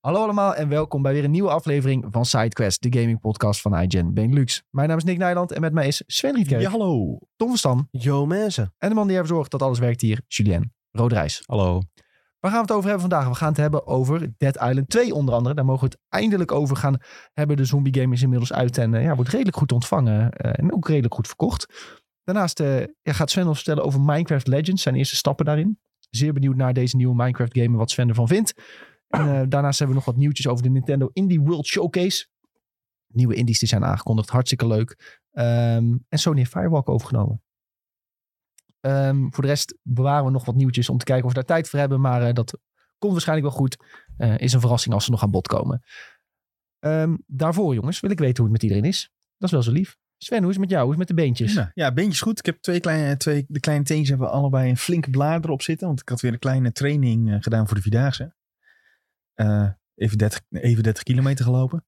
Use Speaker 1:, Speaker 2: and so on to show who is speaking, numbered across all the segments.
Speaker 1: Hallo allemaal en welkom bij weer een nieuwe aflevering van SideQuest, de gaming podcast van iGen Benelux. Mijn naam is Nick Nijland en met mij is Sven Rietkerk,
Speaker 2: hallo.
Speaker 1: Tom van Stam
Speaker 2: Yo, mensen.
Speaker 1: en de man die ervoor zorgt dat alles werkt hier, Julien Roodrijs.
Speaker 2: Hallo.
Speaker 1: Waar gaan we het over hebben vandaag? We gaan het hebben over Dead Island 2 onder andere. Daar mogen we het eindelijk over gaan hebben. De zombie game is inmiddels uit en eh, ja, wordt redelijk goed ontvangen eh, en ook redelijk goed verkocht. Daarnaast eh, ja, gaat Sven ons vertellen over Minecraft Legends, zijn eerste stappen daarin. Zeer benieuwd naar deze nieuwe Minecraft game en wat Sven ervan vindt. En, eh, daarnaast hebben we nog wat nieuwtjes over de Nintendo Indie World Showcase. Nieuwe indies die zijn aangekondigd, hartstikke leuk. Ehm, en Sony heeft Firewalk overgenomen. Ehm, voor de rest bewaren we nog wat nieuwtjes om te kijken of we daar tijd voor hebben. Maar eh, dat komt waarschijnlijk wel goed. Eh, is een verrassing als ze nog aan bod komen. Ehm, daarvoor, jongens, wil ik weten hoe het met iedereen is. Dat is wel zo lief. Sven, hoe is het met jou? Hoe is het met de beentjes?
Speaker 2: Ja, ja, beentjes goed. Ik heb twee kleine, twee, de kleine teentjes hebben allebei een flinke blader op zitten. Want ik had weer een kleine training eh, gedaan voor de Vierdaagse. Eh, even, 30, even 30 kilometer gelopen.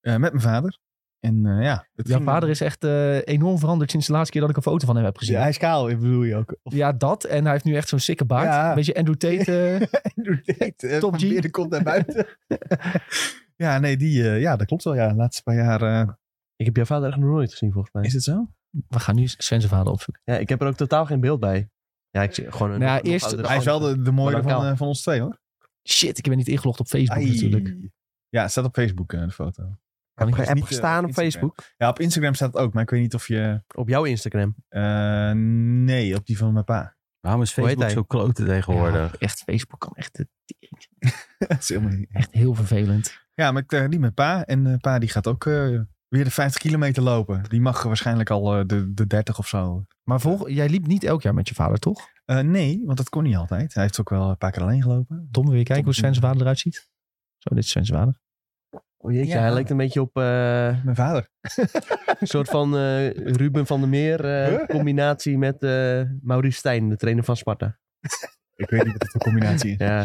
Speaker 2: Eh, met mijn vader. En eh, ja. Het
Speaker 1: Jouw
Speaker 2: ging-
Speaker 1: vader is echt eh, enorm veranderd sinds de laatste keer dat ik een foto van hem heb gezien.
Speaker 2: Ja,
Speaker 1: Ja,
Speaker 2: hij is kaal, ik bedoel je ook. Of
Speaker 1: dat. En hij heeft nu echt zo'n sikke baard.
Speaker 2: Ja.
Speaker 1: Een beetje Andrew Tate. eh, Top
Speaker 2: Top
Speaker 1: G.
Speaker 2: G. komt eh, naar buiten. ja, nee, die, eh, ja, dat klopt wel. Ja, de laatste paar jaar eh,
Speaker 3: Ik heb jouw vader echt nog nooit gezien, volgens mij.
Speaker 2: is het zo.
Speaker 1: we gaan nu Sven zijn vader opzoeken.
Speaker 3: Ja, ik heb er ook totaal geen beeld bij. Ja, ik zie gewoon een...
Speaker 1: Nou ja,
Speaker 3: nog
Speaker 1: eerst-
Speaker 3: oudere
Speaker 2: Hij is wel
Speaker 3: foto.
Speaker 2: de, de mooie
Speaker 3: Maar dan
Speaker 2: van,
Speaker 3: kaal.
Speaker 2: eh, van ons twee hoor.
Speaker 1: Shit, ik ben niet ingelogd op Facebook
Speaker 2: Ai.
Speaker 1: natuurlijk.
Speaker 2: Ja, het staat op Facebook eh, de foto.
Speaker 1: Kan ik
Speaker 3: Heb
Speaker 2: is
Speaker 3: je
Speaker 2: niet, eh,
Speaker 3: gestaan op
Speaker 2: Instagram.
Speaker 3: Facebook?
Speaker 2: Ja, op Instagram staat het ook, maar ik weet niet of je...
Speaker 3: Op jouw Instagram?
Speaker 2: eh, nee, op die van mijn pa.
Speaker 4: Waarom is
Speaker 3: Hoe heet
Speaker 4: Facebook zo
Speaker 3: hij?
Speaker 4: kloten tegenwoordig?
Speaker 1: Ja, echt, Facebook kan echt,
Speaker 2: Dat is helemaal niet...
Speaker 1: echt heel vervelend.
Speaker 2: Ja, maar ik, eh, die met pa. En eh, pa die gaat ook eh, weer de 50 kilometer lopen. Die mag waarschijnlijk al eh, de, de 30 of zo.
Speaker 1: Maar volg, jij liep niet elk jaar met je vader, toch?
Speaker 2: Eh, nee, want dat kon niet altijd. Hij heeft ook wel een paar keer alleen gelopen.
Speaker 1: Tom, wil je kijken
Speaker 2: Tom.
Speaker 1: hoe Sven's vader eruit ziet? Zo, dit is Sven's vader.
Speaker 3: Oh jeetje,
Speaker 2: Ja.
Speaker 3: hij lijkt een beetje op eh,
Speaker 2: Mijn vader.
Speaker 3: een soort van eh, Ruben van der Meer eh,
Speaker 2: Huh?
Speaker 3: combinatie met eh Maurice Stijn, de trainer van Sparta.
Speaker 2: Ik weet niet wat het voor combinatie is.
Speaker 3: Ja.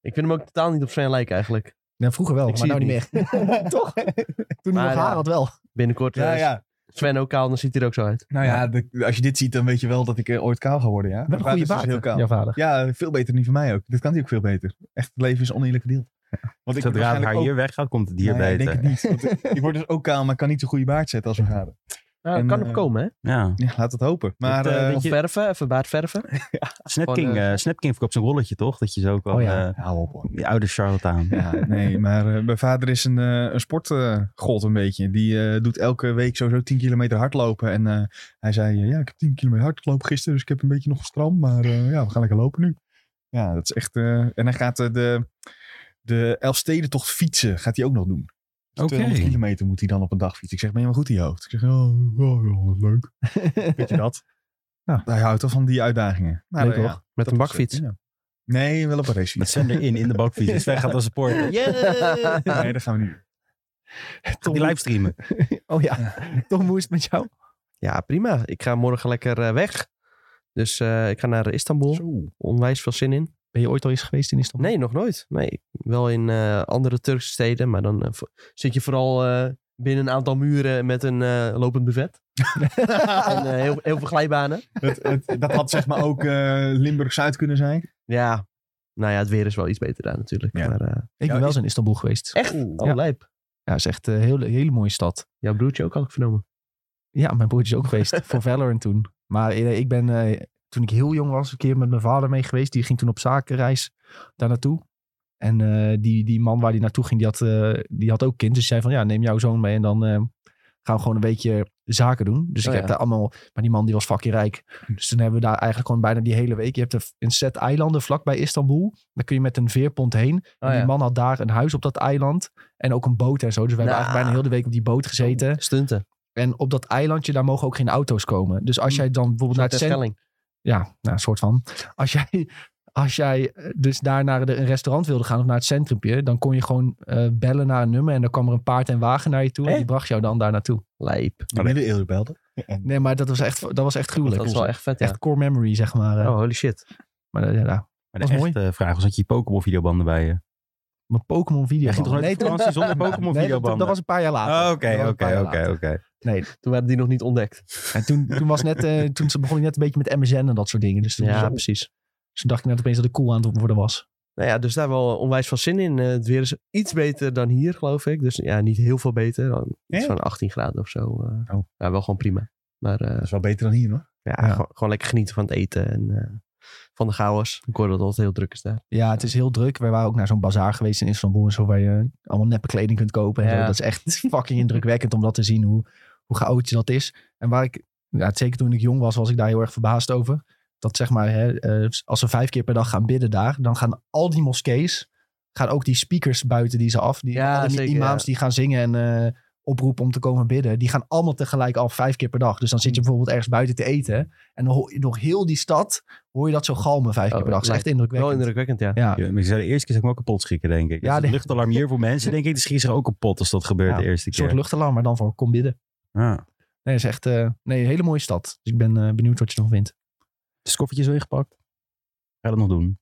Speaker 3: Ik vind hem ook totaal niet op Sven lijken eigenlijk.
Speaker 1: Nee, vroeger wel, maar
Speaker 2: Ik zie
Speaker 1: nou niet meer. eh,
Speaker 2: het niet.
Speaker 1: Toch? Toen hij
Speaker 3: Maar
Speaker 1: nog
Speaker 3: ja.
Speaker 1: haar had wel.
Speaker 3: Binnenkort eh,
Speaker 2: Ja,
Speaker 3: is
Speaker 2: ja.
Speaker 3: Sven ook kaal, dan ziet hij er ook zo uit.
Speaker 2: Nou ja, de- als je dit ziet, dan weet je wel dat ik eh, ooit kaal ga worden. Ja?
Speaker 1: Met een
Speaker 2: Mijn
Speaker 1: goede
Speaker 2: vader is dus
Speaker 1: baard,
Speaker 2: heel kaal.
Speaker 1: jouw vader.
Speaker 2: Ja, veel beter dan die van mij ook. Dat kan hij ook veel beter. Echt, het leven is een oneerlijk deal. Want ik
Speaker 4: Zodra het
Speaker 2: waarschijnlijk
Speaker 4: haar
Speaker 2: ook-
Speaker 4: hier weggaat, komt het hier
Speaker 2: Nou ja,
Speaker 4: beter.
Speaker 2: Ik denk het niet. Want ik word dus ook kaal, maar kan niet zo'n goede baard zetten als mijn vader.
Speaker 3: Nou, dat
Speaker 2: En,
Speaker 3: kan
Speaker 2: eh,
Speaker 3: nog komen, hè?
Speaker 4: Ja.
Speaker 2: Ja, laat het hopen. Maar
Speaker 4: Dat, eh,
Speaker 2: eh,
Speaker 4: weet
Speaker 3: Of
Speaker 4: je-
Speaker 3: verven, even baard verven.
Speaker 4: Snap
Speaker 3: Gewoon,
Speaker 4: King,
Speaker 3: eh,
Speaker 4: eh, Snap King verkoopt zijn rolletje, toch? Dat je zo kan...
Speaker 1: Oh ja.
Speaker 4: eh,
Speaker 2: hou op hoor.
Speaker 4: die oude charlatan.
Speaker 2: Ja, nee, maar eh, mijn vader is een, eh een sportgod een beetje. Die eh, doet elke week sowieso 10 kilometer hardlopen. En eh, hij zei, eh, ja, ik heb 10 kilometer hardgelopen gisteren, dus ik heb een beetje nog stram. Maar eh, ja, we gaan lekker lopen nu. Ja, dat is echt... eh, en hij gaat eh, de, de Elfstedentocht fietsen, gaat hij ook nog doen. Dus
Speaker 4: Oké.
Speaker 2: 200 kilometer moet hij dan op een dag fietsen. Ik zeg, ben je wel goed in je hoofd? Ik zeg, oh, oh, oh, wat leuk. Weet je dat?
Speaker 1: Nou.
Speaker 2: Hij houdt wel van die uitdagingen. Maar,
Speaker 1: Leuk
Speaker 2: eh,
Speaker 1: hoor.
Speaker 2: ja,
Speaker 3: Met
Speaker 2: dat
Speaker 3: een
Speaker 2: was,
Speaker 3: bakfiets.
Speaker 2: eh, ja. Nee, wel op een racefiets.
Speaker 4: Met Sander in, in de bakfiets. Dus wij gaat als support.
Speaker 1: Yeah!
Speaker 2: Nee, dat gaan we niet. doen.
Speaker 1: Tom,
Speaker 4: Die livestreamen.
Speaker 1: oh ja, Tom, hoe is het met jou?
Speaker 3: Ja, prima. Ik ga morgen lekker eh, weg. Dus eh, ik ga naar Istanbul.
Speaker 2: Zo.
Speaker 3: Onwijs veel zin in.
Speaker 1: Ben je ooit al eens geweest in Istanbul?
Speaker 3: Nee, nog nooit. Nee, wel in eh, andere Turkse steden, maar dan eh, vo- zit je vooral eh, binnen een aantal muren met een eh, lopend buffet. en eh, heel, heel veel glijbanen.
Speaker 2: Het, het, dat had zeg maar ook eh, Limburg-Zuid kunnen zijn.
Speaker 3: Ja, nou ja, het weer is wel iets beter daar natuurlijk.
Speaker 2: Ja.
Speaker 3: Maar, eh,
Speaker 1: Ik ben
Speaker 2: Ja,
Speaker 1: wel
Speaker 2: is-
Speaker 1: eens in Istanbul geweest.
Speaker 3: echt, oh,
Speaker 1: Ja.
Speaker 3: lijp.
Speaker 1: Ja, het is echt een hele, hele mooie stad.
Speaker 3: Jouw broertje ook had ik vernomen.
Speaker 1: Ja, mijn broertje is ook geweest. voor Valorant toen. Maar eh, ik ben, eh, toen ik heel jong was, een keer met mijn vader mee geweest. Die ging toen op zakenreis daar naartoe. En eh, die, die man waar die naartoe ging, die had, eh, die had ook kind. Dus die zei van, ja, neem jouw zoon mee en dan eh, gaan we gewoon een beetje zaken doen. Dus
Speaker 3: Oh
Speaker 1: ik heb
Speaker 3: ja.
Speaker 1: daar allemaal... Maar die man die was fucking rijk. Dus toen hebben we daar eigenlijk gewoon bijna die hele week... Je hebt een- een set eilanden vlakbij Istanbul. Daar kun je met een veerpont heen. En
Speaker 3: Oh,
Speaker 1: die
Speaker 3: ja.
Speaker 1: man had daar een huis op dat eiland. En ook een boot en zo. Dus we hebben
Speaker 3: Nou.
Speaker 1: eigenlijk bijna heel de week op die boot gezeten.
Speaker 3: Stunten.
Speaker 1: En op dat eilandje, daar mogen ook geen auto's komen. Dus als
Speaker 3: Hmm.
Speaker 1: jij dan bijvoorbeeld naar
Speaker 3: Naar
Speaker 1: het centrum...
Speaker 3: Terschelling.
Speaker 1: Ja, nou, een soort van. Als jij, als jij eh, dus daar naar de, een restaurant wilde gaan of naar het centrumpje... dan kon je gewoon eh, bellen naar een nummer... en dan kwam er een paard en wagen naar je toe... en
Speaker 3: Hè?
Speaker 1: die bracht jou dan daar naartoe.
Speaker 3: Lijp.
Speaker 2: De middeleeuwen belden. En
Speaker 1: Nee, maar dat was echt, dat was echt gruwelijk.
Speaker 3: Dat is wel echt vet, ja.
Speaker 1: Echt core memory, zeg maar. eh.
Speaker 3: Oh, holy shit.
Speaker 1: Maar eh, ja, ja.
Speaker 4: Maar
Speaker 1: Was
Speaker 4: de
Speaker 1: mooi.
Speaker 4: echte vraag was, had je Pokémon-videobanden bij je?
Speaker 1: mijn Pokémon-video.
Speaker 4: Jij ging toch nooit op vakantie zonder Pokémon-videobanden?
Speaker 1: dat was een paar jaar later.
Speaker 4: Oh,
Speaker 1: Dat was
Speaker 4: Oké,
Speaker 1: een paar
Speaker 4: oké,
Speaker 1: jaar
Speaker 4: oké,
Speaker 1: later.
Speaker 4: oké.
Speaker 1: Nee,
Speaker 3: Toen waren die nog niet ontdekt.
Speaker 1: en toen, toen, was net, eh, toen begon ik net een beetje met MSN en dat soort dingen. Dus toen,
Speaker 3: Ja,
Speaker 1: dus
Speaker 3: precies.
Speaker 1: toen dacht ik net opeens dat ik cool aan het worden was.
Speaker 3: Nou ja, dus daar wel onwijs veel zin in. Eh, het weer is iets beter dan hier, geloof ik. Dus ja, niet heel veel beter. Dan iets
Speaker 2: Ja.
Speaker 3: van 18 graden of zo. eh.
Speaker 2: Oh.
Speaker 3: Ja, wel gewoon prima. Maar eh,
Speaker 2: Dat is wel beter dan hier, hoor.
Speaker 3: ja,
Speaker 2: Ja.
Speaker 3: Gewoon, gewoon lekker genieten van het eten en eh, van de chaos. Ik hoor dat het altijd heel druk is daar.
Speaker 1: Ja, het is heel druk. We waren ook naar zo'n bazaar geweest in Istanbul en zo, waar je allemaal neppe kleding kunt kopen. En zo.
Speaker 3: Ja.
Speaker 1: Dat is echt fucking indrukwekkend om dat te zien, hoe, hoe chaotisch dat is. En waar ik, ja, zeker toen ik jong was, was ik daar heel erg verbaasd over. Dat zeg maar, hè, eh, als ze vijf keer per dag gaan bidden daar, dan gaan al die moskees, gaan ook die speakers buiten die ze af. Die,
Speaker 3: Ja,
Speaker 1: alle die
Speaker 3: zeker,
Speaker 1: imams die gaan zingen en eh, oproepen om te komen bidden, die gaan allemaal tegelijk al vijf keer per dag. Dus dan zit
Speaker 3: Mm.
Speaker 1: je bijvoorbeeld ergens buiten te eten en dan hoor je door heel die stad, hoor je dat zo galmen vijf
Speaker 3: Oh,
Speaker 1: keer per dag. Dat is echt
Speaker 3: lijkt
Speaker 1: indrukwekkend.
Speaker 3: Wel indrukwekkend, ja.
Speaker 1: Ja.
Speaker 4: Ja, maar ik zei, de eerste keer zou ik me ook kapot schrikken, denk ik.
Speaker 1: Ja,
Speaker 4: Ja,
Speaker 1: de-
Speaker 4: Het luchtalarm hier voor mensen, denk ik, die schiet zich ook kapot als dat gebeurt
Speaker 1: Ja,
Speaker 4: de eerste
Speaker 1: Een soort
Speaker 4: keer.
Speaker 1: luchtalarm, maar dan voor kom bidden.
Speaker 4: Ja.
Speaker 1: Nee, is echt eh, nee, een hele mooie stad. Dus ik ben eh, benieuwd wat je nog vindt.
Speaker 4: Dus koffertje zo ingepakt. Ga dat nog doen.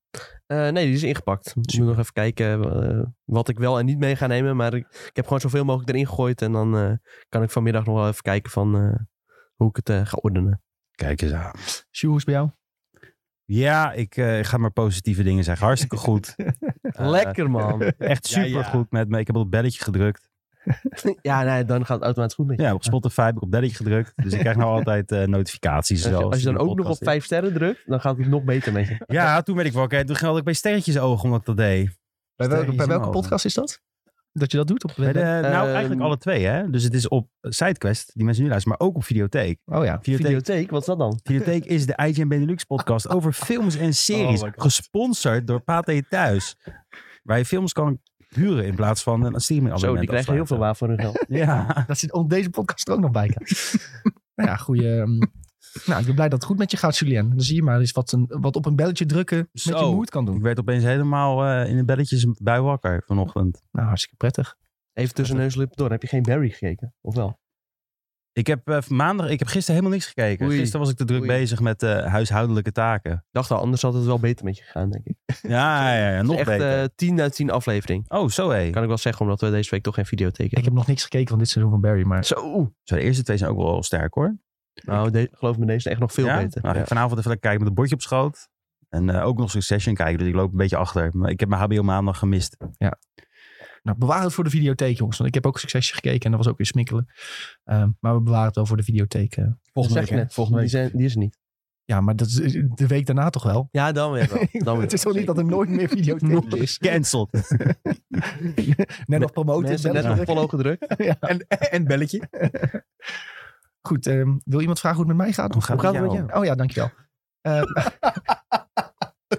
Speaker 3: Eh, nee, die is ingepakt. Ik moet nog even kijken eh, wat ik wel en niet mee ga nemen. Maar ik, ik heb gewoon zoveel mogelijk erin gegooid. En dan eh, kan ik vanmiddag nog wel even kijken van eh, hoe ik het eh, ga ordenen.
Speaker 4: Kijk eens aan.
Speaker 1: Sjoe, hoe is het bij jou?
Speaker 4: Ja, ik eh, ga maar positieve dingen zeggen. Hartstikke goed. Eh,
Speaker 3: Lekker man.
Speaker 4: Echt
Speaker 2: Ja, ja.
Speaker 4: super goed met me. Ik heb op het belletje gedrukt.
Speaker 3: ja, nee, dan gaat het automatisch goed met je.
Speaker 4: Ja, op Spotify heb ik op belletje gedrukt. Dus ik krijg nou altijd eh, notificaties.
Speaker 3: Als je,
Speaker 4: zelfs
Speaker 3: als je
Speaker 4: die
Speaker 3: dan ook nog op
Speaker 4: podcast is.
Speaker 3: vijf sterren drukt, dan gaat het nog beter met je.
Speaker 4: Ja, toen werd ik wakker. Toen ging ik bij sterretjes ogen omdat ik dat deed.
Speaker 1: Bij,
Speaker 4: Sterretjes
Speaker 1: welke, bij
Speaker 4: in
Speaker 1: welke
Speaker 4: ogen.
Speaker 1: podcast is dat? Dat je dat doet? Op
Speaker 4: Bij de,
Speaker 1: web-
Speaker 3: ehm,
Speaker 4: nou, eigenlijk alle twee, hè. Dus het is op SideQuest, die mensen nu luisteren, maar ook op Videotheek.
Speaker 1: Oh ja.
Speaker 4: Videotheek,
Speaker 3: Videotheek, wat is dat dan?
Speaker 4: Videotheek is de IGN Benelux podcast over films en series.
Speaker 2: Oh my God.
Speaker 4: gesponsord door Pathé Thuis. Waar je films kan huren in plaats van een streaming abonnement
Speaker 3: Zo, die krijgen heel veel
Speaker 4: afsluiten.
Speaker 3: waar voor hun geld.
Speaker 4: Ja.
Speaker 1: Dat zit om deze podcast er ook nog bij. nou ja, goeie. ehm, nou, ik ben blij dat het goed met je gaat, Julien. Dan zie je maar eens wat, een, wat op een belletje drukken met
Speaker 4: Zo.
Speaker 1: je moed kan
Speaker 4: Ik
Speaker 1: doen.
Speaker 4: werd opeens helemaal eh, in een belletjes bij wakker vanochtend.
Speaker 1: Nou, hartstikke prettig.
Speaker 3: Even tussen neus en lippen door. Heb je geen Barry gekeken? Of wel?
Speaker 4: Ik heb eh, maandag, ik heb gisteren helemaal niks gekeken.
Speaker 3: Oei.
Speaker 4: Gisteren was ik te druk
Speaker 3: Oei.
Speaker 4: bezig met eh, huishoudelijke taken.
Speaker 3: Dacht al, anders had het wel beter met je gegaan, denk ik.
Speaker 4: Ja, ja, ja, nog
Speaker 3: Echt
Speaker 4: beter.
Speaker 3: eh, 10 uit 10 aflevering.
Speaker 4: oh, zo hé.
Speaker 3: Kan ik wel zeggen, omdat we deze week toch geen videotheek
Speaker 1: Ik
Speaker 3: hebben.
Speaker 1: heb nog niks gekeken van dit seizoen van Barry, maar
Speaker 3: Zo.
Speaker 4: Zo, de eerste twee zijn ook wel sterk hoor.
Speaker 3: Nou, de- geloof me, deze is echt nog veel
Speaker 4: ja?
Speaker 3: beter.
Speaker 4: Nou, ga ik
Speaker 3: Ja.
Speaker 4: vanavond even lekker kijken met een bordje op schoot. En eh, ook nog Succession kijken, dus ik loop een beetje achter. Maar ik heb mijn HBO maandag gemist.
Speaker 1: nou, bewaar het voor de videotheek, jongens. Want ik heb ook Succesje gekeken en dat was ook weer smikkelen. Ehm, maar we bewaren het wel voor de videotheek. eh.
Speaker 2: Volgende week,
Speaker 3: Zeg je
Speaker 2: hè?
Speaker 3: net,
Speaker 2: Volgende
Speaker 3: Die,
Speaker 2: week.
Speaker 3: zijn, die is er niet.
Speaker 1: Ja, maar dat is de week daarna toch wel?
Speaker 3: Ja, dan weer wel. Dan weer
Speaker 1: het is
Speaker 3: wel.
Speaker 1: toch niet dat er nooit meer videotheek is.
Speaker 4: Cancelled.
Speaker 1: Net nog promoten.
Speaker 3: Mensen
Speaker 1: bellen
Speaker 3: net op
Speaker 1: drukken.
Speaker 3: follow gedrukt.
Speaker 2: En, en belletje.
Speaker 1: Goed, ehm, wil iemand vragen hoe het met mij gaat?
Speaker 4: Hoe gaat het met jou?
Speaker 1: Oh ja, dankjewel. Eh,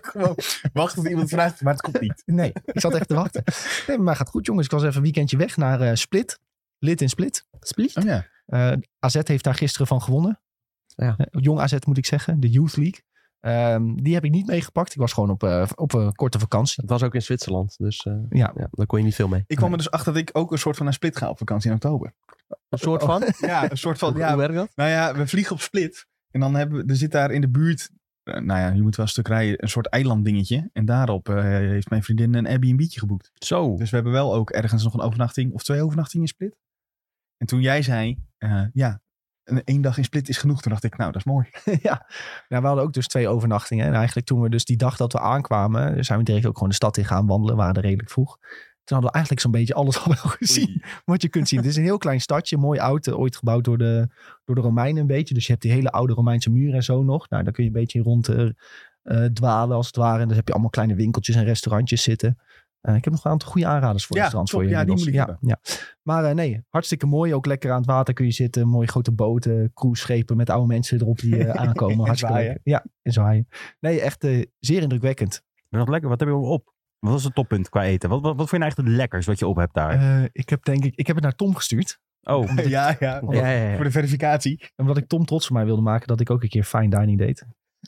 Speaker 2: Gewoon wacht tot iemand vraagt, maar het komt niet.
Speaker 1: nee, ik zat echt te wachten. Nee, maar gaat goed jongens. Ik was even een weekendje weg naar eh, Split. Lid in Split. Split?
Speaker 2: Oh ja.
Speaker 1: AZ heeft daar gisteren van gewonnen.
Speaker 3: Ja.
Speaker 1: Eh, jong AZ moet ik zeggen. De Youth League. Ehm, die heb ik niet meegepakt. Ik was gewoon op, eh, op een korte vakantie.
Speaker 3: Het was ook in Zwitserland, dus eh,
Speaker 1: Ja.
Speaker 3: ja, daar kon je niet veel mee.
Speaker 2: Ik kwam er dus achter dat ik ook een soort van naar Split ga op vakantie in oktober.
Speaker 3: Een soort van?
Speaker 2: Ja, een soort van...
Speaker 3: Hoe-
Speaker 2: Ja,
Speaker 3: Hoe werkt dat?
Speaker 2: Nou ja, we vliegen op Split. En dan hebben we, er zit daar in de buurt, eh, nou ja, je moet wel een stuk rijden, een soort eilanddingetje. En daarop eh, heeft mijn vriendin een Airbnb'tje geboekt.
Speaker 4: Zo.
Speaker 2: Dus we hebben wel ook ergens nog een overnachting of twee overnachtingen in Split. En toen jij zei, eh, ja, een één dag in Split is genoeg. Toen dacht ik, nou, dat is mooi.
Speaker 1: ja. Nou, we hadden ook dus twee overnachtingen. En eigenlijk toen we dus die dag dat we aankwamen, zijn we direct ook gewoon de stad in gaan wandelen. We waren er redelijk vroeg. Toen hadden we eigenlijk zo'n beetje alles al wel
Speaker 3: Dus-
Speaker 1: gezien wat je kunt zien. Het is een heel klein stadje, mooi oud, eh, ooit gebouwd door de, door de Romeinen een beetje. Dus je hebt die hele oude Romeinse muur en zo nog. Nou, daar kun je een beetje rond eh, eh, dwalen als het ware. En dan heb je allemaal kleine winkeltjes en restaurantjes zitten. Eh, ik heb nog wel een aantal goede aanraders voor
Speaker 2: Ja,
Speaker 1: restaurants
Speaker 2: top.
Speaker 1: voor je.
Speaker 2: Ja, die
Speaker 1: inmiddels.
Speaker 2: moet
Speaker 1: ja, ja. Maar eh, nee, hartstikke mooi. Ook lekker aan het water kun je zitten. Mooie grote boten, cruiseschepen met oude mensen erop die eh, aankomen. hartstikke
Speaker 2: zwaaien.
Speaker 1: leuk. Ja, en zwaaien. Nee, echt eh, zeer indrukwekkend.
Speaker 4: Maar nog lekker, wat heb je op? Wat was het toppunt qua eten? Wat, wat, wat vind je nou echt het lekkers wat je op hebt daar?
Speaker 1: Eh, ik heb denk ik, ik heb het naar Tom gestuurd.
Speaker 4: oh,
Speaker 2: Ja, ja.
Speaker 1: Oh,
Speaker 3: Ja, ja,
Speaker 2: Voor
Speaker 3: ja.
Speaker 2: de verificatie.
Speaker 1: En wat ik Tom trots van mij wilde maken, dat ik ook een keer fine dining deed.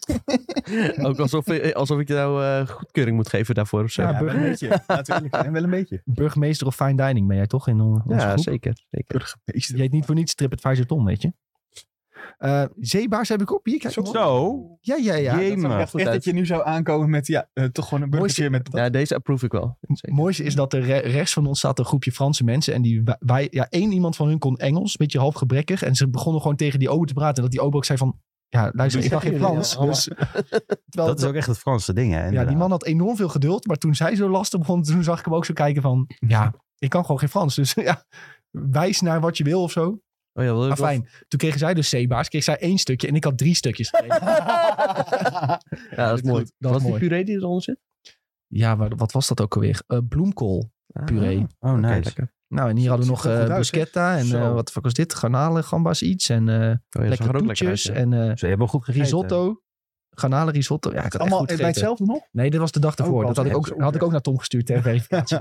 Speaker 3: Ook alsof, alsof ik jou eh, goedkeuring moet geven daarvoor of zo.
Speaker 1: Ja,
Speaker 3: Ja,
Speaker 2: Ja, wel een beetje. Laten we eerlijk zijn. En wel een beetje.
Speaker 1: burgemeester of fine dining ben jij toch in on- onze groep?
Speaker 3: zeker. zeker.
Speaker 1: Je
Speaker 2: Burgemeester.
Speaker 1: heet niet voor niets TripAdvisor Tom, weet je. Eh, zeebaars heb ik op hier. Kijk,
Speaker 4: zo.
Speaker 1: Ja, ja, ja.
Speaker 4: Jee,
Speaker 1: Dat-
Speaker 4: man.
Speaker 2: Echt, echt dat je nu zou aankomen met, ja, eh, toch gewoon een burgertje met...
Speaker 3: Ja, deze approve ik wel. Oh
Speaker 1: Het mooiste is dat er re- rechts van ons zat een groepje Franse mensen. En die, wa- wij, ja, één iemand van hun kon Engels, een beetje half gebrekkig. En ze begonnen gewoon tegen die ober te praten. En dat die ober ook zei van, Ja, luister, ik
Speaker 2: Doe
Speaker 1: kan geen
Speaker 2: zeggen
Speaker 1: Frans.
Speaker 2: jullie, ja.
Speaker 1: Dus, terwijl,
Speaker 4: Dat is ook echt het Franse ding, hè?
Speaker 1: ja, die
Speaker 4: inderdaad.
Speaker 1: man had enorm veel geduld. Maar toen zij zo lastig begon, toen zag ik hem ook zo kijken van... Ja, ik kan gewoon geen Frans. Dus ja, wijs naar wat je wil of zo.
Speaker 3: Oh ja, wil ik
Speaker 1: Maar Ah, fijn, toen kregen zij dus C-baars. Kreeg zij één stukje en ik had drie stukjes. gekregen.
Speaker 3: nog- Ja, dat is
Speaker 1: Goed,
Speaker 3: mooi.
Speaker 1: dat
Speaker 3: was
Speaker 1: is mooi.
Speaker 3: die puree die eronder zit?
Speaker 1: ja, maar wat was dat ook alweer? Eh bloemkool puree.
Speaker 4: Oh,
Speaker 3: Ah, Oké,
Speaker 4: nice.
Speaker 3: lekker.
Speaker 1: Nou, en hier hadden we
Speaker 2: ziet
Speaker 1: nog
Speaker 2: er goed
Speaker 1: eh
Speaker 2: uit,
Speaker 1: bruschetta en
Speaker 2: Zo.
Speaker 1: eh, wat fuck was dit? Garnalen, gambas iets en eh
Speaker 3: Oh, ja, dat zag er
Speaker 1: lekkere
Speaker 3: ook lekker uit,
Speaker 1: toetjes
Speaker 3: ja.
Speaker 1: en eh,
Speaker 4: Ze hebben wel goed gegeten.
Speaker 1: risotto. Garnalen risotto. Ja, ik had
Speaker 2: Allemaal eh,
Speaker 1: echt goed
Speaker 2: bij
Speaker 1: gegeten.
Speaker 2: hetzelfde nog?
Speaker 1: Nee, dit was de dag ervoor.
Speaker 2: Oh,
Speaker 1: dat had ik, ook,
Speaker 2: altijd.
Speaker 1: had ik ook naar Tom gestuurd ter verificatie.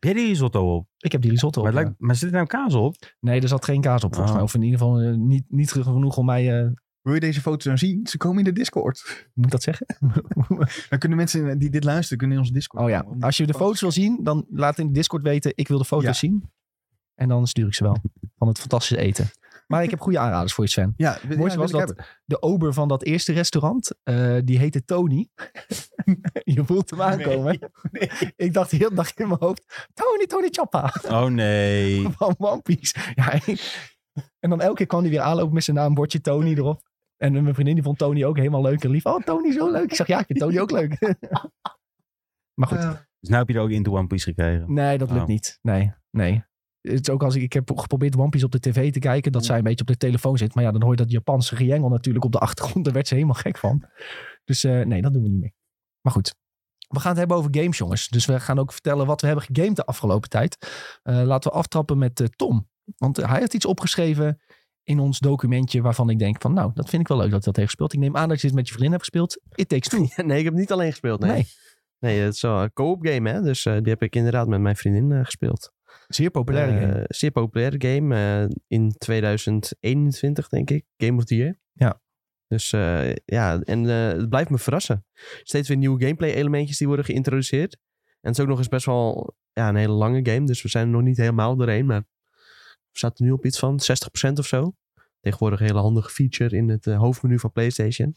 Speaker 4: Heb jij die risotto op?
Speaker 1: ik heb die risotto op.
Speaker 4: Maar, het
Speaker 1: ja.
Speaker 4: lijkt, maar zit er nou kaas op?
Speaker 1: Nee, er zat geen kaas op
Speaker 3: Ah.
Speaker 1: volgens
Speaker 4: Oh.
Speaker 1: mij. Of in ieder geval eh, niet, niet genoeg om mij... eh,
Speaker 2: Wil je deze foto's nou zien? Ze komen in de Discord.
Speaker 1: moet ik dat zeggen?
Speaker 2: Dan kunnen mensen die dit luisteren, kunnen in onze Discord.
Speaker 1: Oh ja,
Speaker 2: komen.
Speaker 1: als je de foto's wil zien, dan laat in de Discord weten. Ik wil de foto's
Speaker 2: Ja.
Speaker 1: zien. En dan stuur ik ze wel. Van het fantastische eten. Maar ik heb goede aanraders voor je, Sven.
Speaker 2: Ja, ja, wil
Speaker 1: mooiste was
Speaker 2: ik
Speaker 1: dat-
Speaker 2: hebben.
Speaker 1: De ober van dat eerste restaurant, eh, die heette Tony. je voelt hem aankomen. Ik dacht heel de dag in mijn hoofd, Tony, Tony Choppa
Speaker 4: Oh nee.
Speaker 1: van One Piece. Ja, en- en dan elke keer kwam hij weer aanlopen met zijn naam, bordje Tony erop. En mijn vriendin die vond Tony ook helemaal leuk en lief. Oh, Tony zo leuk. Ik zeg, ja, ik vind Tony ook leuk. maar goed,
Speaker 2: Eh,
Speaker 4: Dus nu heb je er ook Into One Piece gekregen.
Speaker 1: Nee, dat lukt
Speaker 4: Oh.
Speaker 1: niet. Nee, nee. Het is ook als ik, ik heb geprobeerd One Piece op de tv te kijken, dat zij een beetje op de telefoon zit. Maar ja, dan hoor je dat Japanse gejengel natuurlijk op de achtergrond. Daar werd ze helemaal gek van. Dus eh, nee, dat doen we niet meer. Maar goed, we gaan het hebben over games, jongens. Dus we gaan ook vertellen wat we hebben gegamed de afgelopen tijd. Eh, laten we aftrappen met eh, Tom. Want hij heeft iets opgeschreven in ons documentje waarvan ik denk van, nou, dat vind ik wel leuk dat je dat heeft gespeeld. Ik neem aan dat je dit met je vriendin hebt gespeeld. It takes two.
Speaker 3: Ja, nee, ik heb niet alleen gespeeld. Nee,
Speaker 1: Nee,
Speaker 3: nee. het is wel een co-op game, hè. Dus eh, die heb ik inderdaad met mijn vriendin eh, gespeeld.
Speaker 1: zeer populair.
Speaker 3: Eh, Zeer populair game. eh, in 2021, denk ik. Game of the Year.
Speaker 1: Ja.
Speaker 3: Dus eh, ja, en eh, het blijft me verrassen. Steeds weer nieuwe gameplay elementjes die worden geïntroduceerd. En het is ook nog eens best wel ja, een hele lange game. Dus we zijn er nog niet helemaal doorheen. Maar we zaten nu op iets van 60% of zo. Tegenwoordig een hele handige feature in het eh, hoofdmenu van PlayStation.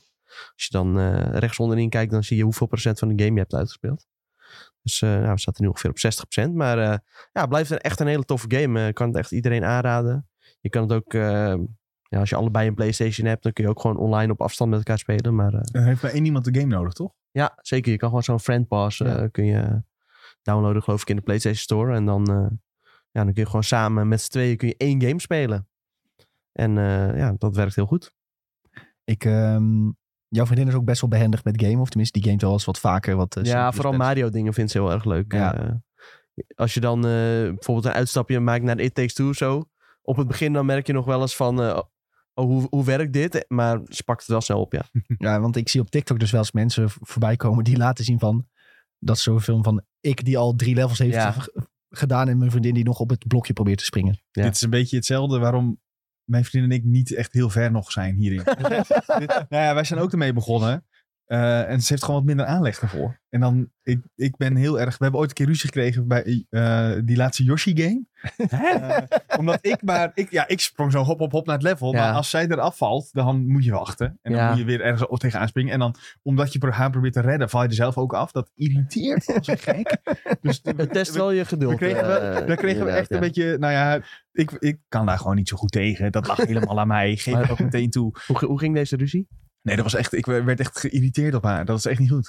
Speaker 3: Als je dan eh rechts onderin kijkt, dan zie je hoeveel procent van de game je hebt uitgespeeld. Dus eh, nou, we zaten nu ongeveer op 60%. Maar eh, ja, het blijft een- echt een hele toffe game. Eh, Ik kan het echt iedereen aanraden. Je kan het ook, eh, ja, als je allebei een PlayStation hebt, dan kun je ook gewoon online op afstand met elkaar spelen. Maar eh,
Speaker 2: Dan heeft maar één iemand de game nodig, toch?
Speaker 3: ja, zeker. Je kan gewoon zo'n friend pass eh, kun je downloaden, geloof ik, in de PlayStation Store. En dan, eh, ja, dan kun je gewoon samen met z'n tweeën kun je één game spelen. En eh, ja, dat werkt heel goed.
Speaker 1: Ik, ehm, jouw vriendin is ook best wel behendig met game. Of tenminste, die gamet wel eens wat vaker. Wat, eh,
Speaker 3: ja,
Speaker 1: simpele
Speaker 3: vooral
Speaker 1: spelletjes.
Speaker 3: Mario dingen vindt ze heel erg leuk.
Speaker 1: Ja.
Speaker 3: Eh, als je dan eh, bijvoorbeeld een uitstapje maakt naar It Takes Two of zo. Op het begin dan merk je nog wel eens van, eh, oh, hoe, hoe werkt dit? Maar ze pakt het wel snel op, ja.
Speaker 1: Ja, want ik zie op TikTok dus wel eens mensen v- voorbij komen die laten zien van... Dat is zo'n film van ik die al drie levels heeft
Speaker 3: Ja.
Speaker 1: g- gedaan en mijn vriendin die nog op het blokje probeert te springen.
Speaker 3: Ja.
Speaker 2: Dit is een beetje hetzelfde waarom mijn vriendin en ik niet echt heel ver nog zijn hierin. Dit- nou ja, wij zijn ook ermee begonnen. eh, en ze heeft gewoon wat minder aanleg ervoor. En dan, ik, ik ben heel erg... We hebben ooit een keer ruzie gekregen bij eh, die laatste Yoshi-game. Eh, omdat ik maar... Ik, ja, ik sprong zo hop, hop, hop naar het level.
Speaker 3: Ja.
Speaker 2: Maar als zij eraf valt, dan moet je wachten. En dan
Speaker 3: Ja.
Speaker 2: moet je weer ergens op tegenaan springen. En dan, omdat je pro- haar probeert te redden, val je er zelf ook af. Dat irriteert als een gek. Dus
Speaker 3: Het test wel je geduld.
Speaker 2: we kregen, wel-
Speaker 3: eh,
Speaker 2: daar kregen we
Speaker 3: inderdaad,
Speaker 2: echt
Speaker 3: ja.
Speaker 2: een beetje, nou ja, ik, ik kan daar gewoon niet zo goed tegen. Dat lag helemaal aan mij. Geef
Speaker 3: Maar-
Speaker 2: het ook meteen toe.
Speaker 3: Hoe, ge- hoe ging deze ruzie?
Speaker 2: Nee, dat was echt, ik werd echt geïrriteerd op haar. Dat is echt niet goed.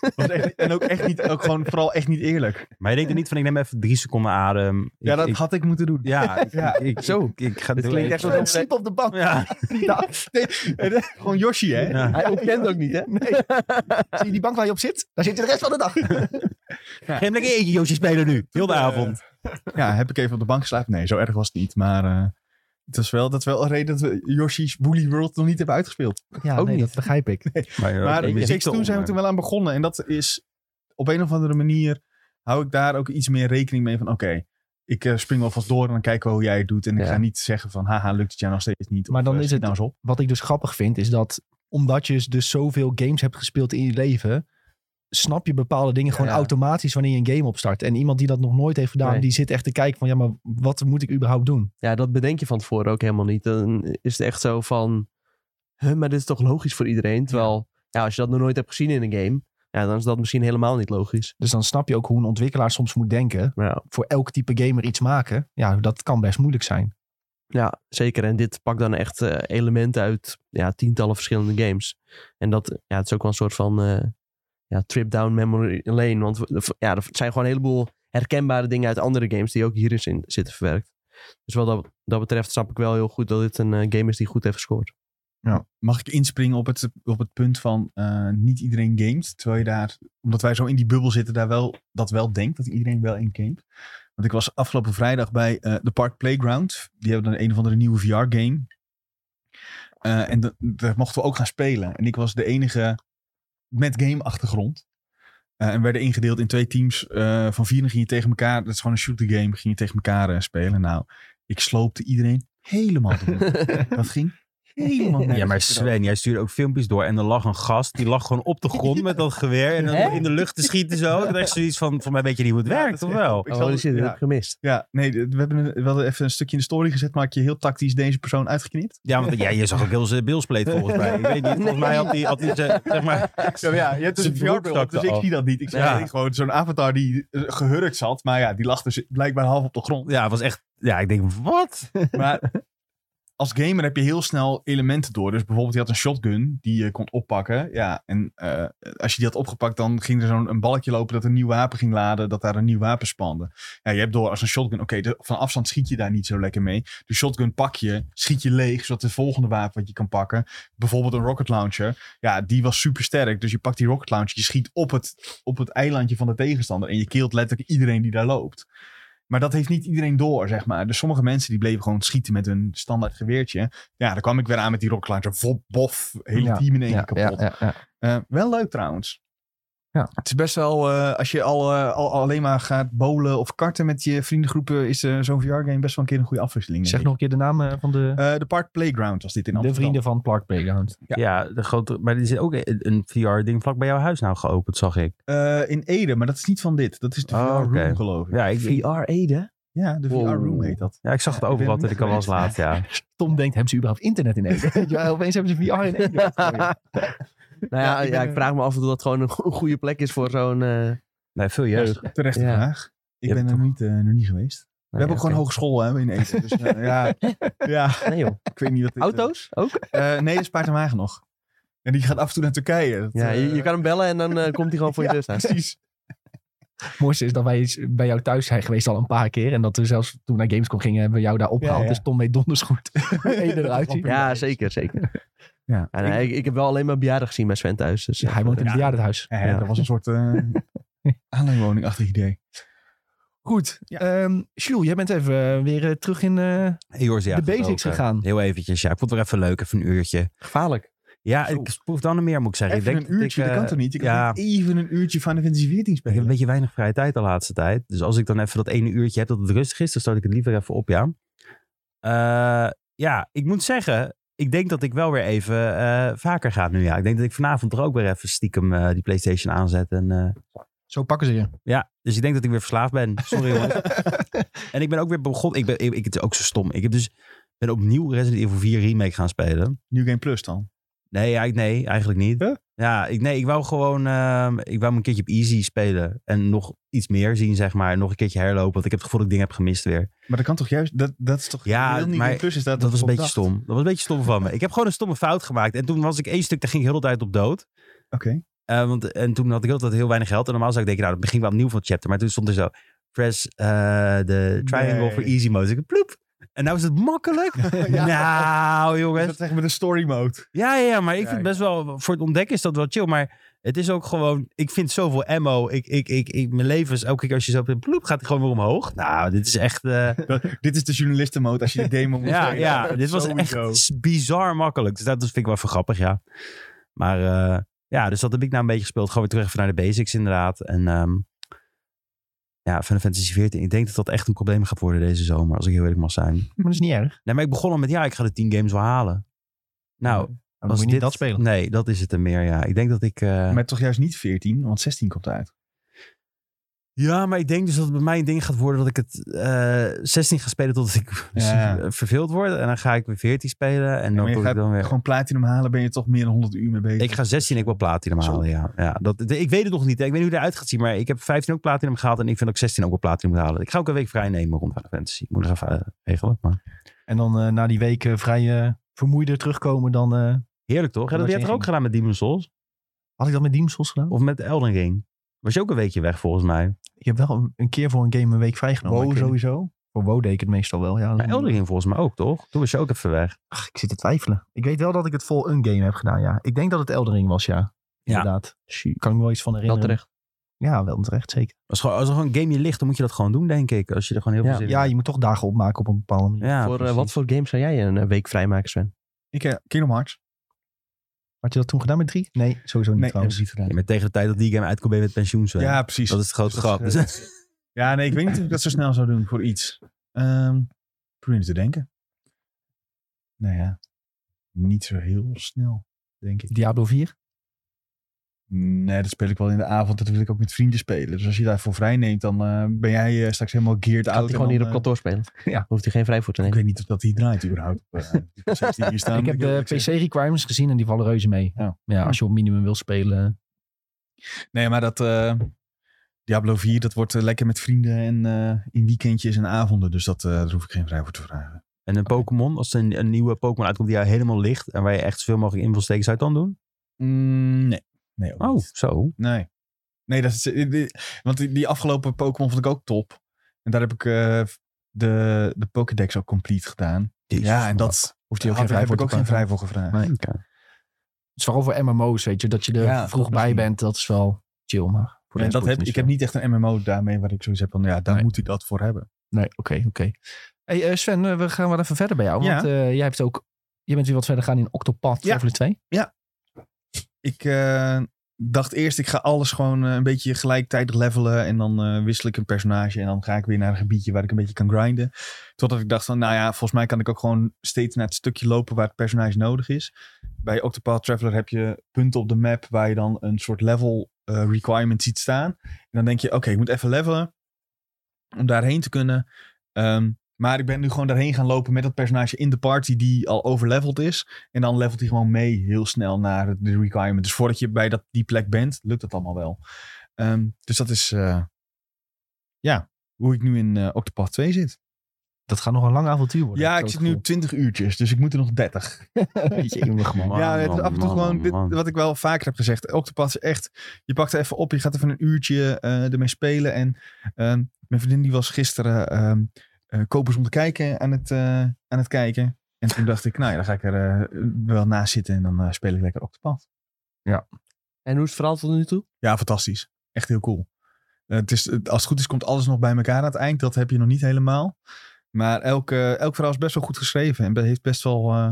Speaker 2: Dat was echt- en ook echt niet, ook gewoon vooral echt niet eerlijk.
Speaker 4: Maar je denkt er niet van, ik neem even drie seconden adem.
Speaker 2: Ja,
Speaker 4: Ik-
Speaker 2: dat
Speaker 4: ik-
Speaker 2: had ik moeten doen.
Speaker 4: Ja, ik,
Speaker 2: Ja.
Speaker 4: Ik, ik-
Speaker 3: Zo.
Speaker 4: Ik, ik ga
Speaker 3: Dit
Speaker 4: doe
Speaker 3: klinkt
Speaker 4: even-
Speaker 3: echt
Speaker 1: Sven sliep op de bank.
Speaker 4: Ja.
Speaker 1: Ja.
Speaker 2: eh, gewoon Yoshi, hè?
Speaker 4: Ja.
Speaker 3: Hij ontkent ook niet, hè?
Speaker 1: Zie je die bank waar je op zit? Daar zit je de rest van de dag.
Speaker 4: Geef hem lekker eentje, Yoshi spelen nu. Heel de
Speaker 2: Eh,
Speaker 4: avond.
Speaker 2: Ja, heb ik even op de bank geslapen? Nee, zo erg was het niet. Maar eh, het is wel, dat is wel een reden dat we Yoshi's Woolly World nog niet hebben uitgespeeld.
Speaker 1: Ja,
Speaker 3: Ook
Speaker 1: nee,
Speaker 3: niet.
Speaker 1: dat begrijp ik.
Speaker 4: Maar, eh,
Speaker 2: Maar
Speaker 4: de
Speaker 2: ik
Speaker 4: muziek
Speaker 2: ik- toen zijn we
Speaker 4: eronder.
Speaker 2: er wel aan begonnen. En dat is op een of andere manier hou ik daar ook iets meer rekening mee van oké, ik eh, spring wel vast door en dan kijken we hoe jij het doet. En ik
Speaker 3: Ja.
Speaker 2: ga niet zeggen van haha, lukt het jou nog steeds niet.
Speaker 1: Maar
Speaker 2: of,
Speaker 1: dan
Speaker 2: eh,
Speaker 1: is
Speaker 2: schiet
Speaker 1: het-
Speaker 2: nou eens op.
Speaker 1: Wat ik dus grappig vind, is dat omdat je dus zoveel games hebt gespeeld in je leven... Snap je bepaalde dingen gewoon
Speaker 3: ja.
Speaker 1: automatisch wanneer je een game opstart. En iemand die dat nog nooit heeft gedaan,
Speaker 3: Nee.
Speaker 1: die zit echt te kijken van... Ja, maar wat moet ik überhaupt doen?
Speaker 3: Ja, dat bedenk je van tevoren ook helemaal niet. Dan is het echt zo van... Huh, maar dit is toch logisch voor iedereen? Terwijl, ja, als je dat nog nooit hebt gezien in een game... Ja, dan is dat misschien helemaal niet logisch.
Speaker 1: Dus dan snap je ook hoe een ontwikkelaar soms moet denken.
Speaker 3: Ja,
Speaker 1: Voor elk type gamer iets maken. Ja, dat kan best moeilijk zijn.
Speaker 3: Ja, zeker. En dit pakt dan echt eh, elementen uit ja, tientallen verschillende games. En dat ja, het is ook wel een soort van eh, ja, trip down memory lane. Want we- de- ja, er zijn gewoon een heleboel herkenbare dingen uit andere games die ook hierin zin- zitten verwerkt. Dus wat dat, dat betreft snap ik wel heel goed dat dit een eh, game is die goed heeft gescoord.
Speaker 2: Ja. Mag ik inspringen op het, op het punt van eh, niet iedereen gamet? Terwijl je daar, omdat wij zo in die bubbel zitten, daar wel, dat wel denkt dat iedereen wel in gamet. Want ik was afgelopen vrijdag bij eh de Park Playground. Die hebben dan een of andere nieuwe VR-game. en da- daar mochten we ook gaan spelen. En ik was de enige met game-achtergrond. Eh, en werden ingedeeld in twee teams. eh, van vieren ging je tegen elkaar. Dat is gewoon een shooter game. Ging je tegen elkaar eh, spelen. Nou, ik sloopte iedereen helemaal door. dat ging helemaal
Speaker 4: Ja,
Speaker 2: nergens
Speaker 4: maar
Speaker 2: over.
Speaker 4: Sven, jij stuurde ook filmpjes door. En er lag een gast, die lag gewoon op de grond met dat geweer. En dan
Speaker 3: Hè?
Speaker 4: in de lucht te schieten zo. Ik dacht zoiets van, voor mij weet je niet hoe het
Speaker 2: Ja,
Speaker 4: werkt,
Speaker 2: dat
Speaker 4: toch
Speaker 2: is
Speaker 4: wel?
Speaker 2: echt-
Speaker 3: oh,
Speaker 2: zal-
Speaker 3: shit, dat
Speaker 2: ja.
Speaker 3: heb ik gemist.
Speaker 2: Ja, nee, d- we hebben een- we hadden even een stukje in de story gezet, maar ik je heel tactisch deze persoon uitgeknipt.
Speaker 4: Ja, want jij je zag ook heel zijn bilspleet volgens mij. Ik weet niet, volgens mij had hij, had hij ze- zeg maar...
Speaker 2: Ja, maar ja je hebt dus
Speaker 4: Zijn
Speaker 2: een
Speaker 4: broek
Speaker 2: VR-bril,
Speaker 4: stak
Speaker 2: dus
Speaker 4: er
Speaker 2: ik
Speaker 4: al.
Speaker 2: zie dat niet. Ik zag
Speaker 4: Ja.
Speaker 2: alleen gewoon zo'n avatar die eh, gehurkt zat, maar ja, die lag dus blijkbaar half op de grond.
Speaker 4: Ja, het was echt... Ja, ik denk, wat?
Speaker 2: Maar als gamer heb je heel snel elementen door. Dus bijvoorbeeld, je had een shotgun die je kon oppakken. Ja, en eh, als je die had opgepakt, dan ging er zo'n een balkje lopen dat een nieuw wapen ging laden, dat daar een nieuw wapen spande. Ja, je hebt door als een shotgun, oké, de- van afstand schiet je daar niet zo lekker mee. De shotgun pak je, schiet je leeg, zodat de volgende wapen wat je kan pakken, bijvoorbeeld een rocket launcher, ja, die was super sterk. Dus je pakt die rocket launcher, je schiet op het, op het eilandje van de tegenstander en je keelt letterlijk iedereen die daar loopt. Maar dat heeft niet iedereen door, zeg maar. Dus sommige mensen die bleven gewoon schieten met hun standaard geweertje. Ja, dan kwam ik weer aan met die rocket launcher. Vop, bof, hele
Speaker 1: Ja,
Speaker 2: team in één
Speaker 1: Ja,
Speaker 2: keer
Speaker 1: ja,
Speaker 2: kapot.
Speaker 1: ja, ja.
Speaker 2: Eh, wel leuk trouwens.
Speaker 1: Ja.
Speaker 2: Het is best wel, eh, als je al, eh, al, alleen maar gaat bowlen of karten met je vriendengroepen, is eh, zo'n VR-game best wel een keer een goede afwisseling.
Speaker 1: Zeg
Speaker 2: denk
Speaker 1: nog
Speaker 2: ik.
Speaker 1: een keer de naam eh, van de,
Speaker 2: Eh, de Park Playground was dit in
Speaker 1: de
Speaker 2: Amsterdam.
Speaker 1: vrienden van Park Playground.
Speaker 4: Ja, de grote, maar er zit ook een, een VR-ding vlak bij jouw huis nou geopend, zag ik.
Speaker 2: Eh, in Ede, maar dat is niet van dit. Dat is de
Speaker 4: Oh,
Speaker 2: VR-room,
Speaker 4: oké.
Speaker 2: geloof ik.
Speaker 4: Ja, ik,
Speaker 3: VR Ede?
Speaker 2: Ja, de
Speaker 3: Wow.
Speaker 2: VR-room heet dat.
Speaker 4: ja, ik zag het
Speaker 2: Ja, ik ben
Speaker 4: overal
Speaker 2: er
Speaker 4: dat ik al was
Speaker 2: niet
Speaker 4: laat, ja.
Speaker 1: Tom denkt, hebben ze überhaupt internet in Ede? ja, opeens hebben ze VR in Ede.
Speaker 3: nou ja, Nou ja,
Speaker 2: ik
Speaker 3: ik,
Speaker 2: ben, eh,
Speaker 3: vraag me af of dat gewoon een go- goede plek is voor zo'n... eh,
Speaker 4: Nee, veel jeugd.
Speaker 2: Terechte
Speaker 3: Ja.
Speaker 2: vraag. Ik
Speaker 4: Ja,
Speaker 2: ben er
Speaker 4: toch.
Speaker 2: niet, eh, nog niet geweest. We hebben ook gewoon hogeschool hè, in Ede. Dus eh, ja, ja,
Speaker 3: Nee joh.
Speaker 2: ik weet niet wat dit, eh,
Speaker 3: Auto's ook?
Speaker 2: eh, nee, dat is Paard en Wagen nog. En die gaat af en toe naar Turkije. Dat,
Speaker 3: Ja, je,
Speaker 2: eh,
Speaker 3: je kan hem bellen en dan eh, komt hij gewoon voor je deur staan.
Speaker 2: Precies.
Speaker 1: Het mooiste is dat wij eens bij jou thuis zijn geweest al een paar keer. En dat we zelfs toen we naar Gamescom gingen, hebben we jou daar opgehaald.
Speaker 2: ja.
Speaker 1: Dus Tom weet donders goed hoe Ede eruit ziet.
Speaker 3: Ja, zeker, zeker.
Speaker 2: Ja.
Speaker 3: En, eh, ik, ik heb wel alleen maar bejaarden gezien bij Sven thuis. Dus,
Speaker 1: Ja, eh, hij woont in het bejaardenhuis.
Speaker 2: Ja, ja, dat was een soort eh aanleidingwoningachtig idee.
Speaker 1: Goed.
Speaker 2: Ja.
Speaker 1: Ehm, Jules, jij bent even eh, weer eh, terug in eh,
Speaker 4: Hey, Joris, ja,
Speaker 1: de basics
Speaker 4: gedoken.
Speaker 1: gegaan.
Speaker 4: Heel eventjes, ja. Ik vond het weer even leuk, even een uurtje.
Speaker 3: Gevaarlijk.
Speaker 4: Ja,
Speaker 2: Zo.
Speaker 4: ik proef dan meer, moet ik zeggen.
Speaker 2: Even
Speaker 4: ik denk
Speaker 2: een uurtje,
Speaker 4: ik,
Speaker 2: dat
Speaker 4: eh,
Speaker 2: kan toch niet? Je kan
Speaker 4: ja.
Speaker 2: niet even een uurtje Final Fantasy 14
Speaker 4: Ik heb een
Speaker 2: spelen.
Speaker 4: beetje weinig vrije tijd de laatste tijd. Dus als ik dan even dat ene uurtje heb dat het rustig is, dan start ik het liever even op, ja. Eh, ja, ik moet zeggen, ik denk dat ik wel weer even eh, vaker ga nu, ja. Ik denk dat ik vanavond er ook weer even stiekem eh, die PlayStation aanzet. En, eh,
Speaker 1: Zo pakken ze je.
Speaker 4: ja, dus ik denk dat ik weer verslaafd ben. Sorry jongens. en ik ben ook weer begonnen. Ik ben, ik, ik- het is ook zo stom. Ik heb dus, ben opnieuw Resident Evil 4 Remake gaan spelen.
Speaker 2: New Game Plus dan.
Speaker 4: Nee, ja, ik- nee eigenlijk niet.
Speaker 2: Huh?
Speaker 4: Ja, ik, nee, ik wou gewoon ehm, ik wou hem een keertje op easy spelen. En nog iets meer zien, zeg maar. En nog een keertje herlopen. Want ik heb het gevoel dat ik dingen heb gemist weer.
Speaker 2: Maar dat kan toch juist, dat, dat is toch
Speaker 4: Ja,
Speaker 2: heel New
Speaker 4: maar
Speaker 2: Game Plus is dat
Speaker 4: Dat, was een
Speaker 2: op
Speaker 4: beetje
Speaker 2: dag.
Speaker 4: stom. Dat was een beetje stom van me. Ik heb gewoon een stomme fout gemaakt. En toen was ik één stuk, daar ging ik heel de tijd op dood.
Speaker 2: Oké.
Speaker 4: Eh, want, en toen had ik heel de tijd heel weinig geld. En normaal zou ik denken, nou, dan begin ik wel opnieuw van het chapter. Maar toen stond er zo, press eh, de triangle
Speaker 2: Nee.
Speaker 4: voor easy mode. Dus ik ploep. En nou is het makkelijk.
Speaker 2: Ja.
Speaker 4: Nou,
Speaker 2: Dus
Speaker 4: jongens.
Speaker 2: Dat zeggen we de story mode.
Speaker 4: Ja, ja, ja, maar ik
Speaker 2: Ja,
Speaker 4: vind
Speaker 2: ja.
Speaker 4: best wel, voor het ontdekken is dat wel chill. Maar het is ook gewoon, ik vind zoveel ammo. Ik, ik, ik, ik, mijn leven is elke keer als je zo op de ploep gaat, het gewoon weer omhoog. Nou, dit is echt, eh,
Speaker 2: Dat- dit is de journalisten mode als je de demo moet
Speaker 4: ja,
Speaker 2: spelen.
Speaker 4: ja, dit was
Speaker 2: Sowieso.
Speaker 4: echt s- bizar makkelijk. Dus dat vind ik wel even grappig, ja. Maar eh, ja, dus dat heb ik nou een beetje gespeeld. Gewoon weer terug even naar de basics inderdaad. En ehm ja, Final Fantasy 14. Ik denk dat dat echt een probleem gaat worden deze zomer, als ik heel eerlijk mag zijn.
Speaker 1: Maar dat is niet erg.
Speaker 4: Nee, maar ik begon al met, ja, ik ga de 10 games wel halen. Nou,
Speaker 1: Dan
Speaker 4: als
Speaker 1: moet je
Speaker 4: dit,
Speaker 1: niet dat spelen.
Speaker 4: Nee, dat is het er meer, ja. Ik denk dat ik... eh,
Speaker 2: Maar toch juist niet 14, want 16 komt uit.
Speaker 4: Ja, maar ik denk dus dat het bij mij een ding gaat worden dat ik het eh, 16 ga spelen totdat ik
Speaker 2: Ja.
Speaker 4: verveeld word. En dan ga ik weer 14 spelen en dan
Speaker 2: maar je
Speaker 4: word ik
Speaker 2: gaat
Speaker 4: dan weer...
Speaker 2: Gewoon platinum halen ben je toch meer dan 100 uur mee bezig.
Speaker 4: Ik ga 16 en ik wil platinum
Speaker 2: Zo.
Speaker 4: halen, ja. ja dat, de- ik weet het nog niet. hè. Ik weet niet hoe het eruit gaat zien, maar ik heb 15 ook platinum gehaald en ik vind dat ik 16 ook wel platinum moet halen. Ik ga ook een week vrij nemen rond Final Fantasy. Ik moet nog even eh, regelen, maar...
Speaker 1: En dan eh, na die weken vrij eh, vermoeider terugkomen dan... eh,
Speaker 4: Heerlijk toch? En
Speaker 1: Dat
Speaker 4: dat
Speaker 1: je
Speaker 4: heb je
Speaker 1: inging.
Speaker 4: ook gedaan met Demon's Souls?
Speaker 1: had ik dat met Demon Souls gedaan?
Speaker 4: Of met Elden Ring? Was je ook een weekje weg volgens mij?
Speaker 1: Ik heb wel een, een keer voor een game een week vrijgenomen. maar
Speaker 2: Wow,
Speaker 1: ik weet niet-
Speaker 2: sowieso.
Speaker 1: Voor WoW deed ik het meestal wel, ja.
Speaker 4: Maar Elden Ring volgens mij ook toch? Toen was je ook even weg.
Speaker 1: Ach, ik zit te twijfelen. Ik weet wel dat ik het vol een game heb gedaan, ja. Ik denk dat het Elden Ring was, ja. Inderdaad. Kan ik me wel iets van
Speaker 3: Wel
Speaker 1: herinneren.
Speaker 3: terecht.
Speaker 1: Ja, wel terecht, zeker.
Speaker 4: Als, gewoon, als er gewoon een game je ligt, dan moet je dat gewoon doen denk ik. Als je er gewoon heel
Speaker 3: Ja.
Speaker 4: veel zin
Speaker 1: Ja,
Speaker 4: in
Speaker 1: je moet toch dagen opmaken op een bepaalde manier.
Speaker 4: hebt. Ja,
Speaker 3: voor eh,
Speaker 4: precies.
Speaker 3: wat voor game zou jij een eh, week vrijmaken, Sven?
Speaker 2: Ik, eh, Kingdom Hearts.
Speaker 1: Had je dat toen gedaan met drie? Nee, eh, sowieso niet trouwens.
Speaker 2: niet gedaan.
Speaker 4: Ja, maar tegen de tijd dat die game uitkomt ben je met pensioen Sven.
Speaker 2: Ja, precies.
Speaker 4: Dat is het grote
Speaker 2: Dus dat
Speaker 4: grap.
Speaker 2: is, eh, Ja, nee, ik weet niet of ik dat zo snel zou doen voor iets. Ehm probeer eens te denken. Nou ja, niet zo heel snel, denk ik.
Speaker 1: Diablo 4?
Speaker 2: Nee, dat speel ik wel in de avond. Dat wil ik ook met vrienden spelen. Dus als je daarvoor vrij neemt, dan eh, ben jij eh, straks helemaal geared
Speaker 3: Kan
Speaker 2: out.
Speaker 3: die
Speaker 2: en dan,
Speaker 3: gewoon hier op
Speaker 2: eh,
Speaker 3: kantoor spelen?
Speaker 1: Ja.
Speaker 3: Hoeft hij geen vrij voor te
Speaker 2: Ik
Speaker 3: nemen.
Speaker 2: weet niet of dat hier draait überhaupt. op, eh, die PC's die hier staan,
Speaker 1: ik heb
Speaker 2: moet ik
Speaker 1: de
Speaker 2: eerlijk zeggen.
Speaker 1: PC-requirements gezien en die vallen reuze mee.
Speaker 2: Ja.
Speaker 1: als je op minimum wil spelen.
Speaker 2: Nee, maar dat eh, Diablo 4, dat wordt eh, lekker met vrienden en eh, in weekendjes en avonden. Dus dat, eh, daar hoef ik geen vrij voor te vragen.
Speaker 4: En een Pokémon, als er een, een nieuwe Pokémon uitkomt die jou helemaal ligt en waar je echt zoveel mogelijk in wil steken, zou je het dan doen?
Speaker 2: Mm, nee. Nee, ook
Speaker 4: Oh,
Speaker 2: niet.
Speaker 4: zo.
Speaker 2: Nee. Nee, dat is, eh, die- die- want die, die afgelopen Pokémon vond ik ook top. En daar heb ik eh, de, de Pokédex ook complete gedaan. ja, en dat
Speaker 1: Hoeft hij ook
Speaker 2: Ah, daar
Speaker 1: geen vrij
Speaker 2: heb
Speaker 1: voor
Speaker 2: ik
Speaker 1: te
Speaker 2: ook geen
Speaker 1: pakken.
Speaker 2: vrij voor gevraagd.
Speaker 1: Nee.
Speaker 4: Oké.
Speaker 1: Het is vooral voor MMO's, weet je. Dat je er
Speaker 2: Ja,
Speaker 1: vroeg bij
Speaker 2: misschien.
Speaker 1: bent, dat is wel chill. Maar voor de
Speaker 2: En
Speaker 1: rest
Speaker 2: dat
Speaker 1: boeit
Speaker 2: heb,
Speaker 1: het
Speaker 2: ik
Speaker 1: niet
Speaker 2: heb niet echt een MMO daarmee waar ik zoiets heb van, ja, daar
Speaker 1: Nee.
Speaker 2: moet ik dat voor hebben.
Speaker 1: veel. Nee, oké, oké. Hey, eh, Sven, eh, we gaan wel even verder bij jou.
Speaker 2: Ja.
Speaker 1: Want eh, jij hebt ook... Je bent weer wat verder gaan in Octopad
Speaker 2: Ja.
Speaker 1: Traveler 2.
Speaker 2: Ik eh, dacht eerst, ik ga alles gewoon eh, een beetje gelijktijdig levelen. En dan eh, wissel ik een personage. En dan ga ik weer naar een gebiedje waar ik een beetje kan grinden. Totdat ik dacht van, nou ja, volgens mij kan ik ook gewoon steeds naar het stukje lopen waar het personage nodig is. Bij Octopath Traveler heb je punten op de map waar je dan een soort level eh, requirement ziet staan. En dan denk je, oké, ik moet even levelen om daarheen te kunnen. Ehm, maar ik ben nu gewoon daarheen gaan lopen met dat personage in de party die al overleveld is. En dan levelt hij gewoon mee heel snel naar de requirement. Dus voordat je bij dat, die plek bent, lukt dat allemaal wel. Ehm, dus dat is eh, ja, hoe ik nu in eh Octopath 2 zit.
Speaker 1: Dat gaat nog een lang avontuur worden.
Speaker 2: ja,
Speaker 1: heb
Speaker 2: ik zit
Speaker 1: zo
Speaker 2: nu
Speaker 1: het
Speaker 2: 20 uurtjes, dus ik moet er nog 30.
Speaker 1: gevoel. Jemig, man.
Speaker 4: Man,
Speaker 2: ja, het is af en toe
Speaker 4: man,
Speaker 2: gewoon
Speaker 4: man,
Speaker 2: dit,
Speaker 4: man.
Speaker 2: wat ik wel vaker heb gezegd. Octopath is echt, je pakt er even op, je gaat even een uurtje eh, ermee spelen. En ehm, mijn vriendin die was gisteren ehm eh, kopers om te kijken aan het, eh, aan het kijken. En toen dacht ik, nou ja, dan ga ik er eh, wel naast zitten en dan eh, speel ik lekker Octopath.
Speaker 3: En hoe is het verhaal tot nu toe?
Speaker 2: Ja, fantastisch. Echt heel cool. Eh, het is, het- als het goed is, komt alles nog bij elkaar aan het eind. Dat heb je nog niet helemaal. Maar elk, eh, elk verhaal is best wel goed geschreven. En be- heeft best wel. eh,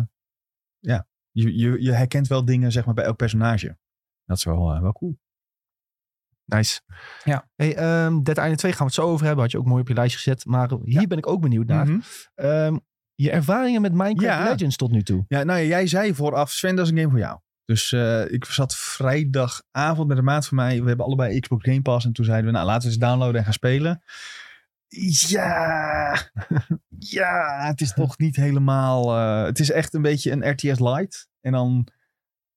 Speaker 2: ja, je, je, je herkent wel dingen zeg maar, bij elk personage. Dat is wel, eh, wel cool.
Speaker 1: Nice.
Speaker 2: Ja.
Speaker 1: Hey, ehm Dead Island 2 gaan we het zo over hebben. Had je ook mooi op je lijstje gezet. Maar hier ben ik ook benieuwd naar.
Speaker 2: Mhm.
Speaker 1: Ehm, je ervaringen met Minecraft
Speaker 2: Ja.
Speaker 1: Legends tot nu toe.
Speaker 2: Ja, nou ja, jij zei vooraf, Sven, dat is een game voor jou. Dus eh, ik zat vrijdagavond met een maat van mij. We hebben allebei Xbox Game Pass. En toen zeiden we, nou laten we eens downloaden en gaan spelen. Ja, ja, het is toch niet helemaal... eh, het is echt een beetje een RTS light. En dan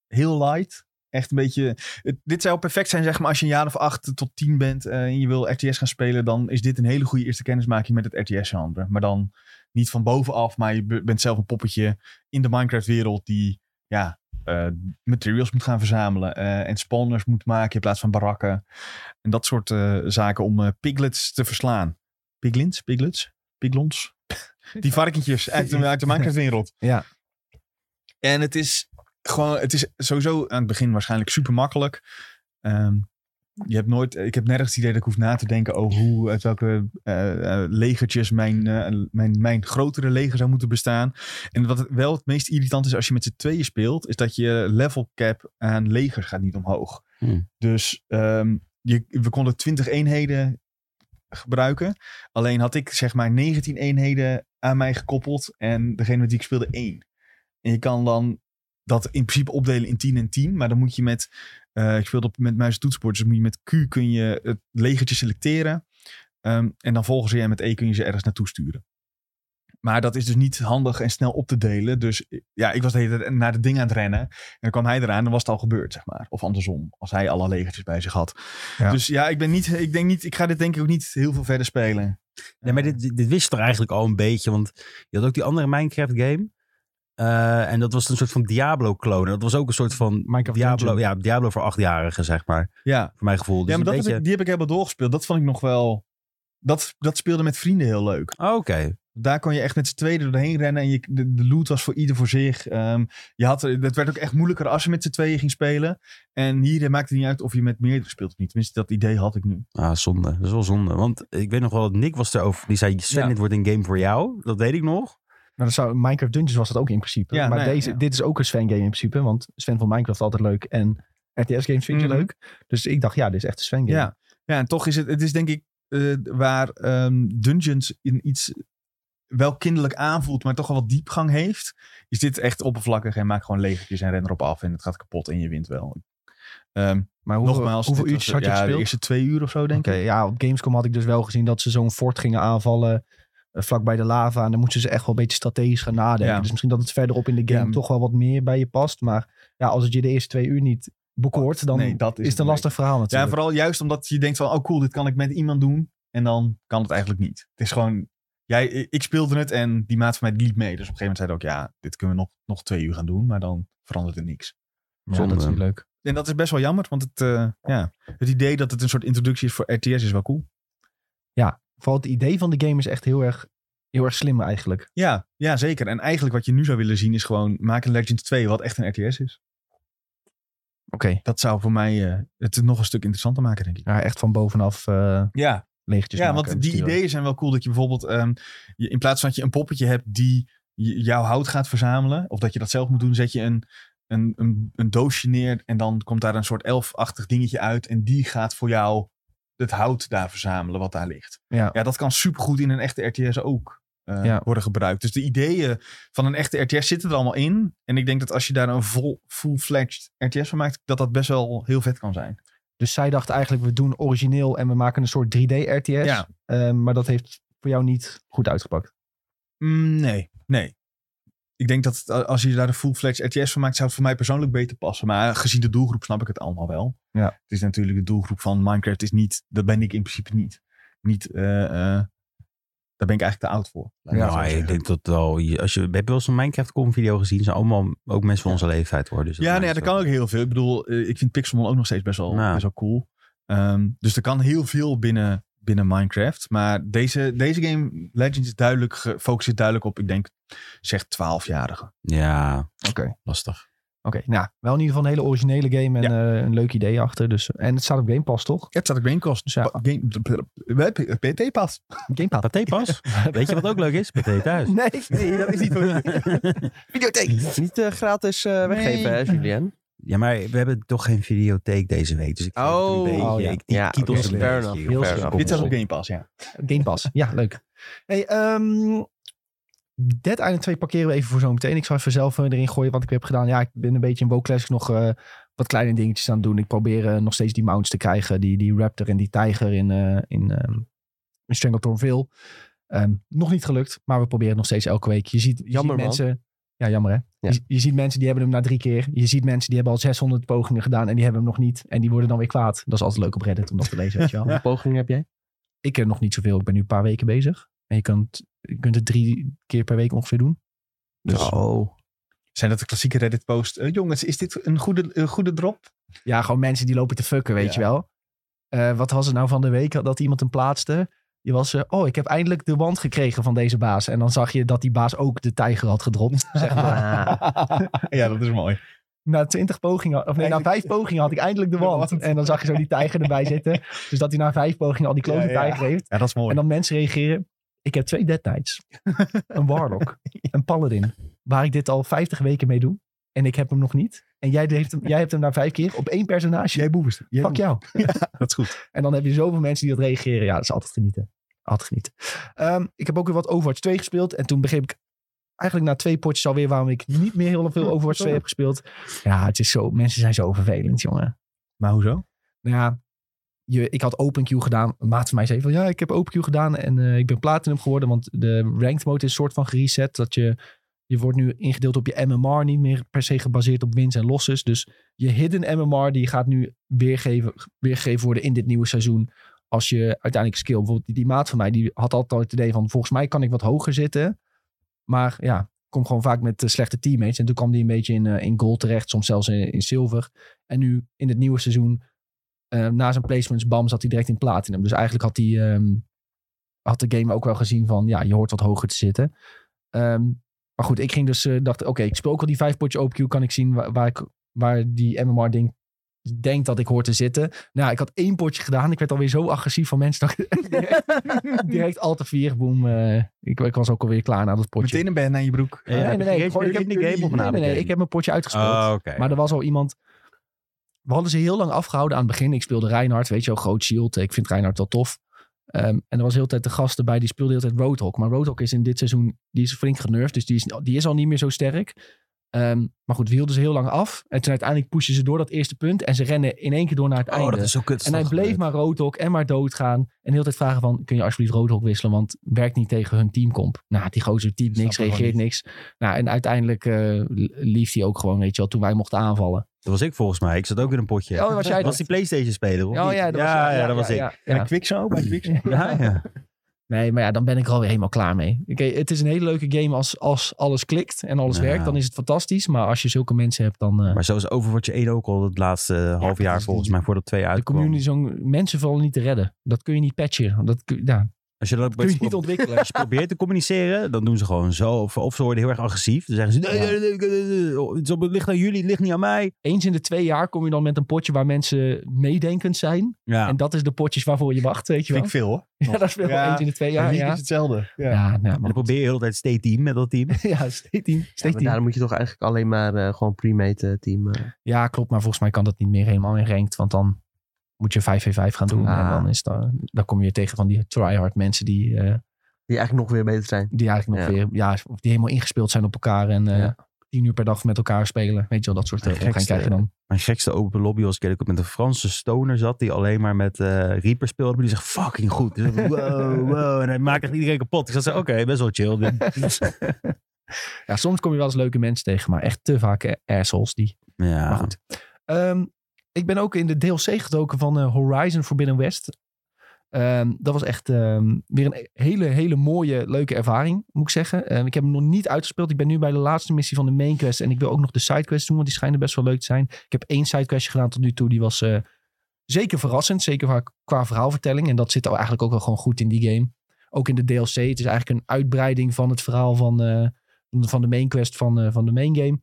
Speaker 2: heel light. Echt een beetje... het- dit zou perfect zijn, zeg maar, als je een jaar of acht tot tien bent... eh, en je wil RTS gaan spelen, dan is dit een hele goede eerste kennismaking met het RTS-genre. Maar dan niet van bovenaf, maar je be- bent zelf een poppetje in de Minecraft-wereld die ja, eh, materials moet gaan verzamelen eh, en spawners moet maken in plaats van barakken. En dat soort eh, zaken om eh, piglets te verslaan. Piglins? Piglets? Piglons? Die varkentjes uit de, uit de Minecraft-wereld.
Speaker 1: Ja.
Speaker 2: En het is gewoon, het is sowieso aan het begin waarschijnlijk super makkelijk. Ehm, je hebt nooit, ik heb nergens het idee dat ik hoef na te denken over hoe, uit welke eh, eh, legertjes mijn, eh, mijn, mijn grotere leger zou moeten bestaan. En wat het- wel het meest irritant is als je met z'n tweeën speelt, is dat je level cap aan legers gaat niet omhoog.
Speaker 4: Hmm.
Speaker 2: Dus ehm, je, we konden 20 eenheden gebruiken. Alleen had ik zeg maar 19 eenheden aan mij gekoppeld en degene met die ik speelde één. En je kan dan dat in principe opdelen in 10 en 10, maar dan moet je met, eh, ik speelde op, met muis en toetsenbord, dus moet je met Q kun je het legertje selecteren. Ehm, en dan volgens je en met E kun je ze ergens naartoe sturen. Maar dat is dus niet handig en snel op te delen. Dus ja, ik was de hele tijd naar het ding aan het rennen. En dan kwam hij eraan, dan was het al gebeurd, zeg maar. Of andersom, als hij alle legertjes bij zich had.
Speaker 1: Ja.
Speaker 2: Dus ja, ik ben niet, ik denk niet, ik ga dit denk ik ook niet heel veel verder spelen.
Speaker 4: Nee, maar dit, dit- dit wist je toch eigenlijk al een beetje. Want je had ook die andere Minecraft game. eh, en dat was een soort van Diablo-klonen. Dat was ook een soort van
Speaker 1: Minecraft
Speaker 4: Diablo,
Speaker 1: Dungeon.
Speaker 4: ja, Diablo voor achtjarigen, zeg maar.
Speaker 2: Ja,
Speaker 4: Voor mijn gevoel. Dus
Speaker 2: ja maar dat
Speaker 4: een
Speaker 2: heb
Speaker 4: beetje...
Speaker 2: ik, die heb ik helemaal doorgespeeld. Dat vond ik nog wel, dat, dat speelde met vrienden heel leuk.
Speaker 4: Oh, Oké.
Speaker 2: Daar kon je echt met z'n tweeën doorheen rennen. En je, de, de loot was voor ieder voor zich. Ehm, je had, het werd ook echt moeilijker als je met z'n tweeën ging spelen. En hier eh, maakte het niet uit of je met meerdere speelt of niet. Tenminste, dat idee had ik nu.
Speaker 4: Ah, zonde. Dat is wel zonde. Want ik weet nog wel dat Nick was erover. Die zei, Sven,
Speaker 2: Ja.
Speaker 4: dit wordt een game voor jou. Dat weet ik nog.
Speaker 1: Nou, dat zou, Minecraft Dungeons was dat ook in principe.
Speaker 2: Ja,
Speaker 1: maar
Speaker 2: nee,
Speaker 1: deze,
Speaker 2: ja.
Speaker 1: dit is ook een Sven-game in principe. Want Sven vond Minecraft altijd leuk. En RTS-games vind je
Speaker 2: Mhm.
Speaker 1: leuk. Dus ik dacht, ja, dit is echt een Sven-game.
Speaker 2: Ja. ja, en toch is het, het is denk ik eh, waar ehm, Dungeons in iets wel kinderlijk aanvoelt, maar toch wel wat diepgang heeft. Is dit echt oppervlakkig en maak gewoon legertjes en ren erop af en het gaat kapot en je wint wel. Ehm,
Speaker 1: Maar hoeveel,
Speaker 2: nogmaals,
Speaker 1: hoeveel
Speaker 2: dit
Speaker 1: uurtjes
Speaker 2: was-
Speaker 1: had je
Speaker 2: ja,
Speaker 1: gespeeld?
Speaker 2: De eerste twee uur of zo, denk
Speaker 1: Oké,
Speaker 2: ik.
Speaker 1: ja, op Gamescom had ik dus wel gezien dat ze zo'n fort gingen aanvallen eh, vlakbij de lava. En dan moesten ze echt wel een beetje strategisch gaan nadenken.
Speaker 2: Ja.
Speaker 1: Dus misschien dat het verderop in de game
Speaker 2: Ja.
Speaker 1: toch wel wat meer bij je past. Maar ja, als het je de eerste twee uur niet bekoort, dan
Speaker 2: Oh, Nee, dat is
Speaker 1: is
Speaker 2: het
Speaker 1: het een lastig verhaal
Speaker 2: Ja, en
Speaker 1: natuurlijk.
Speaker 2: vooral juist omdat je denkt van, oh cool, dit kan ik met iemand doen. En dan kan het eigenlijk niet. Het is gewoon, jij, ik- ik speelde het en die maat van mij die liep mee. Dus op een gegeven moment zei hij ook, ja, dit kunnen we nog, nog twee uur gaan doen. Maar dan verandert er niks.
Speaker 1: Ja, dat is
Speaker 4: Zonde.
Speaker 1: niet leuk.
Speaker 2: En dat is best wel jammer, want het, eh, ja, het idee dat het een soort introductie is voor RTS is wel cool.
Speaker 1: Vooral het idee van de game is echt heel erg, heel erg slim eigenlijk.
Speaker 2: Ja, ja, zeker. En eigenlijk wat je nu zou willen zien is gewoon, maak een Legends 2 wat echt een RTS is.
Speaker 1: Oké,
Speaker 2: Dat zou voor mij eh, het nog een stuk interessanter maken, denk ik.
Speaker 1: ja, echt van bovenaf eh
Speaker 2: Ja,
Speaker 1: leegtjes
Speaker 2: Ja,
Speaker 1: maken en
Speaker 2: want die
Speaker 1: besturen.
Speaker 2: ideeën zijn wel cool. Dat je bijvoorbeeld, ehm, je, in plaats van dat je een poppetje hebt die j- jouw hout gaat verzamelen, of dat je dat zelf moet doen, zet je een, een, een, een doosje neer en dan komt daar een soort elfachtig dingetje uit en die gaat voor jou het hout daar verzamelen wat daar ligt.
Speaker 1: Ja.
Speaker 2: dat kan supergoed in een echte RTS ook. eh,
Speaker 1: Ja.
Speaker 2: worden gebruikt. Dus de ideeën van een echte RTS zitten er allemaal in. En ik denk dat als je daar een vol, full-fledged RTS van maakt, dat dat best wel heel vet kan zijn.
Speaker 1: Dus zij dacht eigenlijk, we doen origineel en we maken een soort 3D-RTS.
Speaker 2: Ja.
Speaker 1: Ehm, maar dat heeft voor jou niet goed uitgepakt.
Speaker 2: Mm, nee, nee. Ik denk dat het, a- als je daar een full-fledged RTS van maakt, zou het voor mij persoonlijk beter passen. Maar gezien de doelgroep snap ik het allemaal wel.
Speaker 1: Ja.
Speaker 2: Het is natuurlijk de doelgroep van Minecraft is niet, dat ben ik in principe niet. Niet, eh, eh, daar ben ik eigenlijk te oud voor. laat ik
Speaker 4: Ja,
Speaker 2: het zo
Speaker 4: Nou, ik
Speaker 2: zeggen.
Speaker 4: denk dat wel. je- Als je, heb je wel eens een Minecraft-com-video gezien? Zijn allemaal ook mensen van onze leeftijd hoor. Dus
Speaker 2: ja, nee,
Speaker 4: maakt
Speaker 2: dat
Speaker 4: wel-
Speaker 2: kan ook heel veel. Ik bedoel, eh, ik vind Pixelmon ook nog steeds best wel,
Speaker 4: Nou.
Speaker 2: best wel cool. Ehm, dus er kan heel veel binnen, binnen Minecraft. Maar deze, deze game, Legends, is duidelijk, ge- focust zich duidelijk op, ik denk, zeg 12-jarigen.
Speaker 4: Ja,
Speaker 1: Oké.
Speaker 4: lastig.
Speaker 1: Oké, nou, wel in ieder geval een hele originele game en eh, een leuk idee achter. Dus, en het staat op Game Pass, toch?
Speaker 2: Ja, het staat ook Gamecast.
Speaker 1: Dus ja.
Speaker 2: Pa- Game, PT pas.
Speaker 1: Game Pass.
Speaker 4: Pathé pas. Weet je wat ook leuk is? Pathé thuis.
Speaker 1: Nee, nee, dat is niet voor Videotheek.
Speaker 3: Niet eh, gratis eh, weggeven, hè, Julien?
Speaker 4: Ja, maar we hebben toch geen videotheek deze week. Dus ik vind het
Speaker 3: Oh.
Speaker 4: een beetje,
Speaker 1: Oh, ja.
Speaker 4: ik, ik
Speaker 3: Ja,
Speaker 4: kiet
Speaker 3: oké,
Speaker 4: ons
Speaker 3: fair
Speaker 4: een beetje
Speaker 3: enough.
Speaker 4: hierop.
Speaker 1: Heel
Speaker 3: Fair enough.
Speaker 2: Dit staat
Speaker 3: op.
Speaker 2: op Game Pass, ja.
Speaker 1: Game Pass, ja, leuk. Hey, ehm Dead Island 2 parkeren we even voor zometeen. Ik zal even zelf eh, erin gooien wat ik heb gedaan. Ja, ik ben een beetje in WoW Classic nog eh, wat kleine dingetjes aan het doen. Ik probeer eh, nog steeds die mounts te krijgen. Die, die Raptor en die Tijger in, eh in, ehm in Strangletonville. Ehm, nog niet gelukt, maar we proberen het nog steeds elke week. Je ziet, je
Speaker 3: Jammer,
Speaker 1: ziet
Speaker 3: man.
Speaker 1: mensen... Ja, jammer hè.
Speaker 3: Ja.
Speaker 1: Je, je ziet mensen die hebben hem na drie keer. Je ziet mensen die hebben al 600 pogingen gedaan en die hebben hem nog niet. En die worden dan weer kwaad. Dat is altijd leuk op Reddit om dat te lezen, weet je wel.
Speaker 3: Hoeveel pogingen heb jij?
Speaker 1: Ik heb nog niet zoveel. Ik ben nu een paar weken bezig. En je kunt, je kunt het drie keer per week ongeveer doen. Dus
Speaker 4: Oh.
Speaker 2: Zijn dat de klassieke Reddit-post? Eh, jongens, is dit een goede, eh, goede drop?
Speaker 1: ja, gewoon mensen die lopen te fucken, weet
Speaker 2: Ja.
Speaker 1: je wel. Eh, wat was het nou van de week dat iemand hem plaatste? Die was, eh, oh, ik heb eindelijk de wand gekregen van deze baas. En dan zag je dat die baas ook de tijger had gedropt. zeg maar. Ah.
Speaker 2: ja, dat is mooi.
Speaker 1: Na twintig pogingen, of nee, na
Speaker 2: Eindelijk-
Speaker 1: vijf pogingen had ik eindelijk de
Speaker 2: De
Speaker 1: wand.
Speaker 2: wand.
Speaker 1: En dan zag je zo die tijger erbij zitten. Dus dat hij na vijf pogingen al die klote
Speaker 2: Ja, ja.
Speaker 1: tijger heeft.
Speaker 2: Ja, dat is mooi.
Speaker 1: En dan mensen reageren. Ik heb twee Dead Knights. een Warlock. Een Paladin. Waar ik dit al 50 weken mee doe. En ik heb hem nog niet. En jij heeft hem, jij hebt hem na vijf keer op één personage.
Speaker 2: Jij boeves. Jij
Speaker 1: Fuck
Speaker 2: boeves.
Speaker 1: jou.
Speaker 2: Dat is goed.
Speaker 1: En dan heb je zoveel mensen die dat reageren. Ja, dat is altijd genieten. Altijd genieten. Ehm, ik heb ook weer wat Overwatch 2 gespeeld. En toen begreep ik eigenlijk na twee potjes alweer waarom ik niet meer heel veel Overwatch 2 heb gespeeld. Ja, het is zo, mensen zijn zo vervelend, jongen.
Speaker 2: Maar hoezo?
Speaker 1: Nou ja, je, ik had OpenQ gedaan. Een maat van mij zei van ja, ik heb OpenQ gedaan en eh, ik ben platinum geworden. Want de ranked mode is een soort van gereset. Dat je, je wordt nu ingedeeld op je MMR. Niet meer per se gebaseerd op wins en losses. Dus je hidden MMR die gaat nu weergeven, weergegeven worden in dit nieuwe seizoen. Als je uiteindelijk skill. Bijvoorbeeld die, die maat van mij die had altijd het idee van volgens mij kan ik wat hoger zitten. Maar ja, kom gewoon vaak met eh, slechte teammates. En toen kwam die een beetje in, eh, in gold terecht. Soms zelfs in, in zilver. En nu in het nieuwe seizoen eh, na zijn placements, bam, zat hij direct in platinum. Dus eigenlijk had, hij, ehm, had de game ook wel gezien van, ja, je hoort wat hoger te zitten. Ehm, maar goed, ik ging dus, eh, dacht, oké, ik speel ook al die vijf potje OPQ, kan ik zien waar, waar, ik, waar die MMR-ding denkt dat ik hoor te zitten. Nou, ik had één potje gedaan. Ik werd alweer zo agressief van mensen. Dat ik direct, direct al te vier, boem. eh, ik, ik was ook alweer klaar na dat potje.
Speaker 2: Meteen een band aan je broek.
Speaker 4: Ja, Eh, heb je
Speaker 1: Eh, gewoon-
Speaker 4: early in de game of na
Speaker 1: nee,
Speaker 4: de
Speaker 1: nee, nee,
Speaker 4: game?
Speaker 1: ik heb mijn potje uitgespeeld.
Speaker 4: Oh, oké.
Speaker 1: Maar er was al iemand. We hadden ze heel lang afgehouden aan het begin. Ik speelde Reinhard, weet je wel, groot shield. Ik vind Reinhard wel tof. Ehm, en er was de hele tijd de gast erbij, die speelde de hele tijd Roadhog. Maar Roadhog is in dit seizoen, die is flink genervd. Dus die is, die is al niet meer zo sterk. Ehm, maar goed, we hielden ze heel lang af. En toen uiteindelijk pushen ze door dat eerste punt. En ze rennen in één keer door naar het
Speaker 4: oh,
Speaker 1: einde.
Speaker 4: dat is zo kut.
Speaker 1: En hij
Speaker 4: Dat
Speaker 1: bleef
Speaker 4: gebeurt.
Speaker 1: maar roodhok en maar doodgaan. En de hele tijd vragen van, kun je alsjeblieft roodhok wisselen? Want werkt niet tegen hun teamcomp. Nou, die gozer typt
Speaker 2: Snap
Speaker 1: niks,
Speaker 2: ik gewoon
Speaker 1: reageert niks. Nou, en uiteindelijk eh, lief hij ook gewoon, weet je wel, toen wij mochten aanvallen.
Speaker 4: Dat was ik volgens mij. Ik zat ook in een potje.
Speaker 1: Oh, was jij dat?
Speaker 4: was die PlayStation speler?
Speaker 1: Oh ja, dat was,
Speaker 4: ja,
Speaker 1: jij.
Speaker 4: ja, dat was ik.
Speaker 1: ja,
Speaker 2: Bij
Speaker 1: ja.
Speaker 2: Quixo, bij Quixo.
Speaker 4: Ja, ja.
Speaker 1: Nee, maar ja, dan ben ik er alweer helemaal klaar mee. Oké, het is een hele leuke game als, als alles klikt en alles
Speaker 4: Ja.
Speaker 1: werkt. Dan is het fantastisch. Maar als je zulke mensen hebt, dan... eh,
Speaker 4: Maar zo is Overwatch 1 ook al het laatste eh, half
Speaker 1: dat
Speaker 4: jaar
Speaker 1: is
Speaker 4: volgens
Speaker 1: die-
Speaker 4: mij voordat twee
Speaker 1: de
Speaker 4: uitkwam.
Speaker 1: community, zo'n mensen vallen niet te redden. Dat kun je niet patchen. Dat kun, ja,
Speaker 4: Als je dat
Speaker 1: kun je niet ontwikkelen.
Speaker 4: als je probeert te communiceren, dan doen ze gewoon zo. Of, of ze worden heel erg agressief. Dan zeggen ze, nee,
Speaker 1: Ja.
Speaker 4: nee, nee, nee, nee, oh, het is op- het ligt aan jullie, het ligt niet aan mij.
Speaker 1: Eens in de twee jaar kom je dan met een potje waar mensen meedenkend zijn.
Speaker 4: Ja,
Speaker 1: En dat is de potjes waarvoor je wacht, weet je
Speaker 2: Vind
Speaker 1: wel.
Speaker 2: ik veel hoor.
Speaker 1: Ja, dat is wel
Speaker 2: Ja,
Speaker 1: eens in de twee
Speaker 2: Ja,
Speaker 1: jaar. Ja,
Speaker 2: is hetzelfde. Ja.
Speaker 1: ja, nou,
Speaker 4: en dan
Speaker 1: maar,
Speaker 4: probeer je de hele tijd steeds team met dat team.
Speaker 1: ja steeds tien.
Speaker 3: Ja,
Speaker 1: Steeds
Speaker 3: maar
Speaker 1: tien. ja,
Speaker 3: daarom moet je toch eigenlijk alleen maar eh, gewoon pre-mate eh, team. eh.
Speaker 1: klopt, maar volgens mij kan dat niet meer helemaal in ranked, want dan moet je 5v5 gaan doen.
Speaker 3: Ah.
Speaker 1: En dan, is dat, dan kom je tegen van die tryhard mensen die, eh,
Speaker 3: die eigenlijk nog weer beter zijn.
Speaker 1: die eigenlijk nog weer, ja, of die helemaal ingespeeld zijn op elkaar en eh,
Speaker 3: Ja.
Speaker 1: tien uur per dag met elkaar spelen. Weet je wel, dat soort
Speaker 4: Gekste,
Speaker 1: dingen krijg je dan.
Speaker 4: Mijn gekste open lobby was een keer dat ik met een Franse stoner zat. Die alleen maar met eh Reaper speelde. Maar die zegt fucking goed. Dus ik dacht, wow, wow. En hij maakt echt iedereen kapot. Ik zat zo, oké, best wel chill. dit.
Speaker 1: Ja, soms kom je wel eens leuke mensen tegen, maar echt te vaak eh, assholes die
Speaker 4: ja.
Speaker 1: Maar goed. Ehm, ik ben ook in de DLC gedoken van eh, Horizon Forbidden West. Ehm, dat was echt ehm, weer een hele, hele mooie, leuke ervaring, moet ik zeggen. Ehm, ik heb hem nog niet uitgespeeld. Ik ben nu bij de laatste missie van de main quest. En ik wil ook nog de sidequest doen, want die schijnen best wel leuk te zijn. Ik heb één sidequestje gedaan tot nu toe. Die was eh, zeker verrassend, zeker qua, qua verhaalvertelling. En dat zit al eigenlijk ook wel gewoon goed in die game. Ook in de DLC. Het is eigenlijk een uitbreiding van het verhaal van, eh, van de main quest van, eh, van de main game.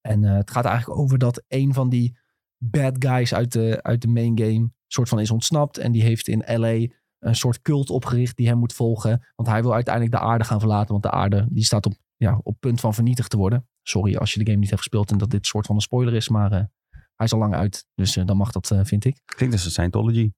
Speaker 1: En eh, het gaat eigenlijk over dat een van die bad guys uit de, uit de main game soort van is ontsnapt. En die heeft in LA een soort cult opgericht die hem moet volgen. Want hij wil uiteindelijk de aarde gaan verlaten. Want de aarde die staat op, ja, op punt van vernietigd te worden. Sorry als je de game niet hebt gespeeld en dat dit soort van een spoiler is. Maar eh, hij is al lang uit. Dus eh, dan mag dat, eh, vind ik
Speaker 4: Klinkt als een Scientology.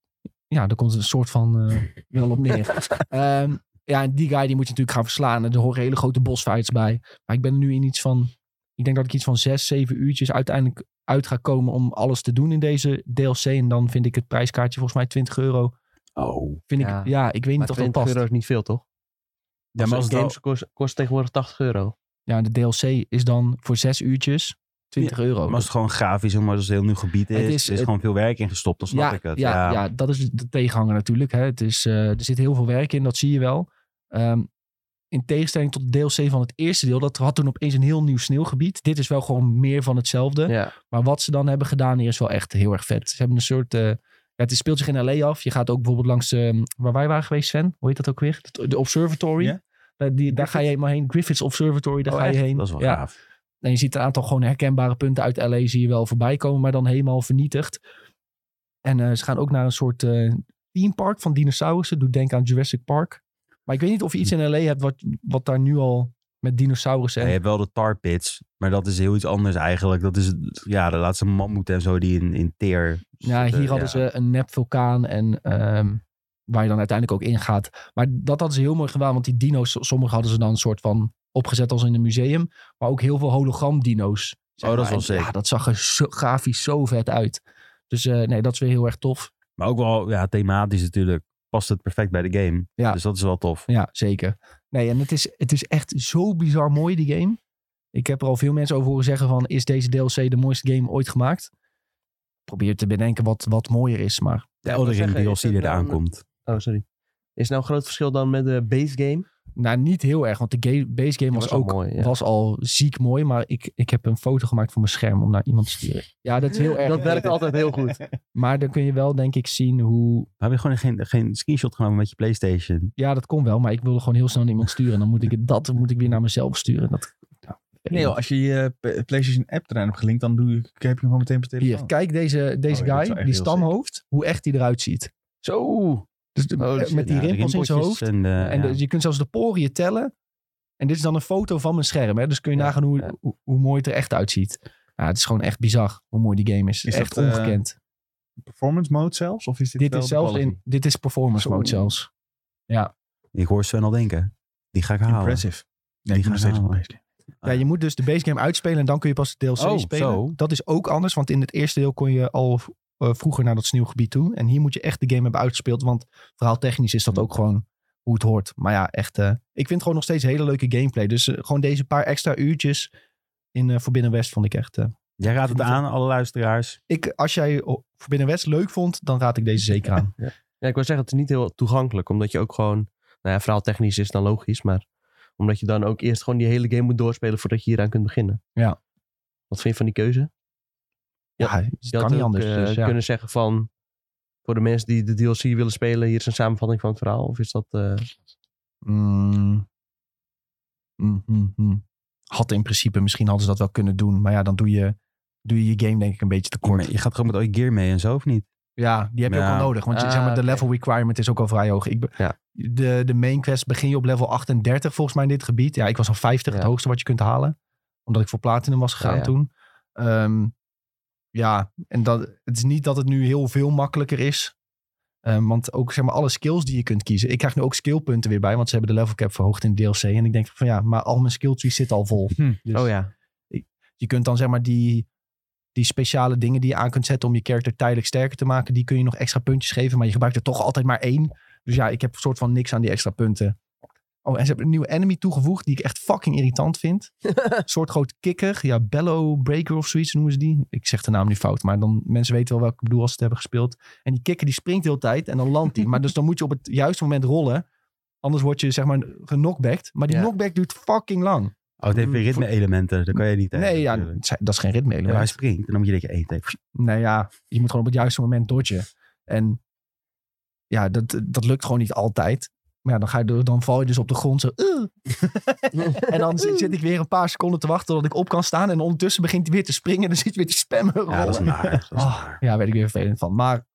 Speaker 1: ja, daar komt een soort van eh, wel op neer. Ehm, ja, en die guy die moet je natuurlijk gaan verslaan. En er horen hele grote bosfights bij. Maar ik ben er nu in iets van... Ik denk dat ik iets van zes, zeven uurtjes uiteindelijk uit ga komen om alles te doen in deze DLC. En dan vind ik het prijskaartje volgens mij 20 euro.
Speaker 4: Oh.
Speaker 1: Vind
Speaker 3: Ja.
Speaker 1: ik, ja, ik weet
Speaker 3: Maar
Speaker 1: niet of dat
Speaker 3: 20
Speaker 1: past.
Speaker 3: euro is niet veel, toch?
Speaker 4: Ja, maar als het
Speaker 3: games kost, kost tegenwoordig 80 euro.
Speaker 1: Ja, de DLC is dan voor zes uurtjes 20 euro.
Speaker 4: Maar als het gewoon grafisch is, maar als het heel nieuw gebied is,
Speaker 1: Het
Speaker 4: er
Speaker 1: is-
Speaker 4: is,
Speaker 1: het-
Speaker 4: gewoon veel werk in gestopt, dan snap ik het.
Speaker 1: Ja,
Speaker 4: Ja,
Speaker 1: ja. dat is de tegenhanger natuurlijk. Hè. Het is, eh, er zit heel veel werk in, dat zie je wel. Ehm, in tegenstelling tot de DLC van het eerste deel, dat had toen opeens een heel nieuw sneeuwgebied. Dit is wel gewoon meer van hetzelfde.
Speaker 3: Ja.
Speaker 1: Maar wat ze dan hebben gedaan hier is wel echt heel erg vet. Ze hebben een soort. eh, ja, het speelt zich in LA af. Je gaat ook bijvoorbeeld langs ehm, waar wij waren geweest, Sven. Hoe heet dat ook weer? De, de Observatory.
Speaker 2: Ja.
Speaker 1: Daar, die, daar ga je helemaal heen. Griffiths Observatory, daar
Speaker 4: Oh,
Speaker 1: ga je
Speaker 4: echt?
Speaker 1: heen.
Speaker 4: Dat is wel
Speaker 1: ja.
Speaker 4: gaaf.
Speaker 1: En je ziet een aantal gewoon herkenbare punten uit LA zie je wel voorbij komen, maar dan helemaal vernietigd. En eh, ze gaan ook naar een soort eh themepark van dinosaurussen. Doe denken aan Jurassic Park. Maar ik weet niet of je iets in LA hebt wat, wat daar nu al met dinosaurussen.
Speaker 4: Ja,
Speaker 1: en-
Speaker 4: je hebt wel de tar pits, maar dat is heel iets anders eigenlijk. Dat is, ja, de laatste mammoeten en zo die in, in teer
Speaker 1: Ja,
Speaker 4: zitten,
Speaker 1: hier hadden
Speaker 4: Dus, eh, ja.
Speaker 1: ze een nep vulkaan en ehm, waar je dan uiteindelijk ook ingaat. Maar dat hadden ze heel mooi gedaan, want die dino's, sommige hadden ze dan een soort van opgezet als in een museum, maar ook heel veel hologram-dino's. zeg
Speaker 4: Oh, dat is
Speaker 1: maar.
Speaker 4: wel
Speaker 1: En
Speaker 4: sick.
Speaker 1: Ja, dat zag er zo, grafisch zo vet uit. Dus eh, nee, dat is weer heel erg tof.
Speaker 4: Maar ook wel ja, thematisch natuurlijk. Past het perfect bij de game.
Speaker 1: Ja.
Speaker 4: Dus dat is wel tof.
Speaker 1: Ja, zeker. Nee, en het is, het is echt zo bizar mooi, die game. Ik heb er al veel mensen over horen zeggen van... is deze DLC de mooiste game ooit gemaakt? Probeer te bedenken wat, wat mooier is, maar...
Speaker 4: De
Speaker 3: Ja,
Speaker 4: Elden
Speaker 3: ik wou
Speaker 4: Ring
Speaker 3: zeggen,
Speaker 4: DLC
Speaker 3: is
Speaker 4: die
Speaker 3: het
Speaker 1: eh,
Speaker 4: eraan
Speaker 3: dan-
Speaker 4: komt.
Speaker 3: Oh, sorry. Is nou een groot verschil dan met de base game?
Speaker 1: Nou, niet heel erg, want de ga- base game
Speaker 3: Die
Speaker 1: was,
Speaker 3: was al
Speaker 1: ook
Speaker 3: mooi, ja.
Speaker 1: was al ziek mooi. Maar ik, ik heb een foto gemaakt van mijn scherm om naar iemand te sturen. Ja, dat is heel erg.
Speaker 3: Dat werkt altijd heel goed.
Speaker 1: Maar dan kun je wel, denk ik, zien hoe...
Speaker 4: We hebben gewoon geen, geen screenshot genomen met je PlayStation.
Speaker 1: Ja, dat kon wel, maar ik wilde gewoon heel snel naar iemand sturen. Dan moet ik het- dat moet ik weer naar mezelf sturen. Dat, nou,
Speaker 2: Nee, joh, als je je eh, PlayStation app eraan hebt gelinkt, dan doe je, heb je hem gewoon meteen op je telefoon.
Speaker 1: Hier, kijk deze, deze
Speaker 2: Oh ja, dat is wel
Speaker 1: guy,
Speaker 2: echt
Speaker 1: die
Speaker 2: heel
Speaker 1: stamhoofd, hoe echt die eruit ziet. Zo! Dus de-
Speaker 3: Oh,
Speaker 1: eh,
Speaker 3: shit,
Speaker 1: met die
Speaker 4: Ja, de
Speaker 1: rimpels in zijn
Speaker 4: rimpeltjes
Speaker 1: hoofd.
Speaker 4: En, eh,
Speaker 1: en
Speaker 4: ja.
Speaker 1: dus je kunt zelfs de poriën tellen. En dit is dan een foto van mijn scherm. Hè? Dus kun je
Speaker 3: Ja,
Speaker 1: nagaan hoe,
Speaker 3: ja.
Speaker 1: hoe, hoe mooi het er echt uitziet. Ja, het is gewoon echt bizar hoe mooi die game is.
Speaker 2: Is
Speaker 1: echt
Speaker 2: dat, eh,
Speaker 1: ongekend.
Speaker 2: Performance mode zelfs? Of is dit,
Speaker 1: Dit
Speaker 2: wel
Speaker 1: is,
Speaker 2: de
Speaker 1: zelfs
Speaker 2: quality?
Speaker 1: in, dit is performance
Speaker 2: Zo.
Speaker 1: mode zelfs.
Speaker 4: Ik hoor Sven al denken. Die ga ik halen.
Speaker 2: Impressive.
Speaker 4: Die
Speaker 2: Nee, ik
Speaker 4: gaan
Speaker 2: moet nog steeds
Speaker 4: we
Speaker 2: op
Speaker 4: halen.
Speaker 1: Nou.
Speaker 2: deze game.
Speaker 1: Ja, je moet dus de base game uitspelen en dan kun je pas de DLC
Speaker 4: Oh,
Speaker 1: spelen.
Speaker 4: zo.
Speaker 1: Dat is ook anders, want in het eerste deel kon je al v- eh, vroeger naar dat sneeuwgebied toe. En hier moet je echt de game hebben uitgespeeld, want verhaaltechnisch is dat ook gewoon hoe het hoort. Maar ja, echt, eh, ik vind het gewoon nog steeds hele leuke gameplay. Dus eh, gewoon deze paar extra uurtjes in eh Forbidden West vond ik echt... eh,
Speaker 4: Jij raadt het aan, alle luisteraars.
Speaker 1: ik, als jij oh, Forbidden West leuk vond, dan raad ik deze zeker aan.
Speaker 3: Ja, ik wil zeggen, het is niet heel toegankelijk. Omdat je ook gewoon... Nou ja, verhaaltechnisch is dan logisch, maar... Omdat je dan ook eerst gewoon die hele game moet doorspelen voordat je hieraan kunt beginnen.
Speaker 1: Ja.
Speaker 3: Wat vind je van die keuze?
Speaker 1: Ja,
Speaker 3: Ja,
Speaker 1: het
Speaker 3: Je had
Speaker 1: kan niet
Speaker 3: ook,
Speaker 1: anders.
Speaker 3: eh,
Speaker 1: dus ja.
Speaker 3: kunnen zeggen van... Voor de mensen die de DLC willen spelen, hier is een samenvatting van het verhaal. Of is dat... eh,
Speaker 1: Mm. Mm, mm, mm. Had in principe, misschien hadden ze dat wel kunnen doen. Maar ja, dan doe je doe je, je game denk ik een beetje te kort.
Speaker 4: Je gaat gewoon met al je gear mee en zo of niet?
Speaker 1: Ja, die heb je
Speaker 4: Ja.
Speaker 1: ook al nodig. Want je-
Speaker 3: Ah,
Speaker 1: zeg maar, de
Speaker 3: oké.
Speaker 1: level requirement is ook al vrij hoog. Ik be-
Speaker 3: Ja.
Speaker 1: de, de main quest begin je op level 38 volgens mij in dit gebied. Ja, ik was al 50, het
Speaker 3: Ja. Oh,
Speaker 1: hoogste wat je kunt halen. Omdat ik voor platinum was gegaan
Speaker 3: Ja, ja.
Speaker 1: toen. Ehm, ja, en dat, het is niet dat het nu heel veel makkelijker is. Ehm, want ook zeg maar alle skills die je kunt kiezen. Ik krijg nu ook skillpunten weer bij, want ze hebben de level cap verhoogd in de DLC. En ik denk van ja, maar al mijn skill trees zitten al vol.
Speaker 2: Hm.
Speaker 1: Dus-
Speaker 3: Oh ja.
Speaker 1: je kunt dan zeg maar die, die speciale dingen die je aan kunt zetten om je character tijdelijk sterker te maken, die kun je nog extra puntjes geven, maar je gebruikt er toch altijd maar één. Dus ja, ik heb soort van niks aan die extra punten. Oh, en ze hebben een nieuwe enemy toegevoegd die ik echt fucking irritant vind. Een soort groot kikker. Ja, bellow breaker of zoiets noemen ze die. Ik zeg de naam nu fout, maar dan mensen weten wel welke ik bedoel als ze het hebben gespeeld. En die kikker die springt de hele tijd en dan landt die. Maar dus dan moet je op het juiste moment rollen. Anders word je zeg maar genockbacked. Maar die
Speaker 3: Ja.
Speaker 1: knockback duurt fucking lang.
Speaker 4: Oh, het heeft weer ritme-elementen. Daar kan je niet tegen.
Speaker 1: nee, ja,
Speaker 4: natuurlijk.
Speaker 1: dat is geen ritme
Speaker 4: Ja, maar hij springt. En dan moet je denken, één tegen.
Speaker 1: nou ja, je moet gewoon op het juiste moment dodgen. En ja, dat, dat lukt gewoon niet altijd. Maar ja, dan, ga je, door- dan val je dus op de grond zo. "Ugh." en dan zit, zit ik weer een paar seconden te wachten totdat ik op kan staan. En ondertussen begint hij weer te springen. En dan zit hij weer te spammen.
Speaker 4: Ja, dat is
Speaker 1: rollen.
Speaker 4: naar. Dat is
Speaker 1: Ah,
Speaker 4: naar.
Speaker 1: ja, weet ik weer vervelend van. Maar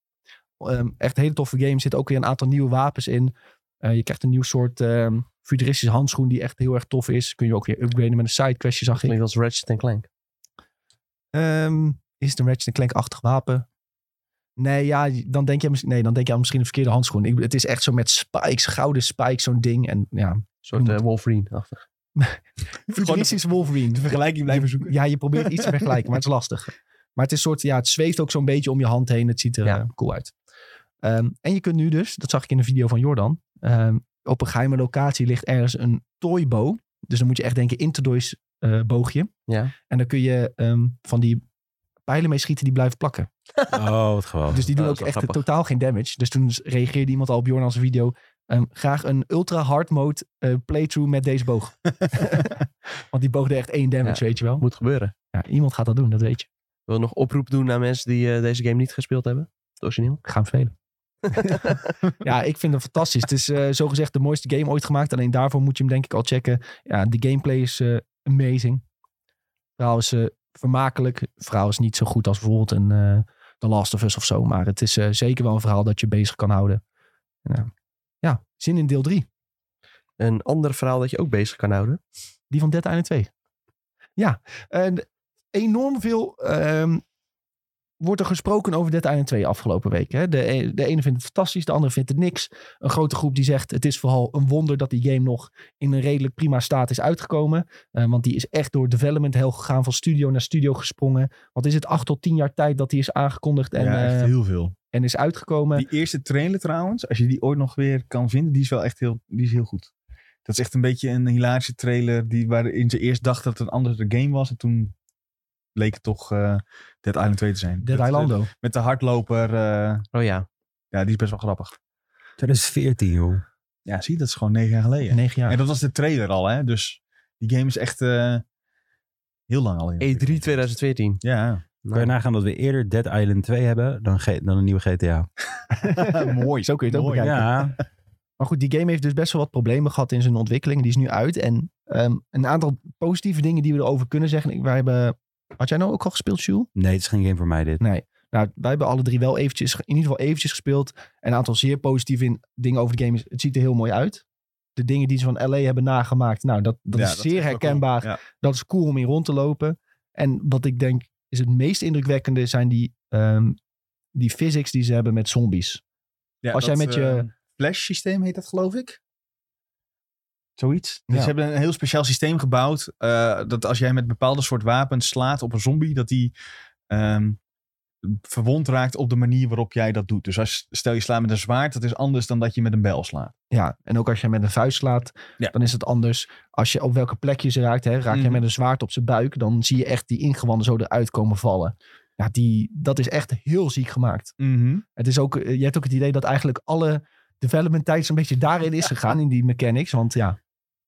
Speaker 1: ehm, echt een hele toffe game. Er zitten ook weer een aantal nieuwe wapens in. Eh, je krijgt een nieuw soort ehm, futuristische handschoen die echt heel erg tof is. Kun je ook weer upgraden met een sidequestje, zag ik.
Speaker 3: Klinkt als Ratchet Clank.
Speaker 1: Ehm, is het een Ratchet Clank-achtig wapen? Nee, ja, dan denk je, nee, dan denk je aan misschien een verkeerde handschoen. Ik, het is echt zo met spikes, gouden spikes, zo'n ding. En ja,
Speaker 3: Een soort eh, Wolverine-achtig.
Speaker 1: futuristisch Wolverine.
Speaker 2: Vergelijking blijven zoeken.
Speaker 1: Ja, je probeert iets te vergelijken, maar het is lastig. Maar het is soort, ja, het zweeft ook zo'n beetje om je hand heen. Het ziet er
Speaker 3: Ja.
Speaker 1: eh, cool uit. Ehm, en je kunt nu dus, dat zag ik in een video van Jordan, ehm, op een geheime locatie ligt ergens een toybow. Dus dan moet je echt denken interdoys eh boogje.
Speaker 3: Ja.
Speaker 1: En dan kun je ehm, van die pijlen mee schieten die blijven plakken.
Speaker 4: Oh, wat geweldig.
Speaker 1: Dus die doen
Speaker 3: dat
Speaker 1: ook
Speaker 3: is wel
Speaker 1: echt
Speaker 3: grappig.
Speaker 1: totaal geen damage. Dus toen s- reageerde iemand al op Jornan's video. ehm, graag een ultra hard mode eh, playthrough met deze boog. Want die boog deed echt één damage, weet je wel.
Speaker 3: Moet gebeuren.
Speaker 1: Ja, iemand gaat dat doen, dat weet je.
Speaker 3: Ik wil nog oproep doen naar mensen die eh, deze game niet gespeeld hebben. Het origineel.
Speaker 1: Ik ga hem spelen. ja, ik vind hem fantastisch. Het is eh, zogezegd de mooiste game ooit gemaakt. Alleen daarvoor moet je hem denk ik al checken. Ja, de gameplay is eh, amazing. Het verhaal is eh, vermakelijk. Het verhaal is niet zo goed als bijvoorbeeld een eh, The Last of Us of zo. Maar het is eh, zeker wel een verhaal dat je bezig kan houden. Ja, ja zin in deel 3.
Speaker 3: Een ander verhaal dat je ook bezig kan houden.
Speaker 1: Die van Dead Island 2. Ja, en enorm veel ehm, wordt er gesproken over Dead Island 2 afgelopen week. Hè? De, e- de ene vindt het fantastisch, de andere vindt het niks. Een grote groep die zegt het is vooral een wonder dat die game nog in een redelijk prima staat is uitgekomen. Eh, want die is echt door development hell gegaan, van studio naar studio gesprongen. Wat is het, acht tot tien jaar tijd dat die is aangekondigd? En,
Speaker 2: ja, echt
Speaker 1: eh,
Speaker 2: heel veel.
Speaker 1: En is uitgekomen.
Speaker 2: Die eerste trailer trouwens, als je die ooit nog weer kan vinden, die is wel echt heel, die is heel goed. Dat is echt een beetje een hilarische trailer die, waarin ze eerst dachten dat het een andere game was. En toen bleek het toch eh Dead Island 2 te zijn.
Speaker 1: Dead
Speaker 2: Dat, eh,
Speaker 1: Islando.
Speaker 2: met de hardloper, eh,
Speaker 3: Oh ja.
Speaker 2: ja, die is best wel grappig.
Speaker 4: 2014, joh.
Speaker 2: Ja, zie, dat is gewoon negen jaar geleden.
Speaker 1: Negen jaar.
Speaker 2: En dat was de trailer al, hè. Dus die game is echt eh, heel lang al. in
Speaker 3: E3
Speaker 1: E
Speaker 2: ontwikkeling.
Speaker 3: 2014.
Speaker 2: Ja,
Speaker 4: Kan je nagaan dat we eerder Dead Island 2 hebben dan, G- dan een nieuwe GTA?
Speaker 2: mooi.
Speaker 1: Zo kun je het ook
Speaker 2: Mooi.
Speaker 1: bekijken.
Speaker 4: Ja,
Speaker 1: Maar goed, die game heeft dus best wel wat problemen gehad in zijn ontwikkeling. Die is nu uit. En ehm, een aantal positieve dingen die we erover kunnen zeggen. Wij hebben... Had jij nou ook al gespeeld, Jules?
Speaker 4: nee, het is geen game voor mij dit.
Speaker 1: Nou, wij hebben alle drie wel eventjes, in ieder geval eventjes gespeeld. En een aantal zeer positieve in- dingen over de game is, het ziet er heel mooi uit. De dingen die ze van LA hebben nagemaakt, nou, dat, dat
Speaker 2: Ja,
Speaker 1: is
Speaker 2: echt
Speaker 1: zeer
Speaker 2: wel
Speaker 1: herkenbaar.
Speaker 2: cool. Ja.
Speaker 1: Dat is cool om in rond te lopen. En wat ik denk is het meest indrukwekkende zijn die, ehm, die physics die ze hebben met zombies.
Speaker 2: Ja,
Speaker 1: Als jij met je-
Speaker 2: eh, flash systeem heet dat geloof ik. Zoiets. Dus
Speaker 1: Ja.
Speaker 2: ze hebben een heel speciaal systeem gebouwd. eh, dat als jij met bepaalde soort wapens slaat op een zombie, dat die ehm, verwond raakt op de manier waarop jij dat doet. Dus als, stel je slaat met een zwaard, dat is anders dan dat je met een bijl slaat.
Speaker 1: Ja, en ook als je met een vuist slaat,
Speaker 2: Ja.
Speaker 1: dan is het anders. Als je op welke plek je ze raakt, hè, raak je
Speaker 2: Mhm.
Speaker 1: met een zwaard op zijn buik, dan zie je echt die ingewanden zo eruit komen vallen. Ja, die, dat is echt heel ziek gemaakt. Het is ook, eh, je hebt ook het idee dat eigenlijk alle development tijd zo'n beetje daarin is gegaan, in die mechanics. Want ja,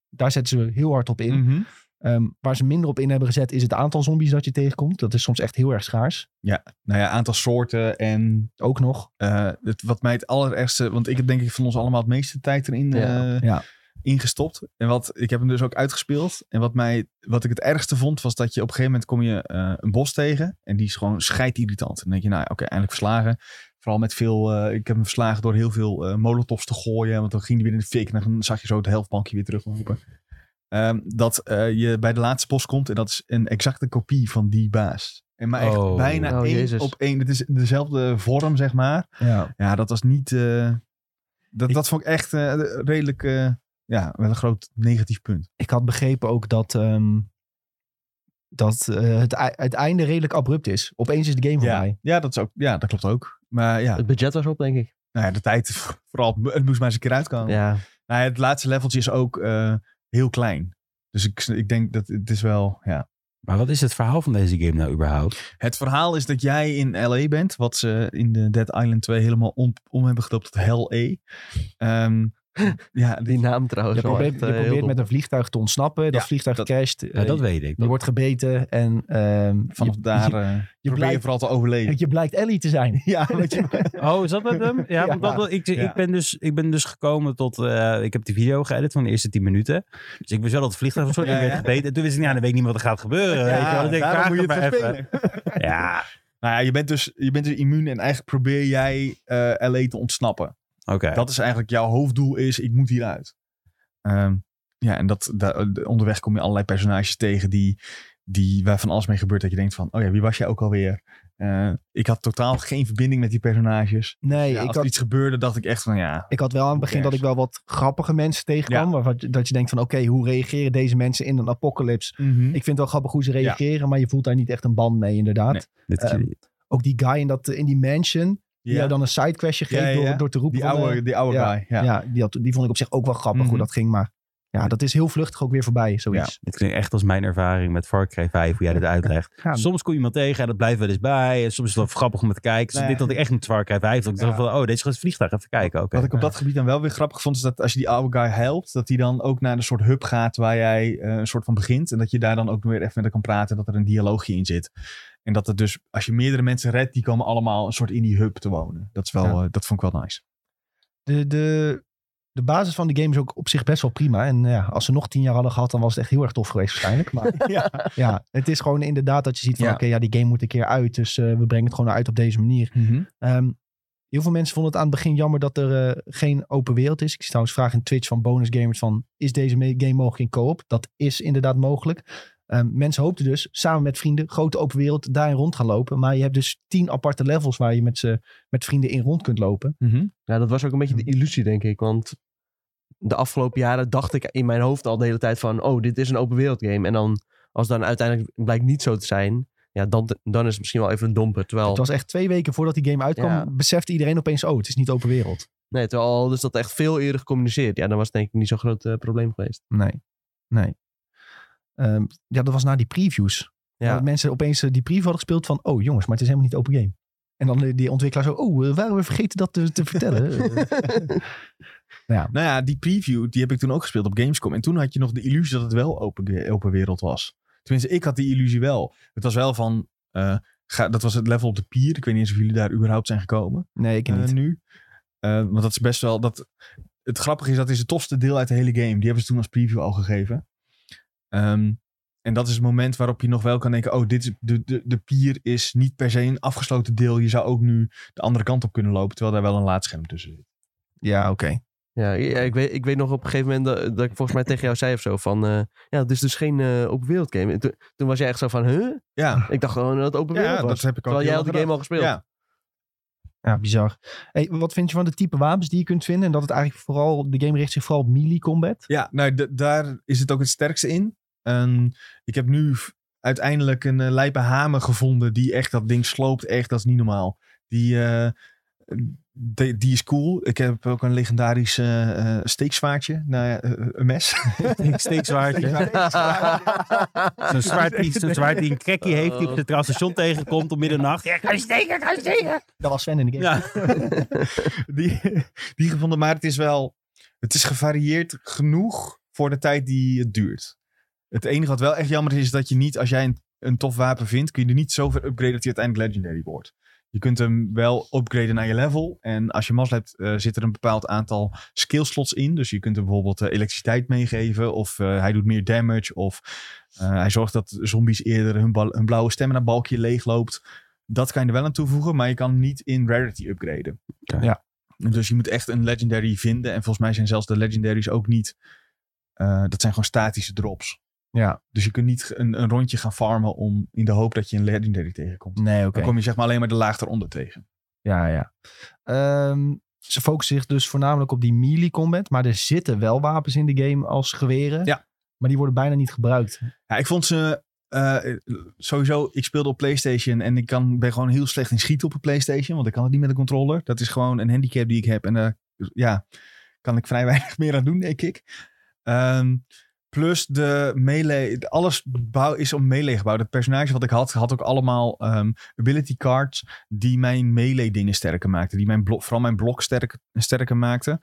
Speaker 1: daar zetten ze heel hard op in.
Speaker 2: Mhm.
Speaker 1: Ehm, waar ze minder op in hebben gezet, is het aantal zombies dat je tegenkomt. Dat is soms echt heel erg schaars.
Speaker 2: Nou ja, aantal soorten en
Speaker 1: Ook nog.
Speaker 2: eh, het, wat mij het allerergste... Want ik heb denk ik van ons allemaal het meeste tijd erin
Speaker 3: Ja.
Speaker 2: eh,
Speaker 1: Ja.
Speaker 2: ingestopt. En wat, ik heb hem dus ook uitgespeeld. En wat, mij, wat ik het ergste vond, was dat je op een gegeven moment kom je eh, een bos tegen. En die is gewoon scheidirritant. En dan denk je, nou ja, oké, eindelijk verslagen. Vooral met veel, eh, ik heb hem verslagen door heel veel eh molotovs te gooien. Want dan ging hij weer in de fik. En dan zag je zo het helftbankje weer teruglopen. Ehm, dat eh, je bij de laatste bos komt en dat is een exacte kopie van die baas. En maar echt
Speaker 4: Oh.
Speaker 2: bijna
Speaker 3: Oh,
Speaker 2: één
Speaker 3: Jezus.
Speaker 2: op één. Het is dezelfde vorm, zeg maar.
Speaker 1: Ja.
Speaker 2: Ja, dat was niet. eh, dat,
Speaker 1: Ik-
Speaker 2: dat vond ik echt eh, redelijk. eh, ja, wel een groot negatief punt.
Speaker 1: Ik had begrepen ook dat, ehm, dat eh, het, ei- het einde redelijk abrupt is. Opeens is de game voorbij.
Speaker 2: ja, dat is ook, ja, dat klopt ook. Maar ja,
Speaker 3: Het budget was op, denk ik.
Speaker 2: nou ja de tijd. Vooral, het moest maar eens een keer uitkomen.
Speaker 3: Ja.
Speaker 2: Nou ja, het laatste leveltje is ook eh, heel klein. Dus ik, ik denk dat het is wel. Ja.
Speaker 4: Maar wat is het verhaal van deze game nou überhaupt?
Speaker 2: Het verhaal is dat jij in LA bent. Wat ze in de Dead Island 2 helemaal om, om hebben gedoopt tot Hell A. Ehm, ja, dit-
Speaker 3: Die naam trouwens.
Speaker 1: Je
Speaker 3: wel
Speaker 1: probeert,
Speaker 3: echt,
Speaker 1: je
Speaker 3: eh, heel
Speaker 1: probeert
Speaker 3: dom.
Speaker 1: met een vliegtuig te ontsnappen. Dat
Speaker 2: Ja,
Speaker 1: vliegtuig
Speaker 2: dat-
Speaker 1: crasht.
Speaker 4: Ja,
Speaker 1: eh,
Speaker 4: dat weet ik.
Speaker 1: je wordt gebeten en ehm,
Speaker 2: vanaf
Speaker 1: je,
Speaker 2: daar
Speaker 1: je,
Speaker 2: eh, probeer je
Speaker 1: blijkt-
Speaker 2: vooral te overleven.
Speaker 1: je blijkt Ellie te zijn.
Speaker 2: Ja, weet je.
Speaker 4: Oh, is dat met hem? Ja,
Speaker 1: Ja.
Speaker 4: want dat, wil- ik,
Speaker 2: Ja.
Speaker 4: Ik, ben dus, ik ben dus gekomen tot... eh, ik heb die video geëdit van de eerste 10 minuten. Dus ik ben zelf dat vliegtuig of zo.
Speaker 2: Ja,
Speaker 4: ik werd
Speaker 2: ja.
Speaker 4: gebeten. En toen wist ik, ja, dan weet ik niet wat er gaat gebeuren. weet je wel. Dan denk ik,
Speaker 2: daarom
Speaker 4: vraag
Speaker 2: moet je
Speaker 4: het
Speaker 2: het
Speaker 4: maar even.
Speaker 2: verspelen.
Speaker 4: Ja,
Speaker 2: Nou ja, je bent dus, je bent dus immuun en eigenlijk probeer jij eh LA te ontsnappen.
Speaker 4: oké.
Speaker 2: Dat is eigenlijk jouw hoofddoel is, ik moet hieruit. Ehm ja, en dat, da- onderweg kom je allerlei personages tegen die, die waar van alles mee gebeurt. Dat je denkt van, oh ja, wie was jij ook alweer? Eh, ik had totaal geen verbinding met die personages.
Speaker 1: Nee,
Speaker 2: Ja,
Speaker 1: ik had
Speaker 2: als er iets gebeurde, dacht ik echt van, ja,
Speaker 1: Ik had wel aan het begin dat ik wel wat grappige mensen tegenkwam.
Speaker 2: Ja.
Speaker 1: Waarvan, dat je denkt van oké, hoe reageren deze mensen in een apocalypse? Mhm. Ik vind het wel grappig hoe ze reageren, maar je voelt daar niet echt een band mee inderdaad.
Speaker 2: Nee.
Speaker 4: Dit is
Speaker 1: Ehm, ook die guy in, dat, in die mansion, die jou dan een sidequestje geeft
Speaker 2: Ja, ja, ja.
Speaker 1: Door, door te roepen.
Speaker 2: die
Speaker 1: van,
Speaker 2: oude,
Speaker 1: eh,
Speaker 2: die oude
Speaker 1: ja,
Speaker 2: guy.
Speaker 1: ja.
Speaker 2: Ja.
Speaker 1: die, had, die vond ik op zich ook wel grappig hoe
Speaker 2: Mhm.
Speaker 1: dat ging. Maar ja, dat is heel vluchtig ook weer voorbij, zoiets.
Speaker 4: Dit klinkt echt als mijn ervaring met Far Cry 5, hoe jij dit uitlegt.
Speaker 1: Ja.
Speaker 4: Soms kom je iemand tegen en dat blijft wel eens bij. En soms is het wel grappig om het te kijken. Dus
Speaker 2: Nee.
Speaker 4: dit had ik echt met Far Cry 5. Dat ik
Speaker 2: Ja.
Speaker 4: dacht van, oh, deze gaat vliegtuig. Even kijken, oké.
Speaker 2: Wat ik op dat gebied dan wel weer grappig vond, is dat als je die oude guy helpt, dat hij dan ook naar een soort hub gaat waar jij eh, een soort van begint. En dat je daar dan ook weer even met hem kan praten, dat er een dialoogje in zit. En dat het dus, als je meerdere mensen redt, die komen allemaal een soort in die hub te wonen. Dat, is wel,
Speaker 1: Ja.
Speaker 2: eh, dat vond ik wel nice.
Speaker 1: De, de, de basis van de game is ook op zich best wel prima. En eh, ja, als ze nog tien jaar hadden gehad, dan was het echt heel erg tof geweest waarschijnlijk. Maar
Speaker 2: ja.
Speaker 1: ja, het is gewoon inderdaad dat je ziet van
Speaker 2: Ja.
Speaker 1: oké, ja, die game moet een keer uit. Dus eh, we brengen het gewoon uit op deze manier. Ehm, heel veel mensen vonden het aan het begin jammer dat er eh, geen open wereld is. Ik zie trouwens vragen in Twitch van bonus gamers van... is deze me- game mogelijk in co-op? Dat is inderdaad mogelijk. Ehm, mensen hoopten dus samen met vrienden grote open wereld daarin rond gaan lopen. Maar je hebt dus tien aparte levels waar je met, ze, met vrienden in rond kunt lopen.
Speaker 3: Ja, dat was ook een beetje de illusie, denk ik. Want de afgelopen jaren dacht ik in mijn hoofd al de hele tijd van... oh, dit is een open wereld game. En dan, als dan uiteindelijk blijkt niet zo te zijn... Ja, dan, dan is het misschien wel even een domper. Terwijl,
Speaker 1: Het was echt twee weken voordat die game uitkwam,
Speaker 3: Ja.
Speaker 1: besefte iedereen opeens, oh, het is niet open wereld.
Speaker 3: nee, terwijl al is dat echt veel eerder gecommuniceerd. Ja, dan was het denk ik niet zo'n groot eh, probleem geweest.
Speaker 1: Nee, nee. Ehm, ja, dat was na die previews.
Speaker 3: Ja.
Speaker 1: Dat mensen opeens eh, die preview hadden gespeeld van, oh jongens, maar het is helemaal niet open game. En dan eh, die ontwikkelaar zo, oh, eh, waren we vergeten dat te, te vertellen? Eh,
Speaker 2: Nou ja, die preview die heb ik toen ook gespeeld op Gamescom. En toen had je nog de illusie dat het wel open, open wereld was. Tenminste, ik had die illusie wel. Het was wel van. eh, ga, dat was het level op de pier. Ik weet niet eens of jullie daar überhaupt zijn gekomen.
Speaker 1: nee, ik
Speaker 2: eh,
Speaker 1: niet.
Speaker 2: nu. Eh, want dat is best wel. Dat, het grappige is, dat is het tofste deel uit de hele game. Die hebben ze toen als preview al gegeven. Ehm, en dat is het moment waarop je nog wel kan denken: oh, dit is, de, de, de pier is niet per se een afgesloten deel. Je zou ook nu de andere kant op kunnen lopen, terwijl daar wel een laadscherm tussen zit.
Speaker 1: Ja, oké.
Speaker 3: Ja, ja, ik, weet, ik weet nog op een gegeven moment dat, dat ik volgens mij tegen jou zei of zo van... eh, ja, het is dus geen eh, open wereld game. En toen, toen was jij echt zo van, huh?
Speaker 2: Ja,
Speaker 3: Ik dacht gewoon dat het open wereld
Speaker 2: ja
Speaker 3: was.
Speaker 2: dat heb ik ook.
Speaker 3: terwijl jij
Speaker 2: heel
Speaker 3: had de
Speaker 2: erg
Speaker 3: game al gespeeld.
Speaker 2: Ja.
Speaker 1: Ja, bizar. Hey, wat vind je van de type wapens die je kunt vinden? En dat het eigenlijk vooral, de game richt zich vooral op melee combat.
Speaker 2: Ja, nou, d- daar is het ook het sterkste in. En ik heb nu f- uiteindelijk een eh, lijpe hamer gevonden die echt dat ding sloopt. Echt, dat is niet normaal. Die, eh, die, die is cool. Ik heb ook een legendarisch eh, eh, steekzwaardje. Nou ja, eh, een mes.
Speaker 4: Ik steek zwaardje. Zo'n zwaard die, zo'n zwaard die een krekkie heeft die op het transstation tegenkomt om middernacht. Oh. Ja, ga je steken, ga je steken.
Speaker 1: Dat was Sven in de game.
Speaker 4: Ja.
Speaker 2: die, die gevonden. Maar het is wel, het is gevarieerd genoeg voor de tijd die het duurt. Het enige wat wel echt jammer is, is dat je niet, als jij een, een tof wapen vindt, kun je er niet zo ver upgraden dat hij uiteindelijk legendary wordt. Je kunt hem wel upgraden naar je level. En als je mazzel hebt, eh, zit er een bepaald aantal skillslots in. Dus je kunt hem bijvoorbeeld eh, elektriciteit meegeven. Of eh, hij doet meer damage. Of eh, hij zorgt dat zombies eerder hun, bal- hun blauwe stamina balkje leegloopt. Dat kan je er wel aan toevoegen. Maar je kan hem niet in rarity upgraden. Dus je moet echt een legendary vinden. En volgens mij zijn zelfs de legendaries ook niet. eh, dat zijn gewoon statische drops.
Speaker 1: Ja.
Speaker 2: Dus je kunt niet een, een rondje gaan farmen om in de hoop dat je een legendary tegenkomt.
Speaker 1: Nee, oké.
Speaker 2: Dan kom je zeg maar alleen maar de laag eronder tegen.
Speaker 1: Ja, ja. Ehm, ze focussen zich dus voornamelijk op die melee combat. Maar er zitten wel wapens in de game als geweren.
Speaker 2: Ja.
Speaker 1: Maar die worden bijna niet gebruikt.
Speaker 2: Ja, ik vond ze. eh, sowieso, ik speelde op PlayStation en ik kan, ben gewoon heel slecht in schieten op een PlayStation. Want ik kan het niet met een controller. Dat is gewoon een handicap die ik heb. En daar ja, kan ik vrij weinig meer aan doen, denk ik. Ehm, plus de melee. Alles bouw, is om melee gebouwd. Het personage wat ik had, had ook allemaal ehm, ability cards. die mijn melee dingen sterker maakten. Die mijn blok, vooral mijn blok sterk, sterker maakten.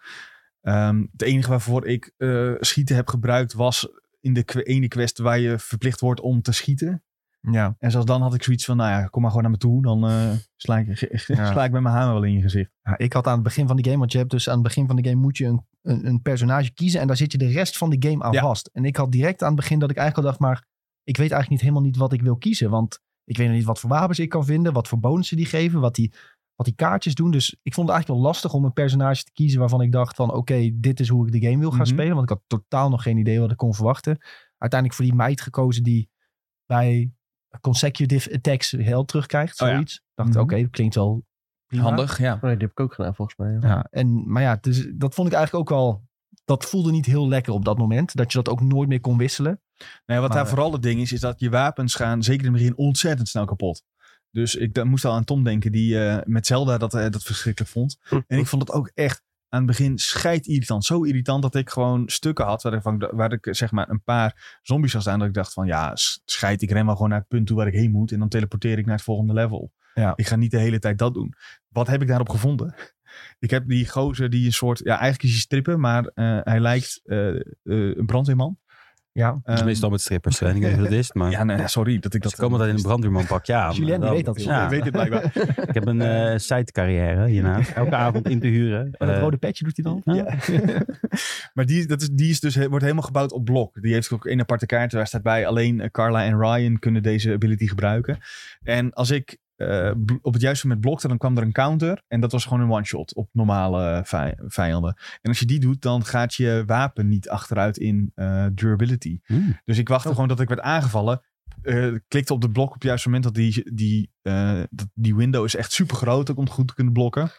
Speaker 2: Ehm, het enige waarvoor ik eh, schieten heb gebruikt was in de que- ene quest waar je verplicht wordt om te schieten.
Speaker 1: Ja.
Speaker 2: En zelfs dan had ik zoiets van, nou ja, kom maar gewoon naar me toe. Dan eh, sla, ik,
Speaker 1: Ja.
Speaker 2: sla ik met mijn hamer wel in je gezicht.
Speaker 1: Ik had aan het begin van de game, want je hebt dus aan het begin van de game moet je een, een, een personage kiezen. En daar zit je de rest van de game aan
Speaker 2: Ja.
Speaker 1: vast. En ik had direct aan het begin dat ik eigenlijk al dacht, maar ik weet eigenlijk niet helemaal niet wat ik wil kiezen. Want ik weet nog niet wat voor wapens ik kan vinden, wat voor bonussen die geven, wat die, wat die kaartjes doen. Dus ik vond het eigenlijk wel lastig om een personage te kiezen waarvan ik dacht van oké, dit is hoe ik de game wil gaan
Speaker 2: Mhm.
Speaker 1: spelen. Want ik had totaal nog geen idee wat ik kon verwachten. Uiteindelijk voor die meid gekozen die bij consecutive attacks heel terugkrijgt,
Speaker 2: Oh ja.
Speaker 1: zoiets. Dacht
Speaker 2: Mhm.
Speaker 1: oké, dat klinkt wel prima.
Speaker 2: ja.
Speaker 3: Oh, nee, die heb ik ook gedaan volgens mij. ja.
Speaker 1: Ja, en, maar ja, dus, dat vond ik eigenlijk ook wel... Dat voelde niet heel lekker op dat moment. Dat je dat ook nooit meer kon wisselen.
Speaker 2: Nee, wat
Speaker 1: Maar,
Speaker 2: daar
Speaker 1: eh,
Speaker 2: vooral het ding is, is dat je wapens gaan, zeker in het begin, ontzettend snel kapot. Dus ik da- moest al aan Tom denken, die eh, met Zelda dat, eh, dat verschrikkelijk vond. En ik vond het ook echt aan het begin scheid irritant. Zo irritant dat ik gewoon stukken had waarvan, ik da- waar ik eh, zeg maar een paar zombies was aan. Dat ik dacht van ja, s- scheid, ik ren wel gewoon naar het punt toe waar ik heen moet. En dan teleporteer ik naar het volgende level.
Speaker 1: Ja.
Speaker 2: Ik ga niet de hele tijd dat doen. Wat heb ik daarop gevonden? Ik heb die gozer die een soort, ja eigenlijk is hij strippen, maar eh, hij lijkt eh, eh, een brandweerman.
Speaker 1: Ja,
Speaker 4: Dat is
Speaker 2: Ehm,
Speaker 4: meestal met strippers. hè. Ik weet niet of dat is, maar...
Speaker 2: ja, nee, sorry dat ik dat.
Speaker 4: Ze komen dan in een brandweermanpak. Ja,
Speaker 1: Julien, die
Speaker 4: maar-
Speaker 1: weet dat heel
Speaker 4: ja.
Speaker 2: Ik weet het blijkbaar.
Speaker 4: Ik heb een eh site-carrière hierna. Elke avond in te huren.
Speaker 1: maar Oh, dat
Speaker 4: Eh,
Speaker 1: rode petje doet hij dan.
Speaker 4: ja.
Speaker 2: maar die, dat is, die is dus, he- wordt helemaal gebouwd op blok. Die heeft ook één aparte kaart. Daar staat bij alleen eh, Carla en Ryan kunnen deze ability gebruiken. En als ik eh, bl- op het juiste moment blokte, dan kwam er een counter. En dat was gewoon een one-shot op normale vij- vijanden. En als je die doet, dan gaat je wapen niet achteruit in eh, durability.
Speaker 4: Hmm.
Speaker 2: Dus ik wachtte gewoon dat ik werd aangevallen. Eh, klikte op de blok op het juiste moment. Dat die, die, eh, dat die window is echt super groot ook om het goed te kunnen blokken.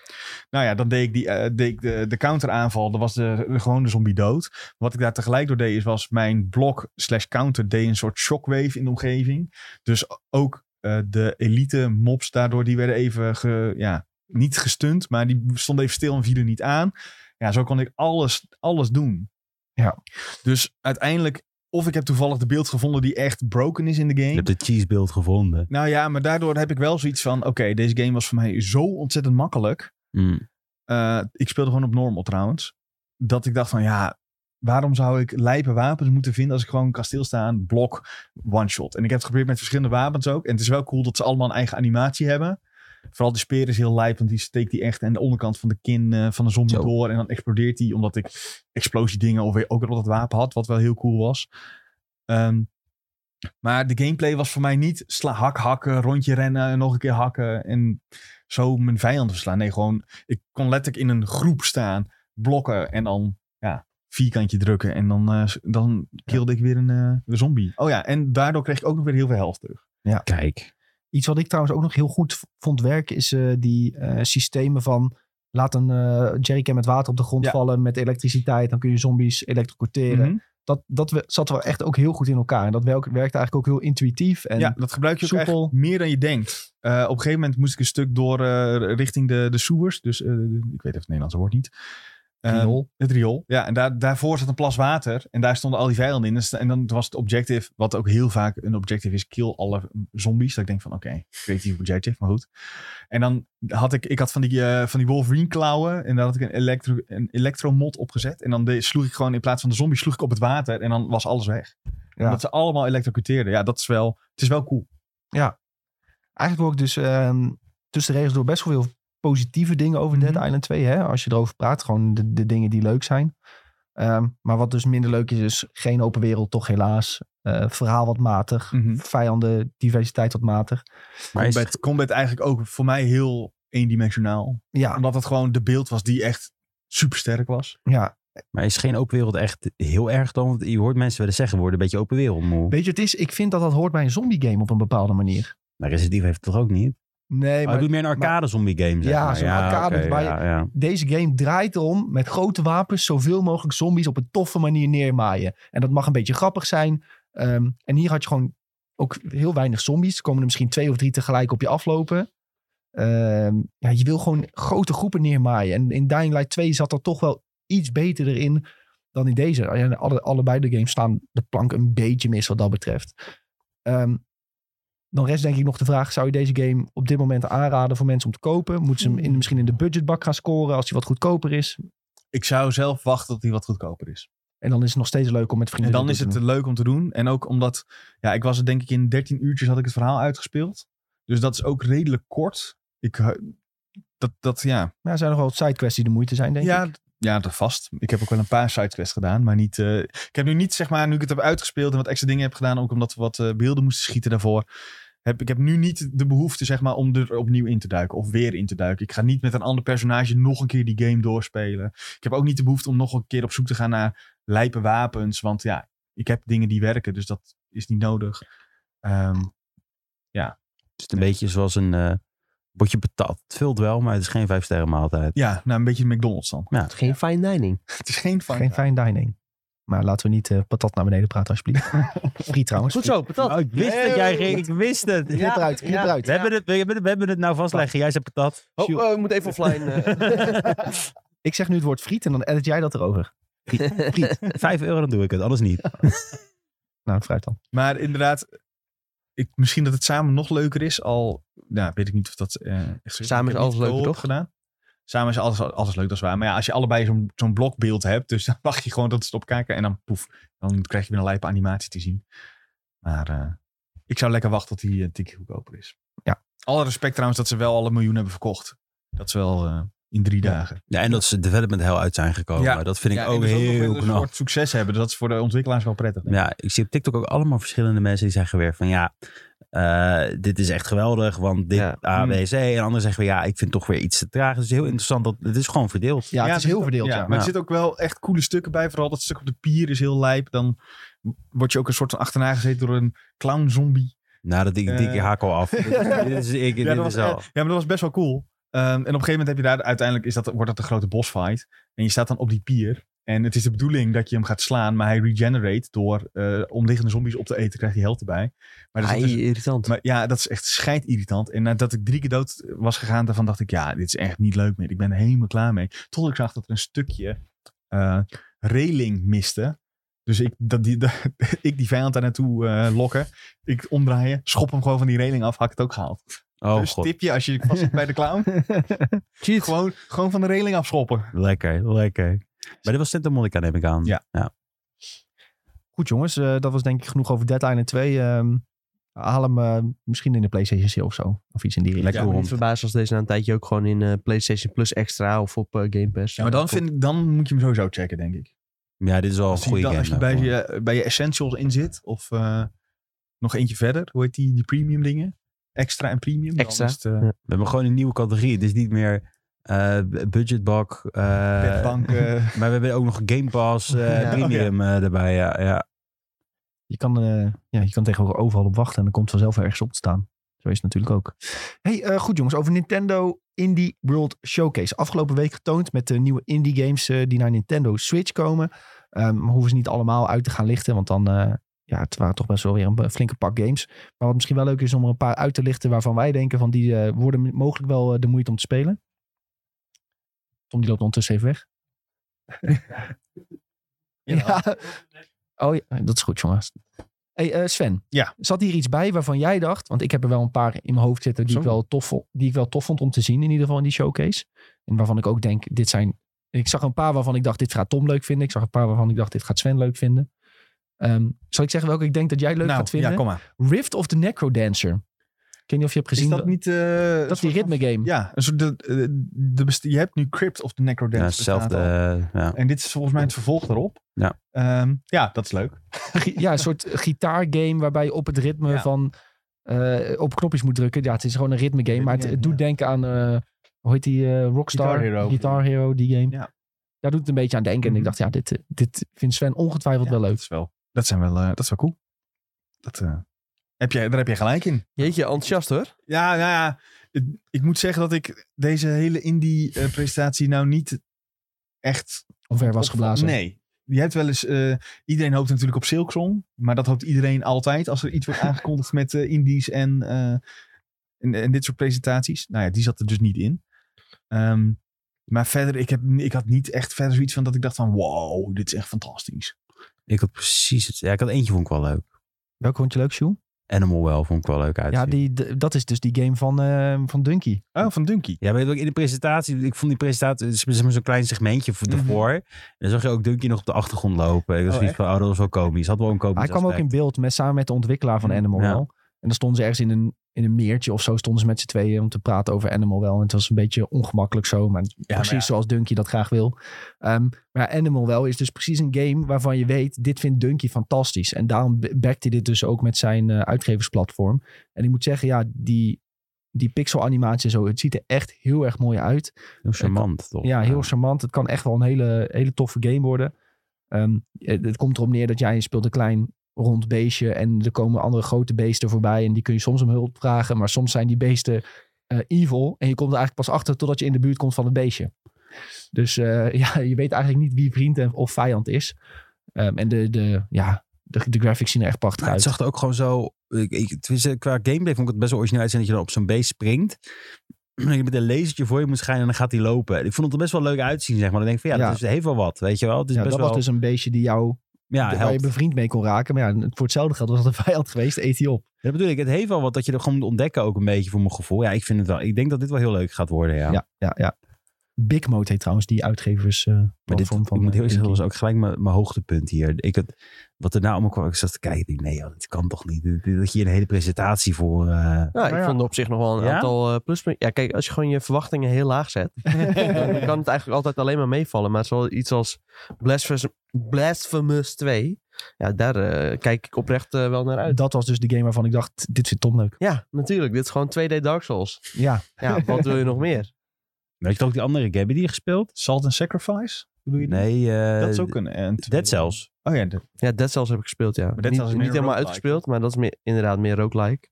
Speaker 2: Nou ja, dan deed ik, die, eh, deed ik de, de counter aanval. Dan was de, de gewone zombie dood. Wat ik daar tegelijk door deed is was mijn blok slash counter deed een soort shockwave in de omgeving. Dus ook eh, de elite mobs daardoor, die werden even ge- ja, niet gestunt, maar die stonden even stil en vielen niet aan. Ja, zo kon ik alles, alles doen.
Speaker 1: Ja.
Speaker 2: Dus uiteindelijk, of ik heb toevallig de beeld gevonden die echt broken is in de
Speaker 4: Je
Speaker 2: game.
Speaker 4: hebt de cheesebeeld gevonden.
Speaker 2: Nou ja, maar daardoor heb ik wel zoiets van, oké, deze game was voor mij zo ontzettend makkelijk.
Speaker 4: Mm.
Speaker 2: Eh, ik speelde gewoon op normal trouwens. Dat ik dacht van ja, waarom zou ik lijpe wapens moeten vinden als ik gewoon kasteel sta aan blok one shot. En ik heb het geprobeerd met verschillende wapens ook. En het is wel cool dat ze allemaal een eigen animatie hebben. Vooral de speer is heel lijp, want die steekt die echt aan de onderkant van de kin eh, van de zombie
Speaker 4: Zo.
Speaker 2: door. En dan explodeert die, omdat ik explosiedingen of weer ook nog dat wapen had, wat wel heel cool was. Ehm, maar de gameplay was voor mij niet sla, hak, hakken, rondje rennen, en nog een keer hakken en zo mijn vijand verslaan. Nee, gewoon, ik kon letterlijk in een groep staan, blokken en dan ja, vierkantje drukken. En dan, eh, s- dan killde ik weer een eh, zombie. Oh ja, en daardoor kreeg ik ook nog weer heel veel helft terug.
Speaker 4: Kijk.
Speaker 1: Iets wat ik trouwens ook nog heel goed v- vond werken is eh, die eh, systemen van laat een eh jerrycan met water op de grond
Speaker 2: Ja.
Speaker 1: vallen met elektriciteit, dan kun je zombies elektrocuteren.
Speaker 2: Mhm.
Speaker 1: Dat, dat we- zat wel echt ook heel goed in elkaar. En dat welk- werkte eigenlijk ook heel intuïtief. En
Speaker 2: ja, dat gebruik je ook
Speaker 1: soepel.
Speaker 2: echt meer dan je denkt. Eh, op een gegeven moment moest ik een stuk door eh, richting de, de sewers. Dus eh, ik weet even het Nederlandse woord niet. Eh,
Speaker 1: Riool.
Speaker 2: het riool. Ja, en daar, daarvoor zat een plas water. En daar stonden al die vijanden in. En sta- En dan was het objective, wat ook heel vaak een objective is, kill alle zombies. Dat ik denk van, oké, creatief objective, maar goed. En dan had ik, ik had van die, eh, van die Wolverine klauwen. En daar had ik een, elektro, een elektromod op gezet. En dan de- sloeg ik gewoon, in plaats van de zombie, sloeg ik op het water. En dan was alles weg.
Speaker 1: Ja.
Speaker 2: Dat ze allemaal elektrocuteerden. Ja, dat is wel, het is wel cool.
Speaker 1: Eigenlijk hoor ik dus ehm, tussen de regels door best wel veel positieve dingen over Dead
Speaker 2: Mhm.
Speaker 1: Island 2. Hè? Als je erover praat, gewoon de, de dingen die leuk zijn. Ehm, maar wat dus minder leuk is, is geen open wereld, toch helaas. Eh, verhaal wat matig.
Speaker 2: Mhm.
Speaker 1: Vijanden, diversiteit wat matig.
Speaker 4: Maar is-
Speaker 2: combat, combat eigenlijk ook voor mij heel eendimensionaal.
Speaker 1: Ja,
Speaker 2: Omdat het gewoon de beeld was die echt supersterk was.
Speaker 1: ja.
Speaker 4: Maar is geen open wereld echt heel erg dan? Want je hoort mensen wel eens zeggen, we worden een beetje open wereld moe.
Speaker 1: Weet je, het is, ik vind dat dat hoort bij een zombie game op een bepaalde manier.
Speaker 4: Maar Resident Evil heeft het toch ook niet?
Speaker 2: Ah,
Speaker 1: Nee,
Speaker 4: Maar,
Speaker 1: maar
Speaker 4: doet meer een arcade zombie game, zeg
Speaker 1: Ja,
Speaker 4: maar.
Speaker 1: zo'n arcade
Speaker 4: oké,
Speaker 1: waar je-
Speaker 4: ja, ja.
Speaker 1: deze game draait erom met grote wapens zoveel mogelijk zombies op een toffe manier neermaaien. En dat mag een beetje grappig zijn. Ehm, en hier had je gewoon ook heel weinig zombies. Er komen er misschien twee of drie tegelijk op je aflopen. Ehm, ja, je wil gewoon grote groepen neermaaien. En in Dying Light 2 zat er toch wel iets beter erin dan in deze. Ja, alle, allebei de games staan de plank een beetje mis wat dat betreft. Ehm, dan rest denk ik nog de vraag, zou je deze game op dit moment aanraden voor mensen om te kopen? Moeten ze hem in, misschien in de budgetbak gaan scoren als hij wat goedkoper is?
Speaker 2: Ik zou zelf wachten tot die wat goedkoper is.
Speaker 1: En dan is het nog steeds leuk om met
Speaker 2: En
Speaker 1: vrienden
Speaker 2: dan
Speaker 1: dit
Speaker 2: is
Speaker 1: te
Speaker 2: het
Speaker 1: doen.
Speaker 2: leuk om te doen. En ook omdat, ja, ik was het denk ik in 13 uurtjes had ik het verhaal uitgespeeld. Dus dat is ook redelijk kort. Ik, eh, dat, dat, ja,
Speaker 1: Maar er zijn nog wel wat sidequests die de moeite zijn, denk
Speaker 2: ja,
Speaker 1: ik.
Speaker 2: d- Ja, dat vast. Ik heb ook wel een paar sidequests gedaan, maar niet... eh, ik heb nu niet, zeg maar, nu ik het heb uitgespeeld en wat extra dingen heb gedaan, ook omdat we wat eh, beelden moesten schieten daarvoor, heb, ik heb nu niet de behoefte, zeg maar, om er opnieuw in te duiken of weer in te duiken. Ik ga niet met een ander personage nog een keer die game doorspelen. Ik heb ook niet de behoefte om nog een keer op zoek te gaan naar lijpe wapens, want ja, ik heb dingen die werken, dus dat is niet nodig. Ehm,
Speaker 4: Het is een beetje zoals een eh, potje patat. Het vult wel, maar het is geen vijf sterren maaltijd.
Speaker 2: ja, nou, een beetje de McDonald's dan.
Speaker 4: Ja.
Speaker 3: Geen fine dining.
Speaker 2: Het is geen fun.
Speaker 1: Geen fijn dining. Maar laten we niet eh, patat naar beneden praten, alsjeblieft. Friet trouwens.
Speaker 3: Goed zo, patat.
Speaker 4: Oh, ik wist dat jij ging. Ik wist het.
Speaker 1: Knip eruit, knip eruit.
Speaker 4: We, hebben het, we, hebben het, we hebben het nou vastleggen. Jij zei patat.
Speaker 3: Oh, oh, ik moet even offline. eh.
Speaker 1: Ik zeg nu het woord friet en dan edit jij dat erover. Friet, friet.
Speaker 4: Vijf euro, dan doe ik het. Anders niet.
Speaker 1: nou, fruit dan.
Speaker 2: Maar inderdaad, ik, misschien dat het samen nog leuker is. Al nou, weet ik niet of dat eh, echt zo is.
Speaker 3: Samen
Speaker 2: Ik
Speaker 3: is
Speaker 2: heb
Speaker 3: alles
Speaker 2: niet
Speaker 3: leuker,
Speaker 2: co-op
Speaker 3: toch?
Speaker 2: Gedaan. Samen is alles, alles leuk, dat is waar. Maar ja, als je allebei zo'n zo'n blokbeeld hebt, dus dan mag je gewoon dat ze het opkijken en dan poef, dan krijg je weer een lijpe animatie te zien. Maar eh, ik zou lekker wachten tot die een tikje goedkoper is.
Speaker 1: Ja.
Speaker 2: Alle respect trouwens dat ze wel alle miljoen hebben verkocht. Dat is wel eh, in drie dagen.
Speaker 4: Ja, en dat ze development heel uit zijn gekomen.
Speaker 2: Ja.
Speaker 4: Dat vind ik
Speaker 2: en
Speaker 4: ook
Speaker 2: dus nog
Speaker 4: heel
Speaker 2: weer een
Speaker 4: knap.
Speaker 2: soort succes hebben, dus dat is voor de ontwikkelaars wel prettig. denk ik.
Speaker 4: Ja, ik zie op TikTok ook allemaal verschillende mensen die zeggen weer van ja, eh, dit is echt geweldig, want dit
Speaker 3: Ja.
Speaker 4: A, B, C. En anderen zeggen weer ja, ik vind toch weer iets te traag. Het is heel interessant, dat het is gewoon verdeeld.
Speaker 1: Ja, het
Speaker 2: er
Speaker 1: is
Speaker 2: zit
Speaker 1: heel
Speaker 2: ook-
Speaker 1: verdeeld, ja.
Speaker 2: dus Maar er
Speaker 4: Ja.
Speaker 2: zitten ook wel echt coole stukken bij. Vooral dat stuk op de pier is heel lijp. Dan word je ook een soort van achterna gezeten door een clown zombie.
Speaker 4: Nou, dat ik, die
Speaker 2: Eh.
Speaker 4: haak al af. Dit is- dit is, ik,
Speaker 2: dat
Speaker 4: dit
Speaker 2: was,
Speaker 4: is
Speaker 2: eh,
Speaker 4: al.
Speaker 2: ja, maar dat was best wel cool. Ehm, en op een gegeven moment heb je daar uiteindelijk is dat, wordt dat de grote bossfight. En je staat dan op die pier. En het is de bedoeling dat je hem gaat slaan, maar hij regenerate door eh, omliggende zombies op te eten, krijgt hij health erbij. Maar er zit
Speaker 3: Ai,
Speaker 2: dus-
Speaker 3: irritant.
Speaker 2: maar ja, dat is echt scheidirritant. En nadat ik drie keer dood was gegaan, daarvan dacht ik, ja, dit is echt niet leuk meer. Ik ben er helemaal klaar mee. Tot ik zag dat er een stukje eh, reling miste. Dus ik, dat die, dat- ik die vijand daar naartoe eh, lokken. Ik omdraaien, schop hem gewoon van die reling af, had ik het ook gehaald.
Speaker 4: Oh
Speaker 2: dus
Speaker 4: god,
Speaker 2: tipje, als je vast zit bij de clown,
Speaker 3: Cheat.
Speaker 2: gewoon, gewoon van de reling afschoppen.
Speaker 4: lekker, lekker. Maar dit was Santa Monica, neem ik aan.
Speaker 2: Ja.
Speaker 1: Goed jongens, eh, dat was denk ik genoeg over Dead Island 2. ehm haal hem eh, misschien in de PlayStation sale of zo. Of iets in die richting.
Speaker 3: Ik
Speaker 4: Lekker
Speaker 3: ben niet
Speaker 4: hond.
Speaker 3: verbaasd als deze na een tijdje ook gewoon in eh, PlayStation Plus Extra of op eh, Game Pass.
Speaker 2: Ja, maar dan, vind ik, dan moet je hem sowieso checken, denk ik.
Speaker 4: Ja, dit is wel een
Speaker 2: Als, die
Speaker 4: goede
Speaker 2: dan-
Speaker 4: game.
Speaker 1: nou
Speaker 2: als je, bij, je, eh, bij je Essentials in zit, of eh, nog eentje verder, hoe heet die, die premium dingen? Extra en premium. dan
Speaker 3: Extra,
Speaker 2: is het, eh,
Speaker 4: We hebben gewoon een nieuwe categorie. Het is niet meer eh budgetbak. eh,
Speaker 2: Bedbank. eh,
Speaker 4: Maar we hebben ook nog Game Pass eh,
Speaker 3: Ja.
Speaker 4: Premium eh, erbij. Ja, ja.
Speaker 1: Je kan, eh, ja, je kan tegenwoordig overal op wachten en dan komt vanzelf ergens op te staan. Zo is het natuurlijk ook. hey, eh, goed jongens, over Nintendo Indie World Showcase. Afgelopen week getoond met de nieuwe indie games eh, die naar Nintendo Switch komen. Ehm, maar hoeven ze niet allemaal uit te gaan lichten, want dan... eh, ja, het waren toch best wel weer een b- flinke pak games. Maar wat misschien wel leuk is om er een paar uit te lichten waarvan wij denken van die eh, worden m- mogelijk wel eh, de moeite om te spelen. Tom die loopt ondertussen even weg.
Speaker 2: ja.
Speaker 1: Oh ja, dat is goed, jongens. Hey, eh, Sven,
Speaker 2: Ja.
Speaker 1: zat hier iets bij waarvan jij dacht? Want ik heb er wel een paar in mijn hoofd zitten die,
Speaker 3: Zo.
Speaker 1: ik wel, tof, vo- die ik wel tof vond om te zien, in ieder geval in die showcase. En waarvan ik ook denk, dit zijn. Ik zag een paar waarvan ik dacht, dit gaat Tom leuk vinden. Ik zag een paar waarvan ik dacht, dit gaat Sven leuk vinden. Ehm, zal ik zeggen welke ik denk dat jij leuk
Speaker 2: nou,
Speaker 1: gaat vinden?
Speaker 2: Ja, kom maar.
Speaker 1: Rift of the Necro Dancer. Ik weet niet of je hebt gezien.
Speaker 2: Is dat niet... eh,
Speaker 1: dat is die
Speaker 2: soort van-
Speaker 1: ritme game.
Speaker 2: Ja, een soort de, de, de best- je hebt nu Crypt of the
Speaker 4: Ja,
Speaker 2: Necrodance. bestaat
Speaker 4: hetzelfde.
Speaker 2: al.
Speaker 4: eh, ja.
Speaker 2: En dit is volgens mij het vervolg daarop.
Speaker 4: Ja.
Speaker 2: Ehm, ja, dat is leuk.
Speaker 1: Gi- ja, een soort gitaargame waarbij je op het ritme
Speaker 2: Ja.
Speaker 1: van eh, op knopjes moet drukken. Ja, het is gewoon een ritme game, maar het, het doet
Speaker 2: Ja.
Speaker 1: denken aan eh, hoe heet die eh, Rockstar
Speaker 2: Guitar Hero.
Speaker 1: Guitar Hero, die game.
Speaker 2: Ja.
Speaker 1: Daar doet het een beetje aan denken. En ik
Speaker 2: Mhm.
Speaker 1: dacht, ja, dit, eh, dit vindt Sven ongetwijfeld
Speaker 2: Ja,
Speaker 1: wel
Speaker 2: Dat
Speaker 1: leuk.
Speaker 2: is wel, dat zijn wel, eh, dat is wel cool. Dat, eh, heb jij, daar heb je gelijk in.
Speaker 3: Jeetje, enthousiast hoor.
Speaker 2: Ja, nou ja. het- ik moet zeggen dat ik deze hele indie-presentatie nou niet echt...
Speaker 1: Omver was
Speaker 2: op-
Speaker 1: geblazen.
Speaker 2: Nee. Je hebt wel eens... eh, iedereen hoopt natuurlijk op Silksong. Maar dat hoopt iedereen altijd als er iets wordt aangekondigd met eh, indies en, eh, en, en dit soort presentaties. Nou ja, die zat er dus niet in. Ehm, maar verder, ik, heb, ik had niet echt verder zoiets van dat ik dacht van... Wow, dit is echt fantastisch.
Speaker 4: Ik had precies het. Ja, ik had eentje vond ik wel leuk.
Speaker 1: Welke vond je leuk, Sjoe?
Speaker 4: Animal Well vond ik wel leuk uit.
Speaker 1: Ja, die, d- dat is dus die game van, eh van Dunky.
Speaker 2: Oh, van Dunky.
Speaker 4: Ja, weet je, ook in de presentatie, ik vond die presentatie, het is maar zo'n klein segmentje voor
Speaker 2: Mhm.
Speaker 4: ervoor. En dan zag je ook Dunky nog op de achtergrond lopen. Ik was
Speaker 2: Oh,
Speaker 4: zoiets van, oh, dat was wel komisch. Had wel een komisch
Speaker 1: Hij kwam ook
Speaker 4: aspect.
Speaker 1: in beeld met, samen met de ontwikkelaar van
Speaker 2: Mm, Ja.
Speaker 1: Animal Wel. En dan stonden ze ergens in een, in een meertje of zo, stonden ze met z'n tweeën om te praten over Animal Wel. En het was een beetje ongemakkelijk zo, maar precies
Speaker 2: ja.
Speaker 1: zoals Dunky dat graag wil. Ehm, maar Animal Wel is dus precies een game waarvan je weet, dit vindt Dunky fantastisch. En daarom be- backt hij dit dus ook met zijn eh, uitgeversplatform. En ik moet zeggen, ja, die, die pixel animatie en zo, het ziet er echt heel erg mooi uit.
Speaker 4: Heel charmant, toch?
Speaker 1: Ja, heel charmant. Het kan echt wel een hele, hele toffe game worden. Ehm, het, het komt erop neer dat jij je speelt een klein rond beestje en er komen andere grote beesten voorbij en die kun je soms om hulp vragen, maar soms zijn die beesten eh, evil en je komt er eigenlijk pas achter totdat je in de buurt komt van het beestje. Dus eh, ja, je weet eigenlijk niet wie vriend en, of vijand is. Ehm, en de, de, ja, de, de graphics zien er echt prachtig
Speaker 4: Maar het
Speaker 1: uit.
Speaker 4: zag er ook gewoon zo... Ik, ik, tenminste, qua gameplay vond ik het best wel origineel uitzien dat je dan op zo'n beest springt. En je met een lasertje voor je moet schijnen en dan gaat hij lopen. Ik vond het er best wel leuk uitzien, zeg maar. Dan denk ik van, ja,
Speaker 1: Ja.
Speaker 4: dat is, heeft wel wat, weet je wel. Het is
Speaker 1: Ja, dat
Speaker 4: best wel...
Speaker 1: was dus een beestje die jou,
Speaker 4: ja,
Speaker 1: waar je
Speaker 4: helpt.
Speaker 1: bevriend mee kon raken. Maar ja, voor hetzelfde geld was dat een vijand geweest, eet hij op.
Speaker 4: Dat bedoel ik. Het heeft wel wat dat je er gewoon moet ontdekken ook een beetje voor mijn gevoel. Ja, ik vind het wel. Ik denk dat dit wel heel leuk gaat worden, ja.
Speaker 1: Ja, ja, ja. Big Mode heet trouwens die uitgevers. eh
Speaker 4: Maar dit,
Speaker 1: platform van,
Speaker 4: ik moet heel
Speaker 1: eh,
Speaker 4: eerlijk zeggen, dat
Speaker 1: Inky.
Speaker 4: was ook gelijk mijn, mijn hoogtepunt hier. Ik had, wat er nou allemaal kwam, ik zat te kijken. Ik denk, nee, joh, dit kan toch niet. Dit- dit- Dat je hier een hele presentatie voor... eh,
Speaker 3: Ja, ik
Speaker 1: Maar ja.
Speaker 3: vond er op zich nog wel een
Speaker 4: Ja?
Speaker 3: aantal eh, pluspunten. Ja, kijk, als je gewoon je verwachtingen heel laag zet, dan kan het eigenlijk altijd alleen maar meevallen. Maar zoals iets als Blasphemous, Blasphemous 2, ja, daar eh, kijk ik oprecht eh, wel naar uit.
Speaker 1: Dat was dus de game waarvan ik dacht, dit vindt Tom leuk.
Speaker 3: Ja, natuurlijk. Dit is gewoon 2D Dark Souls.
Speaker 1: Ja,
Speaker 3: Ja, wat wil je nog meer?
Speaker 4: Weet je toch ook die andere game? Heb je die gespeeld?
Speaker 2: Salt and Sacrifice? Bedoel je die?
Speaker 4: Nee, eh,
Speaker 2: dat is ook een... een
Speaker 4: Dead Cells.
Speaker 2: Oh ja, dat-
Speaker 3: Ja, Dead Cells heb ik gespeeld, ja.
Speaker 2: Dead
Speaker 3: niet
Speaker 2: Cells is
Speaker 3: niet
Speaker 2: meer
Speaker 3: helemaal
Speaker 2: roguelike,
Speaker 3: uitgespeeld, maar dat is meer, inderdaad meer roguelike.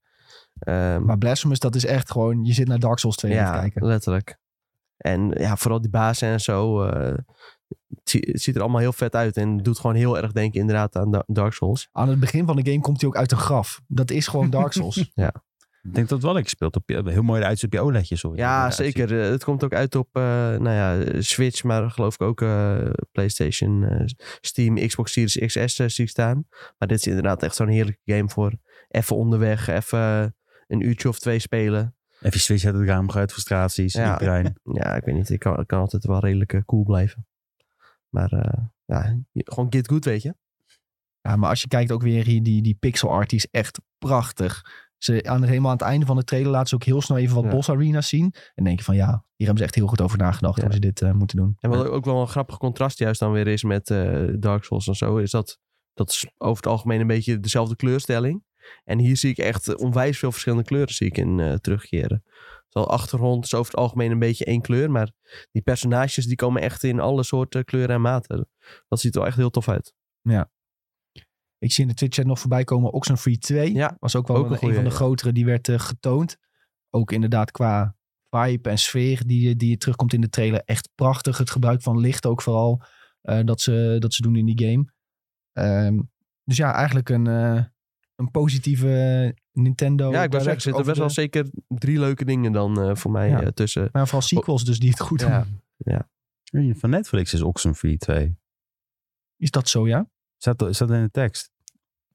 Speaker 3: Ehm
Speaker 1: maar Blasphemous, dat is echt gewoon, je zit naar Dark Souls 2 aan
Speaker 3: ja,
Speaker 1: te kijken.
Speaker 3: letterlijk. En ja, vooral die bazen en zo. eh, Het zie- het ziet er allemaal heel vet uit en doet gewoon heel erg denken inderdaad aan Da- Dark Souls.
Speaker 1: Aan het begin van de game komt hij ook uit een graf. Dat is gewoon Dark Souls.
Speaker 4: Ik denk dat wel ik speelt op je, heel mooi eruit ziet op je OLEDje. Sorry.
Speaker 3: Ja, zeker. Eh, Het komt ook uit op eh, nou ja, eh, Switch, maar geloof ik ook eh, PlayStation, eh, Steam, Xbox Series XS eh, zie ik staan. Maar dit is inderdaad echt zo'n heerlijke game voor even onderweg, even een uurtje of twee spelen.
Speaker 4: Even switch uit het raam, uit frustraties,
Speaker 3: Ja.
Speaker 4: ja. brein.
Speaker 3: Ja, ik weet niet. Ik kan, ik kan altijd wel redelijk eh, cool blijven. Maar eh, ja, je- gewoon get good, weet je.
Speaker 1: Ja, maar als je kijkt ook weer hier, die, die pixel art, die is echt prachtig. Ze, aan, het- helemaal aan het einde van de trailer laten ze ook heel snel even wat
Speaker 3: Ja.
Speaker 1: boss arenas zien. En denk je van ja, hier hebben ze echt heel goed over nagedacht
Speaker 3: Ja.
Speaker 1: hoe ze dit eh, moeten doen.
Speaker 3: En wat ook wel een grappig contrast juist dan weer is met eh, Dark Souls en zo, is dat dat is over het algemeen een beetje dezelfde kleurstelling. En hier zie ik echt onwijs veel verschillende kleuren zie ik in eh, terugkeren. Terwijl achtergrond is over het algemeen een beetje één kleur, maar die personages die komen echt in alle soorten kleuren en maten. Dat ziet er wel echt heel tof uit.
Speaker 1: Ik zie in de Twitch-chat nog voorbij komen Oxenfree 2.
Speaker 3: Ja,
Speaker 1: was ook wel
Speaker 3: ook
Speaker 1: een,
Speaker 3: een
Speaker 1: een
Speaker 3: goeie,
Speaker 1: van de
Speaker 3: ja.
Speaker 1: grotere die werd eh, getoond. Ook inderdaad qua vibe en sfeer die, eh, die terugkomt in de trailer. Echt prachtig. Het gebruik van licht ook vooral eh, dat, ze, dat ze doen in die game. Ehm, dus ja, eigenlijk een, eh, een positieve eh, Nintendo.
Speaker 3: ja, ik
Speaker 1: Direct
Speaker 3: wou zeggen, er zitten
Speaker 1: Oh, over
Speaker 3: best wel
Speaker 1: de-
Speaker 3: zeker drie leuke dingen dan eh, voor mij
Speaker 1: Ja.
Speaker 3: eh, tussen.
Speaker 1: Maar vooral sequels dus die het goed doen.
Speaker 3: Ja.
Speaker 4: Van Netflix is Oxenfree 2.
Speaker 1: Is dat zo, ja?
Speaker 4: Staat, dat- staat in de tekst.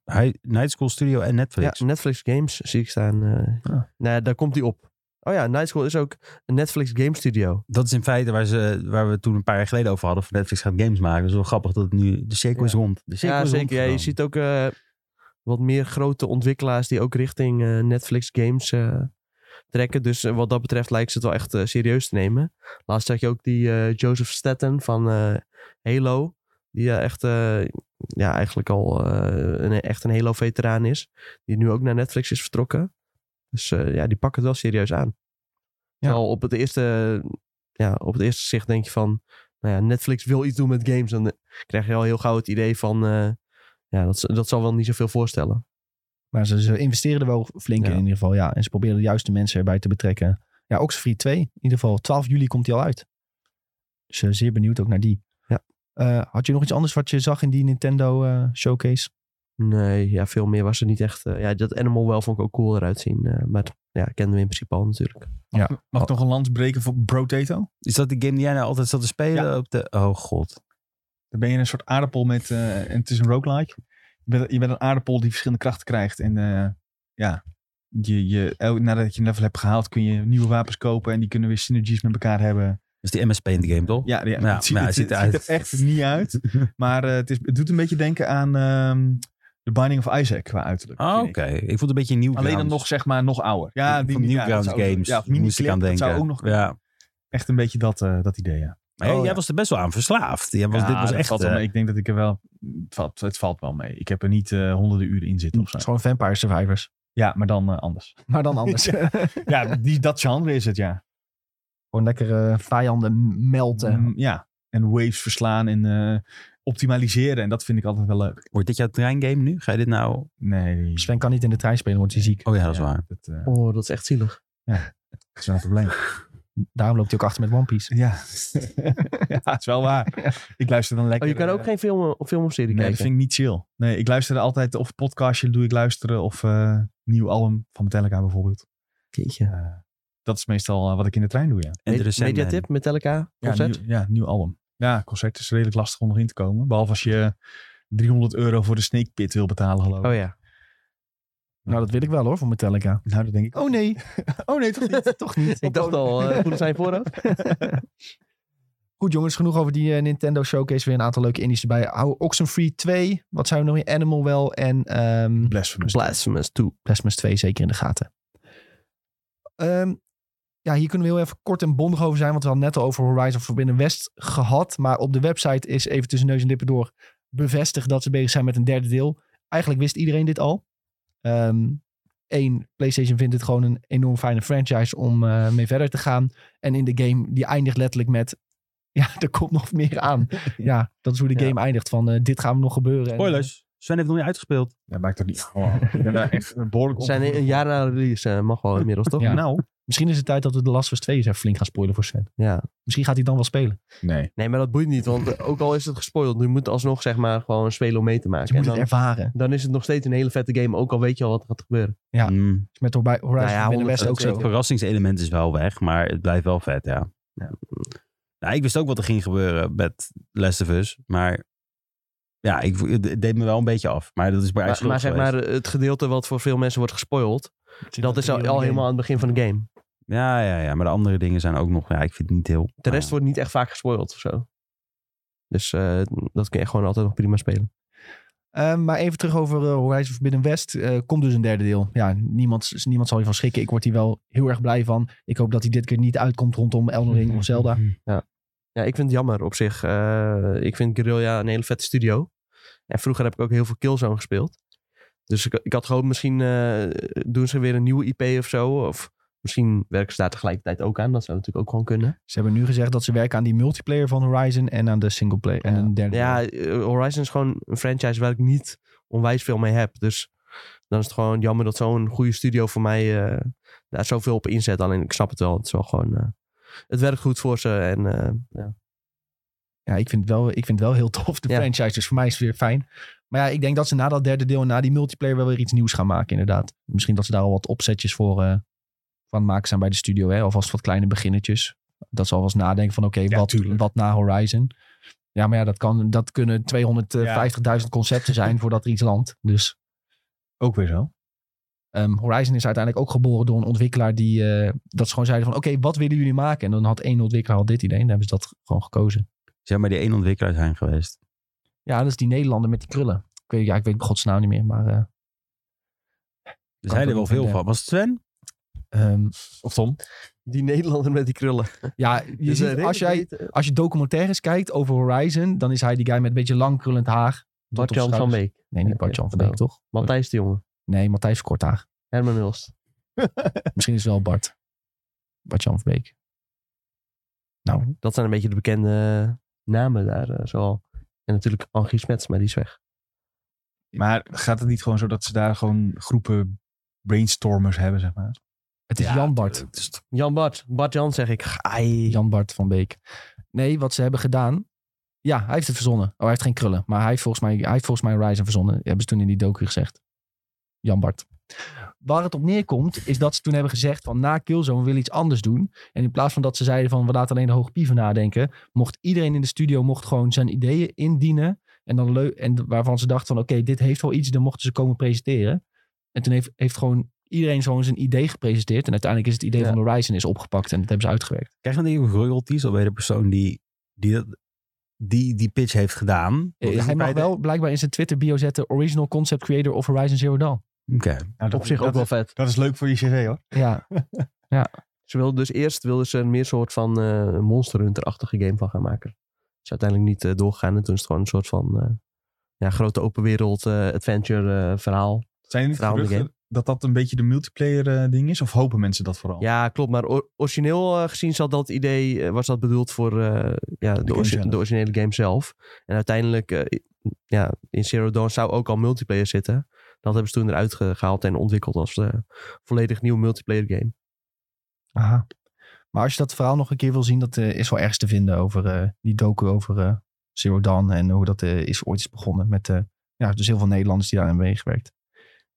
Speaker 4: Hi- Night School Studio en
Speaker 3: Ja,
Speaker 4: Netflix.
Speaker 3: Netflix Games zie ik staan. eh.
Speaker 1: Ah.
Speaker 3: Nou, ja, daar komt die op. Oh ja, Night School is ook een Netflix Game Studio.
Speaker 4: Dat is in feite waar, ze, waar we toen een paar jaar geleden over hadden. Van Netflix gaat games maken. Dus wel grappig dat het nu de cirkel is
Speaker 3: Ja.
Speaker 4: rond. De cirkel
Speaker 3: ja,
Speaker 4: is
Speaker 3: zeker. Ja, je
Speaker 4: rondgegaan.
Speaker 3: ziet ook eh, wat meer grote ontwikkelaars die ook richting eh, Netflix games eh, trekken. Dus eh, wat dat betreft lijkt ze het wel echt eh, serieus te nemen. Laatst zag je ook die eh, Joseph Staten van eh, Halo. Die eh, echt, eh, ja, eigenlijk al eh, een, echt een Halo-veteraan is. Die nu ook naar Netflix is vertrokken. Dus eh, ja, die pakken het wel serieus aan. Terwijl op het eerste, ja, op het eerste gezicht denk je van... Nou ja, Netflix wil iets doen met games. Dan eh, krijg je al heel gauw het idee van... eh, ja, dat, dat zal wel niet zoveel voorstellen.
Speaker 1: Maar ze, ze investeren er wel flink
Speaker 3: Ja.
Speaker 1: in in ieder geval, ja. En ze proberen de juiste mensen erbij te betrekken. Ja, Oxfree 2, in ieder geval. 12 juli komt die al uit. Dus eh, zeer benieuwd ook naar die.
Speaker 3: Ja.
Speaker 1: Eh, had je nog iets anders wat je zag in die Nintendo eh, showcase?
Speaker 3: Nee, ja, veel meer was er niet echt. eh, ja, dat Animal wel vond ik ook cool eruit zien. eh, maar ja, kenden we in principe al natuurlijk.
Speaker 2: Mag ik
Speaker 4: Oh.
Speaker 2: nog een lans breken voor Brotato?
Speaker 4: Is dat die game die jij nou altijd zat te spelen? Op de... Oh god.
Speaker 2: Dan ben je een soort aardappel met... eh, en het is een roguelike. Je bent, je bent een aardappel die verschillende krachten krijgt. En eh, ja, je, je, el- nadat je een level hebt gehaald kun je nieuwe wapens kopen. En die kunnen weer synergies met elkaar hebben.
Speaker 4: Dat is die MSP in de game, toch?
Speaker 2: Ja, ja,
Speaker 4: Ja,
Speaker 2: het, ziet,
Speaker 4: maar
Speaker 2: het,
Speaker 4: hij ziet
Speaker 2: het
Speaker 4: eruit.
Speaker 2: ziet er echt niet uit. Maar eh, het, is, het doet een beetje denken aan ehm The Binding of Isaac qua uiterlijk.
Speaker 4: Ah,
Speaker 2: vind
Speaker 4: oké.
Speaker 2: ik.
Speaker 4: Ik vond het een beetje nieuw.
Speaker 2: Alleen dan nog, zeg maar, nog ouder. Ja,
Speaker 4: van Newgrounds
Speaker 2: ja, dat zou ook-
Speaker 4: Games.
Speaker 2: Ja,
Speaker 4: Ja, moest ik aan denken.
Speaker 2: Dat zou ook nog
Speaker 4: Ja.
Speaker 2: echt een beetje dat, eh, dat idee, ja.
Speaker 4: Maar
Speaker 1: Oh,
Speaker 4: jij- jij
Speaker 1: ja.
Speaker 4: was er best wel aan verslaafd. Jij was,
Speaker 2: Ja,
Speaker 4: dit was
Speaker 2: dat
Speaker 4: echt...
Speaker 2: Valt wel
Speaker 4: eh,
Speaker 2: mee. Ik denk dat ik er wel... Het valt, het valt wel mee. Ik heb er niet eh, honderden uren in zitten of
Speaker 1: Het
Speaker 2: zo.
Speaker 1: is gewoon Vampire Survivors.
Speaker 2: Ja, maar dan eh, anders.
Speaker 1: Maar dan anders.
Speaker 2: Ja, die, dat genre is het, ja.
Speaker 1: Gewoon lekker eh, vijanden
Speaker 3: eh,
Speaker 1: melten.
Speaker 2: Mm, ja. En waves verslaan en eh, optimaliseren. En dat vind ik altijd wel leuk.
Speaker 4: Wordt dit jouw treingame nu? Ga je dit nou...
Speaker 2: Nee.
Speaker 1: Sven kan niet in de trein spelen, wordt hij ziek.
Speaker 4: Oh ja, dat is waar.
Speaker 2: Dat eh,
Speaker 3: Oh, dat is echt zielig.
Speaker 2: is wel een probleem.
Speaker 1: Daarom loopt hij ook achter met One Piece.
Speaker 2: Ja. ja, het is wel waar. Ik luister dan lekker...
Speaker 3: Oh, je kan ook
Speaker 2: eh,
Speaker 3: geen film, film of serie
Speaker 2: Nee, dat
Speaker 3: kijken.
Speaker 2: vind ik niet chill. Nee, ik luister altijd of podcastje doe ik luisteren of eh, nieuw album van Metallica bijvoorbeeld.
Speaker 3: Jeetje.
Speaker 2: Eh, dat is meestal eh, wat ik in de trein doe, ja.
Speaker 4: En de
Speaker 3: Med-
Speaker 4: recente-
Speaker 3: Mediatip, Metallica,
Speaker 2: Ja,
Speaker 3: concert.
Speaker 2: nieuw, ja, nieuw album. Ja, concert is redelijk lastig om nog in te komen. Behalve als je 300 euro voor de Snake Pit wil betalen, geloof ik.
Speaker 3: oh ja.
Speaker 1: Nou, dat wil ik wel hoor, voor Metallica.
Speaker 2: Nou, dat denk ik.
Speaker 1: Oh nee,
Speaker 2: oh nee, toch niet?
Speaker 1: toch niet.
Speaker 3: Ik dacht al, eh, voelen zijn voorhoofd.
Speaker 1: Goed jongens, genoeg over die eh, Nintendo Showcase. Weer een aantal leuke indies erbij. Hou Oxenfree 2. Wat zijn we nog meer? Animal Well en ehm
Speaker 2: Blasphemous.
Speaker 3: Blasphemous 2.
Speaker 1: Plasmas 2 zeker in de gaten. Ehm, ja, hier kunnen we heel even kort en bondig over zijn. Want we hadden net al over Horizon Forbidden West gehad. Maar op de website is even tussen neus en lippen door bevestigd dat ze bezig zijn met een derde deel. Eigenlijk wist iedereen dit al. Eén, PlayStation vindt het gewoon een enorm fijne franchise om eh, mee verder te gaan. En in de game, die eindigt letterlijk met... Ja, er komt nog meer aan. Ja, dat is hoe de
Speaker 3: Ja.
Speaker 1: game eindigt. Van eh, dit gaan we nog gebeuren. En,
Speaker 4: Spoilers. Sven heeft nog niet uitgespeeld.
Speaker 2: Ja, maakt toch niet. Oh, ik ben daar echt een behoorlijk
Speaker 3: We zijn een jaar na release, eh, mag wel inmiddels toch?
Speaker 1: Ja.
Speaker 2: Nou,
Speaker 1: Misschien is het tijd dat we de Last of Us 2 eens even flink gaan spoilen voor Sven.
Speaker 3: Ja.
Speaker 1: Misschien gaat hij dan wel spelen.
Speaker 2: Nee.
Speaker 3: Nee, maar dat boeit niet. Want eh, ook al is het gespoild, je moet alsnog zeg maar gewoon spelen om mee te maken.
Speaker 1: Dus je moet
Speaker 3: En
Speaker 1: het
Speaker 3: dan,
Speaker 1: ervaren.
Speaker 3: dan is het nog steeds een hele vette game, ook al weet je al wat er gaat gebeuren.
Speaker 1: Ja.
Speaker 4: Mm.
Speaker 1: Dus Met Hori- Horizon
Speaker 3: Nou ja,
Speaker 1: Forbidden West ook zo.
Speaker 4: Het verrassingselement is wel weg, maar het blijft wel vet, ja. Nou, ik wist ook wat er ging gebeuren met Last of Us, maar ja, ik, het deed me wel een beetje af. Maar dat is bij
Speaker 3: Maar,
Speaker 4: Ice
Speaker 3: maar zeg maar, eh, het gedeelte wat voor veel mensen wordt gespoild, dat is al, al helemaal aan het begin van de game.
Speaker 4: Ja, ja, ja, maar de andere dingen zijn ook nog, ja, ik vind het niet heel... Ah.
Speaker 3: De rest wordt niet echt vaak gespoild of zo. Dus eh, dat kun je gewoon altijd nog prima spelen.
Speaker 1: Eh, maar even terug over eh, Horizon Forbidden West. Eh, komt dus een derde deel. Ja, niemand, niemand zal hiervan schrikken. Ik word hier wel heel erg blij van. Ik hoop dat hij dit keer niet uitkomt rondom Elden Ring of Zelda.
Speaker 3: Ja, ik vind het jammer op zich. Eh, ik vind Guerrilla een hele vette studio. En vroeger heb ik ook heel veel Killzone gespeeld. Dus ik, ik had gehoopt, misschien eh, doen ze weer een nieuwe IP of zo. Of misschien werken ze daar tegelijkertijd ook aan. Dat zou natuurlijk ook gewoon kunnen.
Speaker 1: Ze hebben nu gezegd dat ze werken aan die multiplayer van Horizon en aan de singleplayer. En een derde
Speaker 3: Ja,
Speaker 1: deel.
Speaker 3: eh, Horizon is gewoon een franchise waar ik niet onwijs veel mee heb. Dus dan is het gewoon jammer dat zo'n goede studio voor mij eh, daar zoveel op inzet. Alleen ik snap het wel. Het is wel gewoon... eh, het werkt goed voor ze en eh, ja.
Speaker 1: ja ik, vind het wel, ik vind het wel heel tof, de
Speaker 3: Ja.
Speaker 1: franchise. Dus voor mij is het weer fijn. Maar ja, ik denk dat ze na dat derde deel en na die multiplayer wel weer iets nieuws gaan maken, inderdaad. Misschien dat ze daar al wat opzetjes voor eh, van maken zijn bij de studio. Hè? Alvast wat kleine beginnetjes. Dat ze alvast nadenken van oké,
Speaker 2: Ja,
Speaker 1: wat,
Speaker 2: tuurlijk.
Speaker 1: wat na Horizon. Ja, maar ja, dat, kan, dat kunnen 250.000 concepten zijn voordat er iets landt. Dus
Speaker 2: Ook weer zo.
Speaker 1: Ehm, Horizon is uiteindelijk ook geboren door een ontwikkelaar die eh, dat ze gewoon zeiden van oké, wat willen jullie maken? En dan had één ontwikkelaar al dit idee en dan hebben ze dat gewoon gekozen.
Speaker 4: Zeg maar, die één ontwikkelaar zijn geweest.
Speaker 1: Ja, dat is die Nederlander met die krullen. Ik weet, ja, ik weet bij godsnaam niet meer, maar eh,
Speaker 4: Er
Speaker 1: Kan
Speaker 4: zijn
Speaker 1: toch
Speaker 4: er wel
Speaker 1: niet
Speaker 4: veel
Speaker 1: vinden.
Speaker 4: van. Was het Sven?
Speaker 1: ehm,
Speaker 2: Of Tom?
Speaker 3: Die Nederlander met die krullen.
Speaker 1: ja, je
Speaker 3: Dus, eh,
Speaker 1: ziet,
Speaker 3: redelijk
Speaker 1: als, jij,
Speaker 3: weet, eh,
Speaker 1: als je documentaires kijkt over Horizon, dan is hij die guy met een beetje lang krullend haar. tot op
Speaker 3: Bart-Jan van
Speaker 1: schouders.
Speaker 3: Beek.
Speaker 1: Nee, niet Bart-Jan van Beek,
Speaker 3: Oh.
Speaker 1: toch?
Speaker 3: Matthijs de Jonge.
Speaker 1: Nee, Matthijs kort haar.
Speaker 3: Herman Hulst.
Speaker 1: Misschien is het wel Bart. Bart-Jan van Beek. Nou,
Speaker 3: Dat zijn een beetje de bekende namen daar eh, zoal. En natuurlijk Angie Smets, maar die is weg.
Speaker 2: Maar gaat het niet gewoon zo dat ze daar gewoon groepen brainstormers hebben, zeg maar?
Speaker 1: het is
Speaker 4: Ja,
Speaker 1: Jan Bart.
Speaker 4: Het is-
Speaker 3: Jan Bart. Bart Jan zeg ik. Ai.
Speaker 1: Jan Bart van Beek. Nee, wat ze hebben gedaan. Ja, hij heeft het verzonnen. Oh, hij heeft geen krullen. Maar hij heeft volgens mij, hij heeft volgens mij Horizon verzonnen. Hebben ze toen in die docu gezegd. Jan Bart. Waar het op neerkomt, is dat ze toen hebben gezegd van na Killzone we willen iets anders doen. En in plaats van dat ze zeiden van we laten alleen de hoge pieven nadenken, mocht iedereen in de studio mocht gewoon zijn ideeën indienen. En, dan leu- en waarvan ze dachten van oké, dit heeft wel iets, dan mochten ze komen presenteren. En toen heeft, heeft gewoon iedereen zo'n zijn idee gepresenteerd. En uiteindelijk is het idee
Speaker 3: Ja.
Speaker 1: van Horizon is opgepakt en dat hebben ze uitgewerkt.
Speaker 4: Krijg je dan even royalties al bij de persoon die die, dat- die, die pitch heeft gedaan? Of is
Speaker 1: Eh,
Speaker 4: het
Speaker 1: Hij mag
Speaker 4: bij de-
Speaker 1: wel blijkbaar in zijn Twitter bio zetten Original Concept Creator of Horizon Zero Dawn.
Speaker 4: Oké.
Speaker 2: Nou, dat-
Speaker 3: Op zich
Speaker 2: dat
Speaker 3: ook wel
Speaker 2: is-
Speaker 3: vet.
Speaker 2: Dat is leuk voor je cv, hoor.
Speaker 1: Ja,
Speaker 3: Ze wilden dus eerst wilden ze een meer soort van eh Monster Hunter-achtige game van gaan maken. Is uiteindelijk niet eh, doorgegaan. En toen is het gewoon een soort van eh, ja, grote open wereld eh, adventure eh, verhaal.
Speaker 2: Zijn er niet
Speaker 3: Verhaal in de
Speaker 2: geruchten dat dat een beetje de multiplayer eh, ding is? Of hopen mensen dat vooral?
Speaker 3: Ja, klopt. Maar or- origineel eh, gezien zat dat idee, eh, was dat bedoeld voor eh, ja, de,
Speaker 2: game
Speaker 3: orgi-
Speaker 2: zelf.
Speaker 3: de originele game zelf. En uiteindelijk, eh, ja, in Zero Dawn zou ook al multiplayer zitten. Dat hebben ze toen eruit ge- gehaald en ontwikkeld als eh, volledig nieuwe multiplayer game.
Speaker 1: aha. Maar als je dat verhaal nog een keer wil zien, dat eh, is wel ergens te vinden over eh, die docu over eh, Zero Dawn en hoe dat eh, is ooit is begonnen met eh, ja, dus heel veel Nederlanders die daar aan hebben meegewerkt.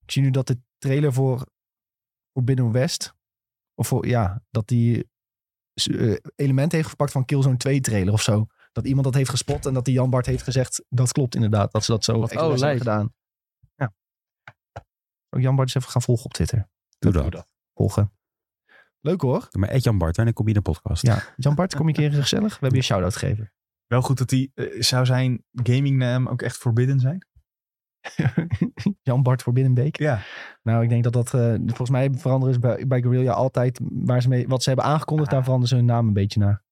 Speaker 1: Ik zie nu dat de trailer voor, voor Binnen West, of voor, ja, dat die s- eh, elementen heeft gepakt van Killzone 2 trailer of zo. Dat iemand dat heeft gespot en dat die Jan Bart heeft gezegd, dat klopt inderdaad, dat ze dat zo expres hebben
Speaker 3: lijp.
Speaker 1: gedaan. Ja. Ook Oh, Jan Bart is even gaan volgen op Twitter.
Speaker 4: Doe dat.
Speaker 1: volgen. Leuk hoor.
Speaker 4: Doe Maar Ed Jan Bart, wanneer kom je in de podcast?
Speaker 1: Ja, Jan Bart, kom je een keer gezellig? We hebben je een shout-out gegeven.
Speaker 2: Wel goed dat die, eh, zou zijn gamingnaam ook echt forbidden zijn?
Speaker 1: Jan Bart voor Binnenbeek.
Speaker 2: Ja.
Speaker 1: Nou, ik denk dat dat, eh, volgens mij veranderen ze bij, bij Guerrilla altijd waar ze mee, wat ze hebben aangekondigd, daar veranderen ze hun naam een beetje naar.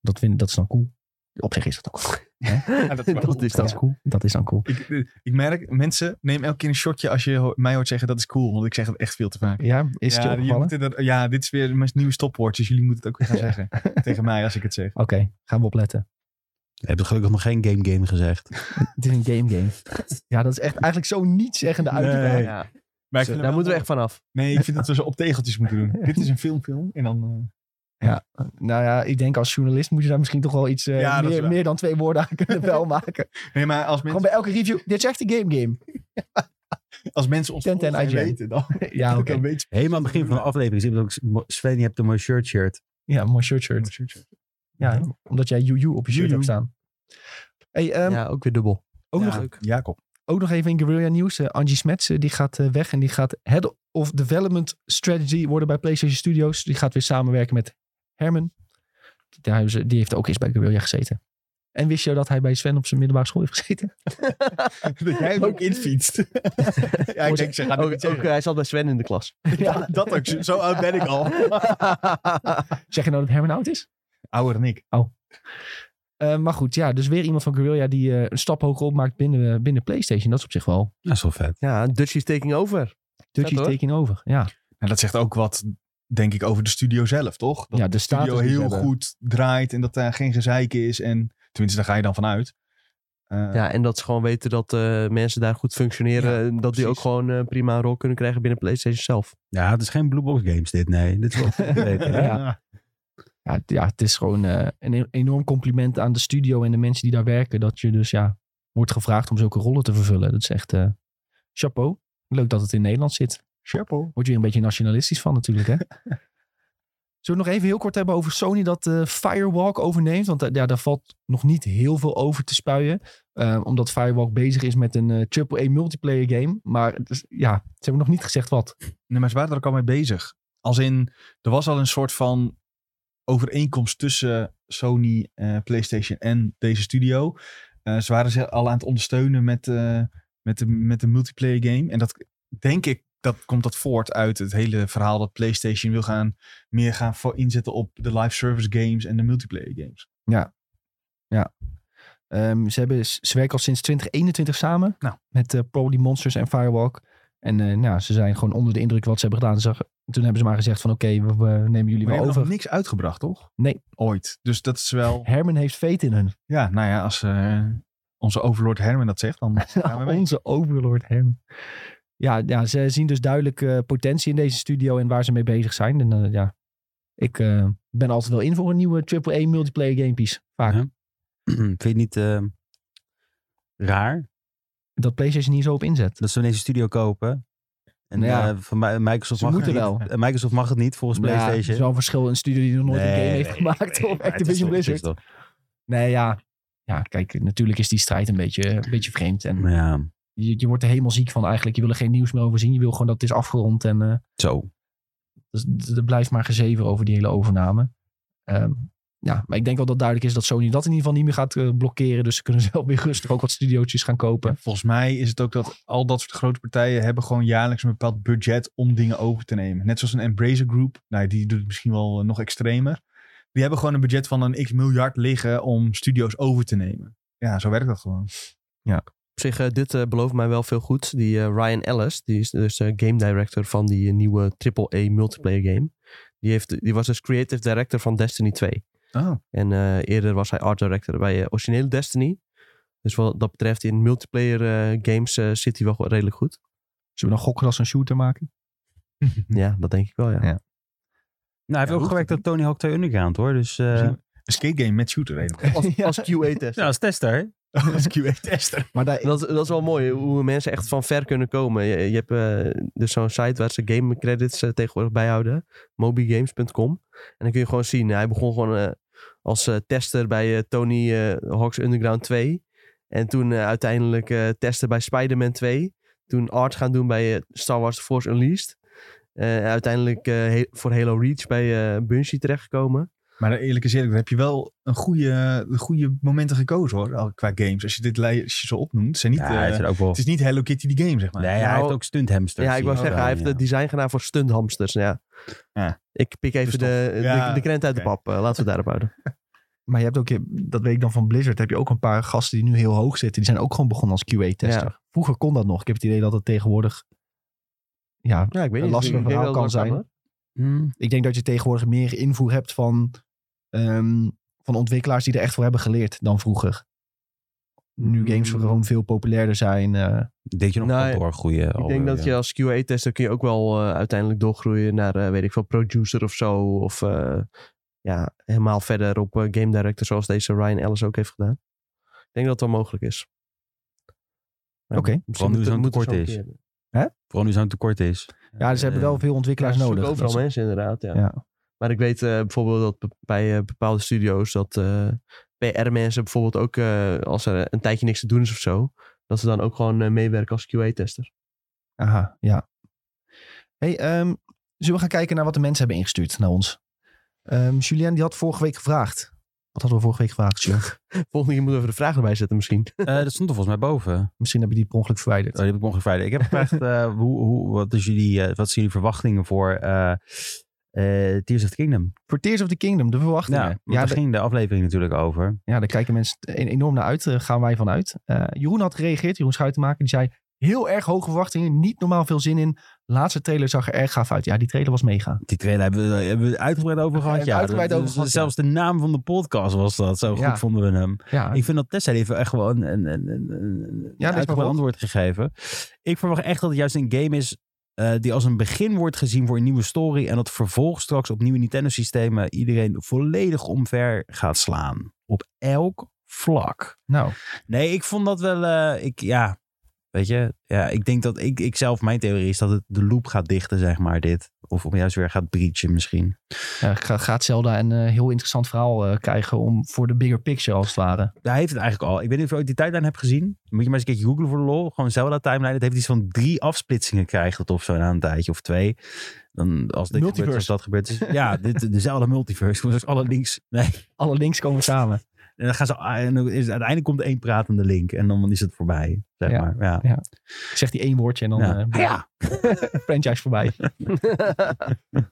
Speaker 1: Dat, vind, dat is dan cool. Op zich is dat ook cool.
Speaker 2: dat is wel
Speaker 3: dat is dan
Speaker 1: Ja, Dat is dan cool.
Speaker 2: Ik, eh, ik merk, mensen, neem elke keer een shotje als je ho- mij hoort zeggen dat is cool. Want ik zeg het echt veel te vaak.
Speaker 1: Ja, is het je
Speaker 2: ja, je
Speaker 1: opgevallen?
Speaker 2: moet inderdaad- ja, dit is weer mijn nieuwe stopwoord. Dus jullie moeten het ook weer gaan zeggen. Tegen mij als ik het zeg.
Speaker 1: Oké, gaan we opletten.
Speaker 4: Je hebt gelukkig nog geen game game gezegd.
Speaker 1: Het is een game game. Ja, dat is echt eigenlijk zo niet zeggende uitspraak.
Speaker 2: Nee.
Speaker 3: Ja.
Speaker 2: Maar ik
Speaker 1: Zo,
Speaker 2: vind
Speaker 3: Daar
Speaker 2: hem
Speaker 3: moeten we
Speaker 2: wel
Speaker 3: echt vanaf.
Speaker 2: mooi. Nee, ik vind dat we ze op tegeltjes moeten doen. Dit is een filmfilm en dan... eh,
Speaker 1: Nou ja, ik denk als journalist moet je daar misschien toch wel iets eh,
Speaker 2: Ja, dat is
Speaker 1: meer,
Speaker 2: waar.
Speaker 1: meer dan twee woorden aan kunnen wel maken.
Speaker 2: Nee, maar als
Speaker 1: Gewoon
Speaker 2: mensen,
Speaker 1: bij elke review. Dit is echt een game game.
Speaker 2: als mensen ons
Speaker 1: Tent en
Speaker 2: volgen en
Speaker 1: IGN.
Speaker 2: weten, dan,
Speaker 1: Ja,
Speaker 2: dan
Speaker 1: oké.
Speaker 2: weet je...
Speaker 4: Helemaal aan het begin van de aflevering zie ik ook Mo- Sven, je hebt een mooi shirt shirt.
Speaker 1: Ja, mooi shirt shirt. Ja, omdat jij UU op je shirt
Speaker 2: UU.
Speaker 1: hebt staan. Hey, ehm,
Speaker 3: ja, ook weer dubbel.
Speaker 1: ook,
Speaker 3: Ja.
Speaker 1: nog,
Speaker 3: Leuk.
Speaker 2: Jacob.
Speaker 1: ook nog even in Guerrilla News. eh, Angie Smets eh, die gaat eh, weg en die gaat Head of Development Strategy worden bij PlayStation Studios. Die gaat weer samenwerken met Herman. Daar hebben ze, die heeft ook eens bij Guerrilla gezeten. En wist je dat hij bij Sven op zijn middelbare school heeft gezeten?
Speaker 2: Dat jij hem ook infietst. ja, ik denk, ze gaan
Speaker 3: Ook,
Speaker 2: ook,
Speaker 3: ook, eh, hij zat bij Sven in de klas.
Speaker 2: Ja, dat ook. Zo- Zo oud ben ik al.
Speaker 1: Zeg je nou dat Herman oud is?
Speaker 2: Ouder dan ik.
Speaker 1: Eh, maar goed, ja, dus weer iemand van Guerrilla die eh, een stap hoger opmaakt binnen, eh, binnen PlayStation. Dat is op zich wel
Speaker 4: Dat is wel vet.
Speaker 3: ja, Dutchie's taking over.
Speaker 1: Dutchie's
Speaker 3: hoor.
Speaker 1: taking over. Ja,
Speaker 2: En dat zegt ook wat, denk ik, over de studio zelf, toch? Dat
Speaker 1: ja de
Speaker 2: de studio
Speaker 1: status die ze
Speaker 2: heel
Speaker 1: hebben.
Speaker 2: goed draait en dat daar geen gezeik is. En tenminste, daar ga je dan vanuit. Eh,
Speaker 3: Ja, en dat ze gewoon weten dat eh, mensen daar goed functioneren.
Speaker 2: Ja,
Speaker 3: en dat
Speaker 2: precies.
Speaker 3: die ook gewoon eh, prima een rol kunnen krijgen binnen PlayStation zelf.
Speaker 4: Ja, het is geen Blue Box Games dit, nee. Dit is wel goed weten, hè?
Speaker 1: Ja. Ja, t- ja, het is gewoon eh, een e- enorm compliment aan de studio en de mensen die daar werken. Dat je dus ja, wordt gevraagd om zulke rollen te vervullen. Dat is echt eh, chapeau. Leuk dat het in Nederland zit.
Speaker 2: Chapeau.
Speaker 1: Word je weer een beetje nationalistisch van natuurlijk, hè? Zullen we het nog even heel kort hebben over Sony dat eh, Firewalk overneemt? Want eh, ja, daar valt nog niet heel veel over te spuien. eh, omdat Firewalk bezig is met een eh, AAA multiplayer game. Maar het is- ja, ze hebben nog niet gezegd wat.
Speaker 2: Nee, maar ze waren er ook al mee bezig. Als in, er was al een soort van overeenkomst tussen Sony, eh, PlayStation en deze studio. Eh, ze waren ze al aan het ondersteunen met, eh, met, de, met de multiplayer game. En dat denk ik, dat komt dat voort uit het hele verhaal dat PlayStation wil gaan meer gaan voor inzetten op de live service games en de multiplayer games.
Speaker 1: Ehm, ze, hebben, ze werken al sinds 2021 samen.
Speaker 2: Nou.
Speaker 1: Met eh Probably Monsters en Firewalk. En eh, nou, ze zijn gewoon onder de indruk wat ze hebben gedaan. Ze zag- toen hebben ze maar gezegd van oké, we, we nemen jullie
Speaker 2: Maar
Speaker 1: wel
Speaker 2: hebben nog
Speaker 1: over.
Speaker 2: niks uitgebracht, toch?
Speaker 1: Nee.
Speaker 2: Ooit. Dus dat is wel,
Speaker 1: Herman heeft veet in hun.
Speaker 2: ja, nou ja, als eh, onze overlord Herman dat zegt, dan gaan we mee.
Speaker 1: Onze overlord Herman. Ja, ja, ze zien dus duidelijk eh, potentie in deze studio en waar ze mee bezig zijn. En eh, ja, ik eh, ben altijd wel in voor een nieuwe AAA multiplayer gamepiece. Vaak.
Speaker 4: Ja. Vind je het niet eh, raar
Speaker 1: Dat PlayStation hier zo op inzet.
Speaker 4: dat ze deze studio kopen? En
Speaker 1: Nou ja,
Speaker 4: eh, van Mi- Microsoft
Speaker 1: Ze
Speaker 4: mag
Speaker 1: moeten
Speaker 4: het
Speaker 1: wel.
Speaker 4: niet. En Microsoft mag het niet volgens
Speaker 1: Ja, het
Speaker 4: PlayStation.
Speaker 1: is wel een verschil. Een studio die nog nooit een game
Speaker 4: Nee,
Speaker 1: heeft
Speaker 4: nee,
Speaker 1: gemaakt.
Speaker 4: nee,
Speaker 1: of
Speaker 4: maar het is
Speaker 1: Activision
Speaker 4: toch- het is
Speaker 1: Blizzard.
Speaker 4: toch-
Speaker 1: Nee, ja. Ja, kijk, natuurlijk is die strijd een beetje, een beetje vreemd. En
Speaker 4: maar Ja,
Speaker 1: je, je wordt er helemaal ziek van eigenlijk. Je wil er geen nieuws meer over zien. Je wil gewoon dat het is afgerond. En eh,
Speaker 4: zo.
Speaker 1: dus d- er blijft maar gezever over die hele overname. Ehm, ja, maar ik denk wel dat duidelijk is dat Sony dat in ieder geval niet meer gaat eh, blokkeren. Dus ze kunnen zelf weer rustig ook wat studiootjes gaan kopen.
Speaker 2: En Volgens mij is het ook dat al dat soort grote partijen hebben gewoon jaarlijks een bepaald budget om dingen over te nemen. Net zoals een Embracer Group, nou, die doet het misschien wel eh, nog extremer. Die hebben gewoon een budget van een x miljard liggen om studio's over te nemen. Ja, zo werkt dat gewoon.
Speaker 3: Op zich, eh, dit eh, belooft mij wel veel goed. Die eh, Ryan Ellis, die is dus eh, game director van die eh, nieuwe AAA multiplayer game. Die, heeft, die was dus creative director van Destiny 2.
Speaker 2: Oh,
Speaker 3: En eh, eerder was hij art director bij eh, originele Destiny. Dus wat dat betreft, in multiplayer eh, games eh, zit hij wel go- redelijk goed.
Speaker 1: Zullen we dan gokken dat ze een shooter maken?
Speaker 3: Ja, dat denk ik wel, ja.
Speaker 1: Ja.
Speaker 4: Nou, hij heeft
Speaker 2: hoeft
Speaker 4: ook
Speaker 2: het
Speaker 4: gewerkt aan Tony Hawk 2 Underground, hoor. Dus eh,
Speaker 2: Misschien- een skate game met shooter helemaal.
Speaker 3: Als,
Speaker 1: Ja.
Speaker 3: als QA-test.
Speaker 4: ja, als tester.
Speaker 2: Als QA-tester.
Speaker 1: Maar daar,
Speaker 3: Dat, dat is wel mooi, hoe mensen echt van ver kunnen komen. Je, je hebt eh, dus zo'n site waar ze game credits eh, tegenwoordig bijhouden. Mobigames.com. En dan kun je gewoon zien, hij begon gewoon eh, als eh, tester bij eh, Tony eh, Hawk's Underground 2. En toen eh, uiteindelijk eh tester bij Spider-Man 2. Toen art gaan doen bij eh, Star Wars The Force Unleashed. Eh, en uiteindelijk eh, he- voor Halo Reach bij eh Bungie terechtgekomen.
Speaker 2: Maar eerlijk is eerlijk, daar heb je wel een goede, goede momenten gekozen hoor, al qua games. Als je dit lijstje zo opnoemt, zijn niet,
Speaker 4: Ja,
Speaker 2: eh,
Speaker 4: hij is er ook wel...
Speaker 2: het is niet Hello Kitty die game, zeg maar.
Speaker 4: Nee, hij
Speaker 3: Nou,
Speaker 4: heeft ook stunthamsters.
Speaker 3: Ja, ik
Speaker 4: zie
Speaker 3: wou
Speaker 4: ik
Speaker 3: zeggen,
Speaker 4: wel,
Speaker 3: hij heeft
Speaker 4: Oh, ja.
Speaker 3: het design gedaan voor stunthamsters. Ja.
Speaker 2: Ja.
Speaker 3: Ik pik
Speaker 2: Dus
Speaker 3: even de, de,
Speaker 2: Ja,
Speaker 3: de krent uit de
Speaker 2: oké.
Speaker 3: pap. Eh, laten we het daarop houden.
Speaker 1: Maar je hebt ook, dat weet ik dan van Blizzard, heb je ook een paar gasten die nu heel hoog zitten. Die zijn ook gewoon begonnen als QA-tester. Vroeger kon dat nog. Ik heb het idee dat dat tegenwoordig... Ja,
Speaker 3: Ja, ik weet
Speaker 1: Een
Speaker 3: niet.
Speaker 1: lastiger
Speaker 3: Ik denk
Speaker 1: verhaal kan
Speaker 3: dat het wel
Speaker 1: zijn.
Speaker 3: hoor.
Speaker 4: Hmm.
Speaker 1: ik denk dat je tegenwoordig meer invoer hebt van, ehm, van ontwikkelaars die er echt voor hebben geleerd dan vroeger. nu games gewoon veel populairder zijn. eh,
Speaker 4: Ik denk je nog
Speaker 3: Nou,
Speaker 4: wel doorgroeien.
Speaker 3: Ik
Speaker 1: Oh,
Speaker 3: denk dat je als QA-tester kun je ook wel eh, uiteindelijk doorgroeien naar, eh, weet ik veel, producer of zo. Of eh, ja, helemaal verder op eh, game director zoals deze Ryan Ellis ook heeft gedaan. Ik denk dat dat wel mogelijk is. Maar
Speaker 1: Oké.
Speaker 3: misschien
Speaker 4: nu
Speaker 3: moeten-
Speaker 4: zo'n
Speaker 3: moeten we
Speaker 4: tekort
Speaker 3: zo'n
Speaker 4: is.
Speaker 3: keer-
Speaker 4: Vooral nu zo'n tekort is.
Speaker 1: ja, dus ze hebben
Speaker 4: Eh,
Speaker 1: wel veel ontwikkelaars
Speaker 3: Ja, ze
Speaker 1: nodig. Dus-
Speaker 3: zoeken
Speaker 1: Dat
Speaker 3: Overal mensen inderdaad, ja.
Speaker 1: is- ja.
Speaker 3: Maar ik weet eh, bijvoorbeeld dat be- bij eh, bepaalde studio's dat eh, PR-mensen bijvoorbeeld ook, eh, als er een tijdje niks te doen is of zo, dat ze dan ook gewoon eh, meewerken als QA-tester.
Speaker 1: Aha, ja. Hey, ehm, zullen we gaan kijken naar wat de mensen hebben ingestuurd naar ons? Ehm, Julien die had vorige week gevraagd. Wat hadden we vorige week gevraagd, Julien?
Speaker 3: Volgende keer moeten we even de vraag erbij zetten
Speaker 1: Oh,
Speaker 3: misschien.
Speaker 4: Eh, dat stond er volgens mij boven.
Speaker 1: Misschien heb je die per ongeluk verwijderd.
Speaker 4: Oh, die heb ik morgen vrijdag. Ik heb gevraagd, eh, hoe, hoe, wat, is jullie, eh, wat zijn jullie verwachtingen voor eh, eh, Tears of the Kingdom?
Speaker 1: Voor Tears of the Kingdom, de verwachtingen.
Speaker 4: Ja,
Speaker 1: Ja,
Speaker 4: want daar
Speaker 1: de-
Speaker 4: ging de aflevering natuurlijk over.
Speaker 1: ja, daar kijken mensen en- enorm naar uit. Daar gaan wij vanuit. Eh, Jeroen had gereageerd, Jeroen Schuitenmaker. Die zei, heel erg hoge verwachtingen. Niet normaal veel zin in. Laatste trailer zag er erg gaaf uit. Ja, die trailer was mega.
Speaker 4: Die trailer hebben we, hebben we het uitgebreid over gehad.
Speaker 1: Hebben we
Speaker 4: Ja,
Speaker 1: uitgebreid
Speaker 4: Dat-
Speaker 1: over
Speaker 4: dat-
Speaker 1: gehad, ja.
Speaker 4: zelfs de naam van de podcast was dat. Zo
Speaker 1: Ja.
Speaker 4: goed vonden we hem.
Speaker 1: Ja,
Speaker 4: Ik vind dat Tessa even echt wel een, een, een, een, een
Speaker 1: maar
Speaker 4: uitgebreid
Speaker 1: wat?
Speaker 4: antwoord gegeven. Ik verwacht echt dat het juist een game is eh, die als een begin wordt gezien voor een nieuwe story. En dat vervolg straks op nieuwe Nintendo-systemen iedereen volledig omver gaat slaan. Op elk vlak.
Speaker 1: nou,
Speaker 4: Nee, ik vond dat wel. eh, ik, ja, weet je, ja, ik denk dat ik, ik zelf, mijn theorie is dat het de loop gaat dichten, zeg maar, dit. Of om juist weer gaat breachen misschien.
Speaker 1: ja, eh, ga- gaat Zelda een eh, heel interessant verhaal eh, krijgen om voor de bigger picture als het ware.
Speaker 4: Daar heeft het eigenlijk al. Ik weet niet of je ooit die tijdlijn hebt gezien. Moet je maar eens een keertje googlen voor de lol. Gewoon Zelda timeline. Het heeft iets van drie afsplitsingen krijgt het of zo na een tijdje of twee. Dan als dit gebeurt, als
Speaker 1: Multiverse.
Speaker 4: dat gebeurt. Dus ja, dit, de Zelda multiverse. Gewoon zoals alle links. Nee.
Speaker 1: Alle links komen samen.
Speaker 4: En dan gaan ze, ah, en dan is, uiteindelijk komt één pratende link en dan is het voorbij, zeg
Speaker 1: Ja.
Speaker 4: maar. Ja.
Speaker 1: Zegt die één woordje en dan
Speaker 4: Ja. Ah
Speaker 1: eh,
Speaker 4: ja.
Speaker 1: franchise voorbij.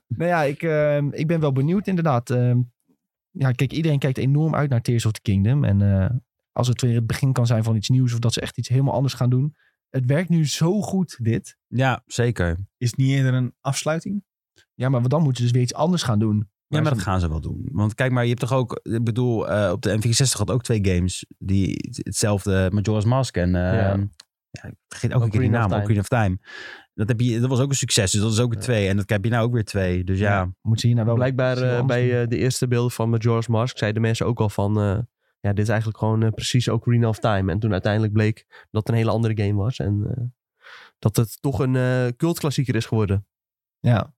Speaker 1: nou ja, ik, ehm, ik ben wel benieuwd inderdaad. Ehm, ja, kijk, iedereen kijkt enorm uit naar Tears of the Kingdom. En eh, als het weer het begin kan zijn van iets nieuws of dat ze echt iets helemaal anders gaan doen. Het werkt nu zo goed, dit.
Speaker 4: ja, zeker.
Speaker 2: Is het niet eerder een afsluiting?
Speaker 1: Ja, maar dan moeten ze dus weer iets anders gaan doen.
Speaker 4: Ja, maar
Speaker 1: ze-
Speaker 4: dat gaan ze wel doen. Want kijk maar, je hebt toch ook... Ik bedoel, eh, op de N64 had ook twee games die hetzelfde... Majora's Mask en... eh,
Speaker 3: Ja.
Speaker 4: ja. ik vergeet ook een keer die
Speaker 3: Ocarina of
Speaker 4: naam,
Speaker 3: Time.
Speaker 4: Ocarina of Time. Dat, heb je, dat was ook een succes, dus dat is ook een
Speaker 3: Ja.
Speaker 4: twee. En dat heb je nou ook weer twee. Dus ja,
Speaker 1: Ja. moeten ze hier nou wel...
Speaker 3: Blijkbaar
Speaker 1: ze wel
Speaker 3: eh,
Speaker 1: anders
Speaker 3: bij
Speaker 1: doen.
Speaker 3: eh, de eerste beelden van Majora's Mask zeiden mensen ook al van... eh, ja, dit is eigenlijk gewoon eh, precies Ocarina of Time. En toen uiteindelijk bleek dat het een hele andere game was. En eh, dat het toch een eh cultklassieker is geworden.
Speaker 1: Ja.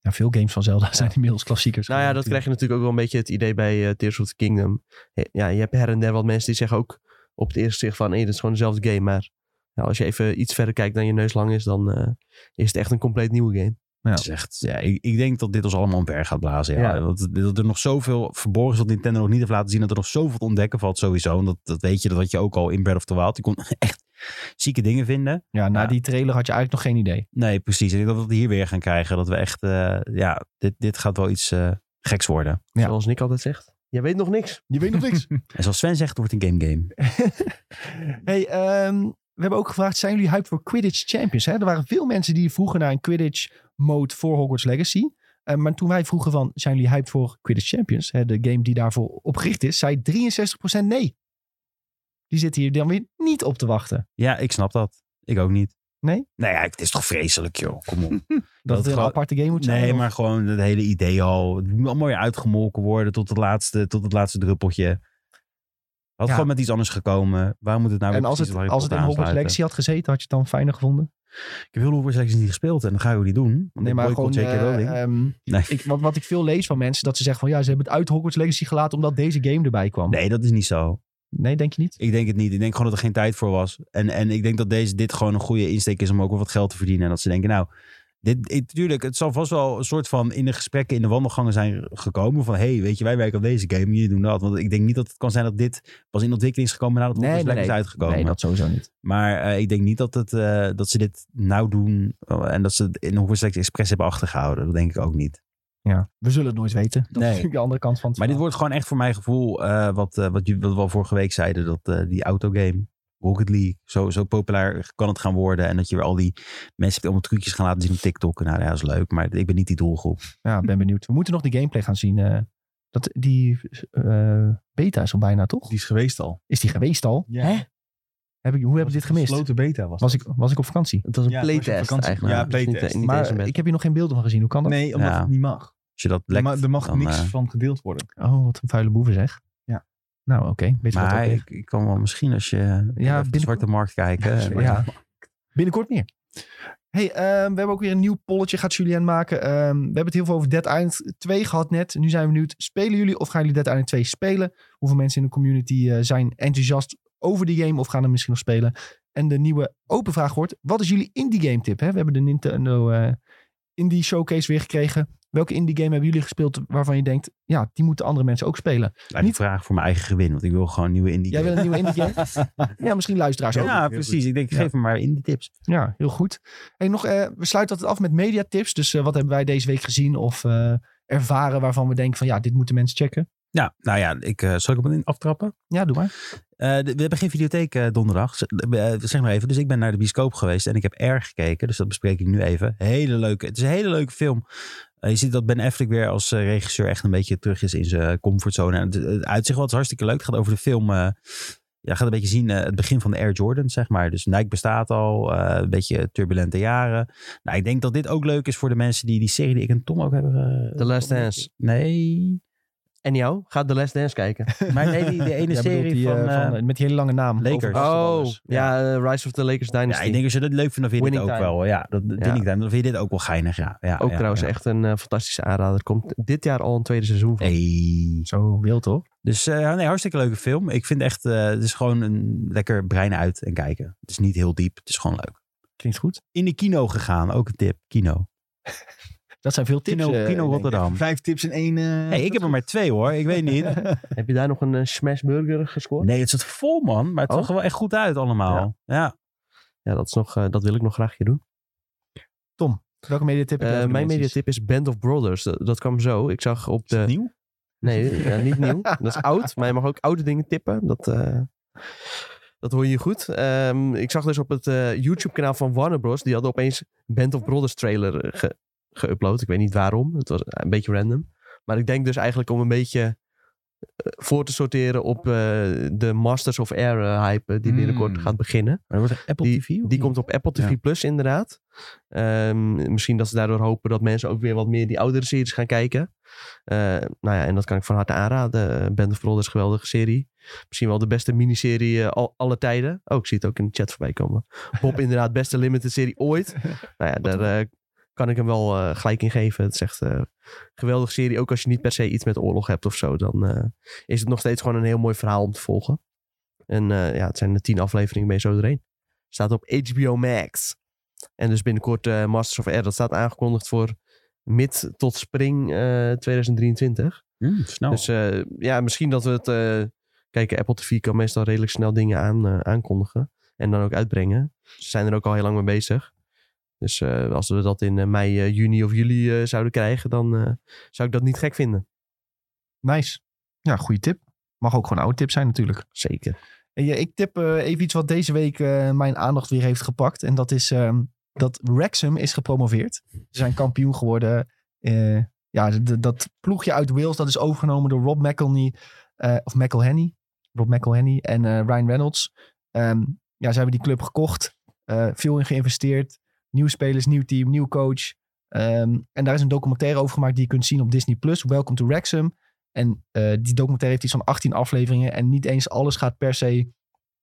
Speaker 1: ja, veel games van Zelda zijn inmiddels klassiekers.
Speaker 3: Nou ja, dat krijg je natuurlijk ook wel een beetje het idee bij eh, Tears of the Kingdom. He- Ja, je hebt her en der wat mensen die zeggen ook op het eerste zicht van... hé, dit is gewoon dezelfde game. Maar ja, als je even iets verder kijkt dan je neus lang is... dan eh, is het echt een compleet nieuwe game.
Speaker 1: Ja.
Speaker 4: Het is echt, ja ik, ik denk dat dit ons allemaal omver gaat blazen. Ja.
Speaker 3: Ja.
Speaker 4: Want dat er nog zoveel verborgen is wat Nintendo nog niet heeft laten zien. Dat er nog zoveel te ontdekken valt sowieso. En dat, dat weet je, dat had je ook al in Breath of the Wild. Je kon echt zieke dingen vinden.
Speaker 1: Ja, na
Speaker 4: Ja.
Speaker 1: die trailer had je eigenlijk nog geen idee.
Speaker 4: Nee, precies. En ik denk dat we het hier weer gaan krijgen. Dat we echt, eh, ja, dit, dit gaat wel iets eh, geks worden.
Speaker 1: Ja.
Speaker 3: Zoals Nick altijd zegt. Jij weet nog niks.
Speaker 1: Je weet nog niks.
Speaker 4: En zoals Sven zegt, het wordt een game game.
Speaker 1: Hey, ehm, we hebben ook gevraagd, zijn jullie hype voor Quidditch Champions? Hè? Er waren veel mensen die vroegen naar een Quidditch mode voor Hogwarts Legacy. Eh, maar toen wij vroegen van, zijn jullie hype voor Quidditch Champions? Hè, de game die daarvoor opgericht is, zei 63% nee. Die zitten hier dan weer niet op te wachten.
Speaker 4: Ja, ik snap dat. Ik ook niet.
Speaker 1: Nee?
Speaker 4: Nou ja, het is toch vreselijk, joh. Kom op.
Speaker 1: Dat, het een
Speaker 4: gewoon-
Speaker 1: aparte game moet zijn.
Speaker 4: Nee,
Speaker 1: of-
Speaker 4: maar gewoon het hele idee al. Het moet allemaal weer uitgemolken worden tot het laatste, tot het laatste druppeltje. Had
Speaker 1: Ja.
Speaker 4: gewoon met iets anders gekomen. Waarom moet het nou weer
Speaker 1: En als het,
Speaker 4: precies op Harry
Speaker 1: als het in
Speaker 4: Potter
Speaker 1: Hogwarts
Speaker 4: aansluiten?
Speaker 1: Legacy had gezeten, had je het dan fijner gevonden?
Speaker 4: Ik heb heel Hogwarts Legacy niet gespeeld en dan ga je ook niet doen. Want
Speaker 1: Nee,
Speaker 4: ik
Speaker 1: maar
Speaker 4: boycott
Speaker 1: gewoon...
Speaker 4: J.K.
Speaker 1: eh,
Speaker 4: Rowling.
Speaker 1: ehm,
Speaker 4: nee.
Speaker 1: ik, wat, wat ik veel lees van mensen, dat ze zeggen van... Ja, ze hebben het uit Hogwarts Legacy gelaten omdat deze game erbij kwam.
Speaker 4: nee, dat is niet zo.
Speaker 1: nee denk je niet?
Speaker 4: Ik denk het niet. Ik denk gewoon dat er geen tijd voor was. En, en ik denk dat deze, dit gewoon een goede insteek is om ook wel wat geld te verdienen. En dat ze denken, nou, dit, dit- tuurlijk, het zal vast wel een soort van in de gesprekken, in de wandelgangen zijn gekomen. Van, hey, weet je, wij werken op deze game, jullie doen dat. Want ik denk niet dat het kan zijn dat dit pas in ontwikkeling is gekomen nadat het nee, is uitgekomen.
Speaker 1: Nee, dat sowieso niet.
Speaker 4: Maar eh, ik denk niet dat, het, eh, dat ze dit nou doen eh, en dat ze het in Hogwarts Legacy Express hebben achtergehouden. Dat denk ik ook niet.
Speaker 1: Ja, we zullen het nooit weten. Dat
Speaker 4: Nee.
Speaker 1: is natuurlijk de andere kant van het
Speaker 4: Maar dit
Speaker 1: verhaal.
Speaker 4: wordt gewoon echt voor mijn gevoel, eh, wat, eh, wat, jullie- wat we al vorige week zeiden, dat eh, die autogame, Rocket League, zo, zo populair kan het gaan worden. En dat je weer al die mensen hebt die allemaal trucjes gaan laten zien op TikTok. Nou ja, dat is leuk, maar ik ben niet die doelgroep.
Speaker 1: Ja, ben benieuwd. We moeten nog de gameplay gaan zien. eh. dat, die eh, beta is al bijna, toch?
Speaker 2: Die is geweest al.
Speaker 1: Is die geweest al?
Speaker 2: Ja.
Speaker 1: Hè? Heb ik, hoe heb ik
Speaker 2: Was
Speaker 1: dit
Speaker 2: een
Speaker 1: gemist?
Speaker 2: gesloten beta was
Speaker 1: Was
Speaker 2: dat.
Speaker 1: ik, was ik op vakantie?
Speaker 3: Het was een
Speaker 2: Ja, was je op
Speaker 3: playtest
Speaker 2: vakantie?
Speaker 3: eigenlijk.
Speaker 2: Ja,
Speaker 3: Dus niet-
Speaker 2: playtest.
Speaker 3: niet eens
Speaker 1: Maar
Speaker 3: een bed.
Speaker 1: ik heb hier nog geen beelden van gezien. Hoe kan dat?
Speaker 2: Nee, omdat
Speaker 4: Ja.
Speaker 2: het niet mag.
Speaker 4: Als je dat
Speaker 2: Er
Speaker 4: lekt,
Speaker 2: ma- er mag
Speaker 4: dan,
Speaker 2: niks
Speaker 4: eh,
Speaker 2: van gedeeld worden.
Speaker 1: Oh, wat een vuile boeven zeg.
Speaker 2: Ja.
Speaker 1: Nou, oké. Beter dat ook
Speaker 4: maar
Speaker 1: weer.
Speaker 4: ik, ik kan wel misschien als je ja, op de
Speaker 1: binnen-
Speaker 4: zwarte markt kijken. eh, maar-
Speaker 1: Ja. Binnenkort meer. hey, ehm, we hebben ook weer een nieuw polletje gaat Julien maken. Ehm, we hebben het heel veel over Dead Island 2 gehad net. Nu zijn we benieuwd, spelen jullie of gaan jullie Dead Island 2 spelen? Hoeveel mensen in de community eh, zijn enthousiast over die game of gaan hem misschien nog spelen? En de nieuwe open vraag wordt, wat is jullie indie game tip? Hè? We hebben de Nintendo eh, Indie Showcase weer gekregen. Welke indie game hebben jullie gespeeld waarvan je denkt, ja, die moeten andere mensen ook spelen?
Speaker 4: Nou, die
Speaker 1: Niet-
Speaker 4: vraag voor mijn eigen gewin, want ik wil gewoon nieuwe indie
Speaker 1: Jij wil een nieuwe indie game? Ja, misschien luisteraars ook.
Speaker 4: games. Ja,
Speaker 2: Heel
Speaker 4: precies.
Speaker 2: goed.
Speaker 4: Ik denk,
Speaker 1: Ja.
Speaker 4: geef me maar indie tips.
Speaker 1: Ja, heel goed. Hey, nog, eh, we sluiten altijd af met mediatips. Dus eh, wat hebben wij deze week gezien of eh, ervaren waarvan we denken van ja, dit moeten mensen checken.
Speaker 4: Ja, nou ja, ik, eh, zal ik hem in- aftrappen?
Speaker 1: Ja, doe maar.
Speaker 4: Eh, de- we hebben geen videotheek eh, donderdag. Z- eh, zeg maar even. Dus ik ben naar de bioscoop geweest en ik heb erg gekeken. Dus dat bespreek ik nu even. Hele leuke. Het is een hele leuke film. Eh, je ziet dat Ben Affleck weer als eh, regisseur echt een beetje terug is in zijn comfortzone. En het, het uitzicht was hartstikke leuk. Het gaat over de film. eh, ja, gaat een beetje zien eh, het begin van de Air Jordan, zeg maar. Dus Nike bestaat al. eh, een beetje turbulente jaren. Nou, ik denk dat dit ook leuk is voor de mensen die die serie die ik en Tom ook hebben. eh,
Speaker 3: The Last Dance.
Speaker 4: Nee.
Speaker 3: En jou? Ga The Last Dance kijken.
Speaker 4: Maar nee, die, die ene
Speaker 1: Jij bedoelt
Speaker 4: serie
Speaker 1: die,
Speaker 4: van.
Speaker 1: eh,
Speaker 4: eh,
Speaker 1: van, eh, met die hele lange naam.
Speaker 4: Lakers.
Speaker 1: Over-
Speaker 3: Oh,
Speaker 4: alles.
Speaker 3: ja, eh, Rise of the Lakers Dynasty.
Speaker 4: Ja, ik denk als je dat leuk vindt, dan vind je dit ook
Speaker 3: Winning time.
Speaker 4: wel. Ja, dat vind
Speaker 3: Ja.
Speaker 4: ik dan. Dan vind je dit ook wel geinig. Ja, ja
Speaker 3: ook
Speaker 4: ja,
Speaker 3: trouwens
Speaker 4: ja.
Speaker 3: echt een eh, fantastische aanrader. Komt dit jaar al een tweede seizoen van.
Speaker 4: Hey.
Speaker 1: Zo wild toch?
Speaker 4: Dus eh, nee, hartstikke leuke film. Ik vind echt, eh, het is gewoon een lekker brein uit en kijken. Het is niet heel diep, het is gewoon leuk.
Speaker 1: Klinkt goed.
Speaker 4: In de kino gegaan, ook een tip. Kino.
Speaker 1: Dat zijn veel tips.
Speaker 4: Kino,
Speaker 1: eh,
Speaker 4: kino
Speaker 1: ik denk.
Speaker 4: Rotterdam.
Speaker 2: Vijf tips in één. eh,
Speaker 4: Hey, ik heb er maar twee hoor, ik weet niet.
Speaker 3: Heb je daar nog een eh, smash burger gescoord?
Speaker 4: Nee, het zit vol man, maar het
Speaker 3: Oh.
Speaker 4: zag er wel echt goed uit allemaal. Ja.
Speaker 3: Ja, dat, is nog, eh, dat wil ik nog graag hier doen.
Speaker 1: Welke mediatip? heb jij
Speaker 3: Eh,
Speaker 1: voor de
Speaker 3: mijn
Speaker 1: mensen?
Speaker 3: mediatip is Band of Brothers. Dat, dat kwam zo. Ik zag op
Speaker 2: Is het
Speaker 3: de...
Speaker 2: nieuw?
Speaker 3: Nee, ja, niet nieuw. Dat is oud. Maar je mag ook oude dingen tippen. Dat, eh, dat hoor je goed. Ehm, ik zag dus op het eh, YouTube-kanaal van Warner Bros. Die hadden opeens Band of Brothers trailer eh, ge- geüpload. Ik weet niet waarom. Het was eh, een beetje random. Maar ik denk dus eigenlijk om een beetje eh, voor te sorteren op eh, de Masters of Air eh, hype die binnenkort
Speaker 2: Mm.
Speaker 3: gaat beginnen.
Speaker 4: Maar dat wordt een Apple TV? of
Speaker 3: Die
Speaker 4: niet?
Speaker 3: komt op Apple TV
Speaker 4: Ja.
Speaker 3: Plus inderdaad. Ehm, misschien dat ze daardoor hopen dat mensen ook weer wat meer die oudere series gaan kijken. Eh, nou ja, en dat kan ik van harte aanraden. Eh, Band of Brothers, geweldige serie. Misschien wel de beste miniserie eh, al, alle tijden. Oh, ik zie het ook in de chat voorbij komen. Bob inderdaad, beste limited serie ooit. Nou ja, daar eh, kan ik hem wel eh, gelijk in geven. Het is echt eh, een geweldige serie. Ook als je niet per se iets met oorlog hebt of zo. Dan eh, is het nog steeds gewoon een heel mooi verhaal om te volgen. En eh, ja, het zijn er tien afleveringen mee zo doorheen. Staat op HBO Max. En dus binnenkort eh, Masters of Air. Dat staat aangekondigd voor mid tot spring eh, 2023.
Speaker 4: Mm, snel.
Speaker 3: Dus eh, ja, misschien dat we het... eh kijk, Apple TV kan meestal redelijk snel dingen aan, eh, aankondigen. En dan ook uitbrengen. Ze zijn er ook al heel lang mee bezig. Dus eh, als we dat in eh, mei, eh, juni of juli eh, zouden krijgen... dan eh, zou ik dat niet gek vinden.
Speaker 1: Nice. Ja, goede tip. Mag ook gewoon oude tip zijn natuurlijk.
Speaker 3: Zeker.
Speaker 1: En ja, ik tip eh, even iets wat deze week eh, mijn aandacht weer heeft gepakt. En dat is ehm, dat Wrexham is gepromoveerd. Ze zijn kampioen geworden. Eh, ja, d- d- dat ploegje uit Wales, dat is overgenomen door Rob McElhenney. eh, of McElhenney. Rob McElhenney en eh, Ryan Reynolds. Ehm, ja, ze hebben die club gekocht. eh, veel in geïnvesteerd. Nieuwe spelers, nieuw team, nieuw coach. Ehm, en daar is een documentaire over gemaakt die je kunt zien op Disney+. Welcome to Wrexham. En eh, die documentaire heeft iets van 18 afleveringen. En niet eens alles gaat per se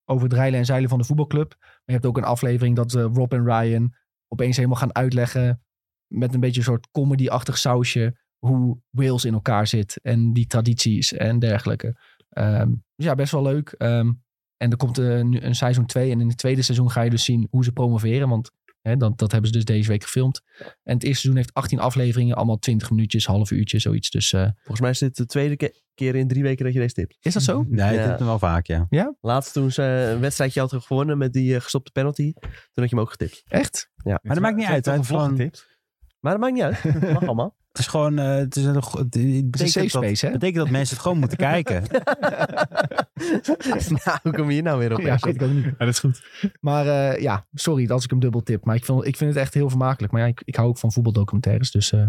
Speaker 1: over het reilen en zeilen van de voetbalclub. Maar je hebt ook een aflevering dat eh, Rob en Ryan opeens helemaal gaan uitleggen. Met een beetje een soort comedy-achtig sausje. Hoe Wales in elkaar zit. En die tradities en dergelijke. Ehm, dus ja, best wel leuk. Ehm, en er komt eh, nu een seizoen 2. En in het tweede seizoen ga je dus zien hoe ze promoveren. Want hè, dat, dat hebben ze dus deze week gefilmd. En het eerste seizoen heeft 18 afleveringen. Allemaal 20 minuutjes, half uurtje, zoiets. Dus eh,
Speaker 3: Volgens mij is dit de tweede ke- keer in drie weken dat je deze tipt.
Speaker 1: is dat zo?
Speaker 4: nee,
Speaker 3: ja.
Speaker 4: dat is wel vaak, ja.
Speaker 3: Laatst toen ze een wedstrijdje had gewonnen met die eh, gestopte penalty. Toen had je hem ook getipt.
Speaker 1: Echt?
Speaker 4: Maar dat maakt niet uit. Het, gewoon, het
Speaker 3: Maar dat maakt niet uit. Dat mag allemaal.
Speaker 4: is gewoon, eh, het is een, go- het
Speaker 1: Het is een
Speaker 4: betekent
Speaker 1: safe
Speaker 4: dat-
Speaker 1: space, hè?
Speaker 4: betekent dat mensen het gewoon moeten kijken.
Speaker 3: nou, hoe kom je hier nou weer op?
Speaker 1: Ja, weet ik ook niet.
Speaker 2: Ja, dat is goed.
Speaker 1: Maar eh, ja, sorry als ik hem dubbel tip. Maar ik vind, ik vind het echt heel vermakelijk. Maar ja, ik, ik hou ook van voetbaldocumentaires. Dus eh,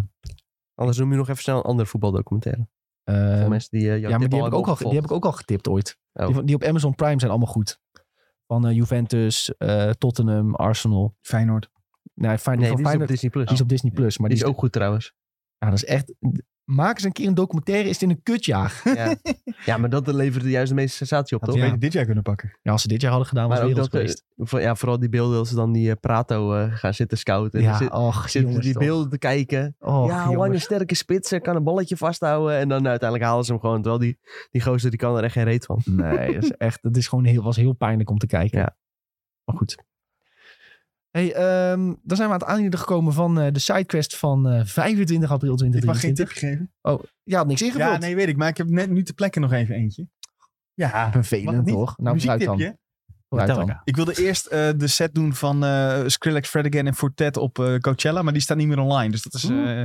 Speaker 3: Anders noem je nog even snel een andere voetbaldocumentaire.
Speaker 1: eh,
Speaker 3: Voor mensen die eh jouw
Speaker 1: ja, maar
Speaker 3: tip
Speaker 1: die heb, ik
Speaker 3: hebben
Speaker 1: ook al, die heb ik ook al getipt ooit.
Speaker 3: Oh.
Speaker 1: Die, van- die op Amazon Prime zijn allemaal goed. Van eh, Juventus, eh, Tottenham, Arsenal.
Speaker 2: Feyenoord.
Speaker 1: Nee, Fijn-
Speaker 3: Nee,
Speaker 1: van
Speaker 3: die is op
Speaker 1: Feyenoord-
Speaker 3: Disney Plus.
Speaker 1: die is op Disney Plus. Maar
Speaker 3: die is ook goed trouwens.
Speaker 1: Ja, dat is echt... Maak eens een keer een documentaire, is het in een kutjaar.
Speaker 3: Ja, ja maar dat leverde juist de meeste sensatie op,
Speaker 2: Had
Speaker 3: toch?
Speaker 2: we
Speaker 1: Ja.
Speaker 2: beter dit jaar kunnen pakken.
Speaker 1: Ja, als ze dit jaar hadden gedaan, was
Speaker 3: Maar
Speaker 1: het
Speaker 3: ook
Speaker 1: wereld
Speaker 3: dat,
Speaker 1: geweest.
Speaker 3: eh, voor- ja, vooral die beelden dat ze dan die eh, Prato eh, gaan zitten scouten.
Speaker 1: ja,
Speaker 3: Ja, zit,
Speaker 1: och,
Speaker 3: zitten
Speaker 1: jongens,
Speaker 3: die
Speaker 1: toch.
Speaker 3: beelden te kijken.
Speaker 1: Och,
Speaker 3: ja,
Speaker 1: jongens.
Speaker 3: lange sterke spitsen, kan een balletje vasthouden. En dan nou, uiteindelijk halen ze hem gewoon. Terwijl die, die gozer die kan er echt geen reet van.
Speaker 1: Nee, dat is echt, dat is gewoon heel, was heel pijnlijk om te kijken.
Speaker 3: Ja.
Speaker 1: Maar goed. Hey, ehm, dan zijn we aan het einde gekomen van eh, de sidequest van eh, 25 april
Speaker 2: Ik mag geen
Speaker 1: 2023.
Speaker 2: tip geven.
Speaker 1: Je had niks ingevuld.
Speaker 2: Ja, nee, weet ik. Maar ik heb net nu ter plekke nog even eentje. Ja, mag het
Speaker 1: Vervelend,
Speaker 2: niet?
Speaker 1: toch? Nou, vooruit dan.
Speaker 2: Muziektipje.
Speaker 1: Vooruit
Speaker 4: Vertel
Speaker 1: dan.
Speaker 4: ik.
Speaker 2: Ik wilde eerst eh, de set doen van eh, Skrillex, Fred Again en Fortet op eh, Coachella. Maar die staat niet meer online. Dus dat is... eh,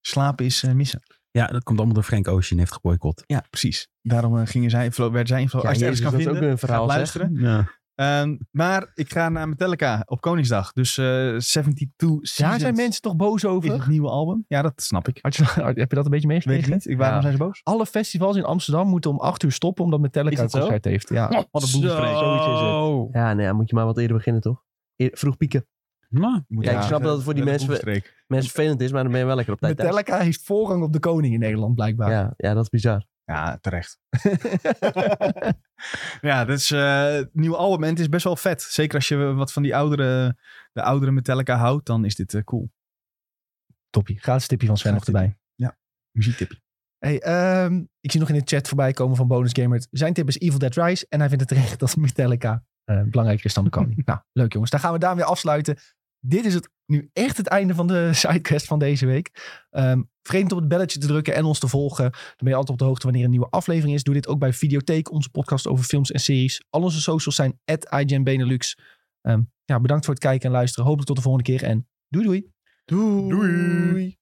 Speaker 2: slapen is eh, missen.
Speaker 4: Ja, dat komt allemaal door Frank Ocean heeft geboycott.
Speaker 2: Ja, precies. Daarom eh, gingen zij, vlo- werden zij invloed.
Speaker 3: Ja,
Speaker 2: als je
Speaker 3: Jezus,
Speaker 2: ergens kan
Speaker 3: dat is
Speaker 2: vinden,
Speaker 3: ook een verhaal,
Speaker 2: ga
Speaker 3: zeg.
Speaker 2: luisteren.
Speaker 4: Ja.
Speaker 2: Ehm, maar ik ga naar Metallica op Koningsdag. Dus eh 72 Seasons
Speaker 1: Daar zijn mensen toch boos
Speaker 2: is het
Speaker 1: over?
Speaker 2: nieuwe album. Ja, dat snap ik.
Speaker 1: Had je, had- heb je dat een beetje
Speaker 2: Weet ik
Speaker 1: meegekregen?
Speaker 2: niet. Ik, waarom
Speaker 3: Ja.
Speaker 2: zijn ze boos?
Speaker 1: Alle festivals in Amsterdam moeten om 8 uer stoppen omdat Metallica
Speaker 2: Is
Speaker 1: een
Speaker 2: dat zo?
Speaker 1: concert heeft. Ja.
Speaker 2: Wat een boelstreek.
Speaker 4: Zoiets is het.
Speaker 3: Ja, nee, dan moet je maar wat eerder beginnen, toch? Eer- vroeg pieken.
Speaker 4: Nou,
Speaker 3: Ja, ik snap dat het voor die
Speaker 2: Wat een
Speaker 3: mensen-
Speaker 2: boelstreek.
Speaker 3: Mensen vervelend is, maar dan ben je wel lekker op tijd thuis.
Speaker 1: Metallica heeft voorrang op de koning in Nederland blijkbaar.
Speaker 3: Ja, ja, dat is bizar.
Speaker 2: Ja, terecht. ja, dat is eh, het nieuwe album en het is best wel vet. Zeker als je wat van die oudere, de oudere Metallica houdt, dan is dit eh, cool.
Speaker 1: Toppie. Gratis tipje van Sven nog
Speaker 2: Gratis
Speaker 1: erbij.
Speaker 2: Muziektipje.
Speaker 1: Hey, ehm, ik zie nog in de chat voorbij komen van Bonus Gamer. Zijn tip is Evil Dead Rise. En hij vindt het terecht dat Metallica eh, belangrijker is dan de koning. nou, leuk jongens. Dan gaan we daarmee afsluiten. Dit is het, nu echt het einde van de sidequest van deze week. Ehm vergeet niet op het belletje te drukken en ons te volgen. Dan ben je altijd op de hoogte wanneer een nieuwe aflevering is. Doe dit ook bij Videotheek, onze podcast over films en series. Al onze socials zijn at Ehm, Benelux. ja, bedankt voor het kijken en luisteren. Hopelijk tot de volgende keer en doei doei.
Speaker 2: Doei.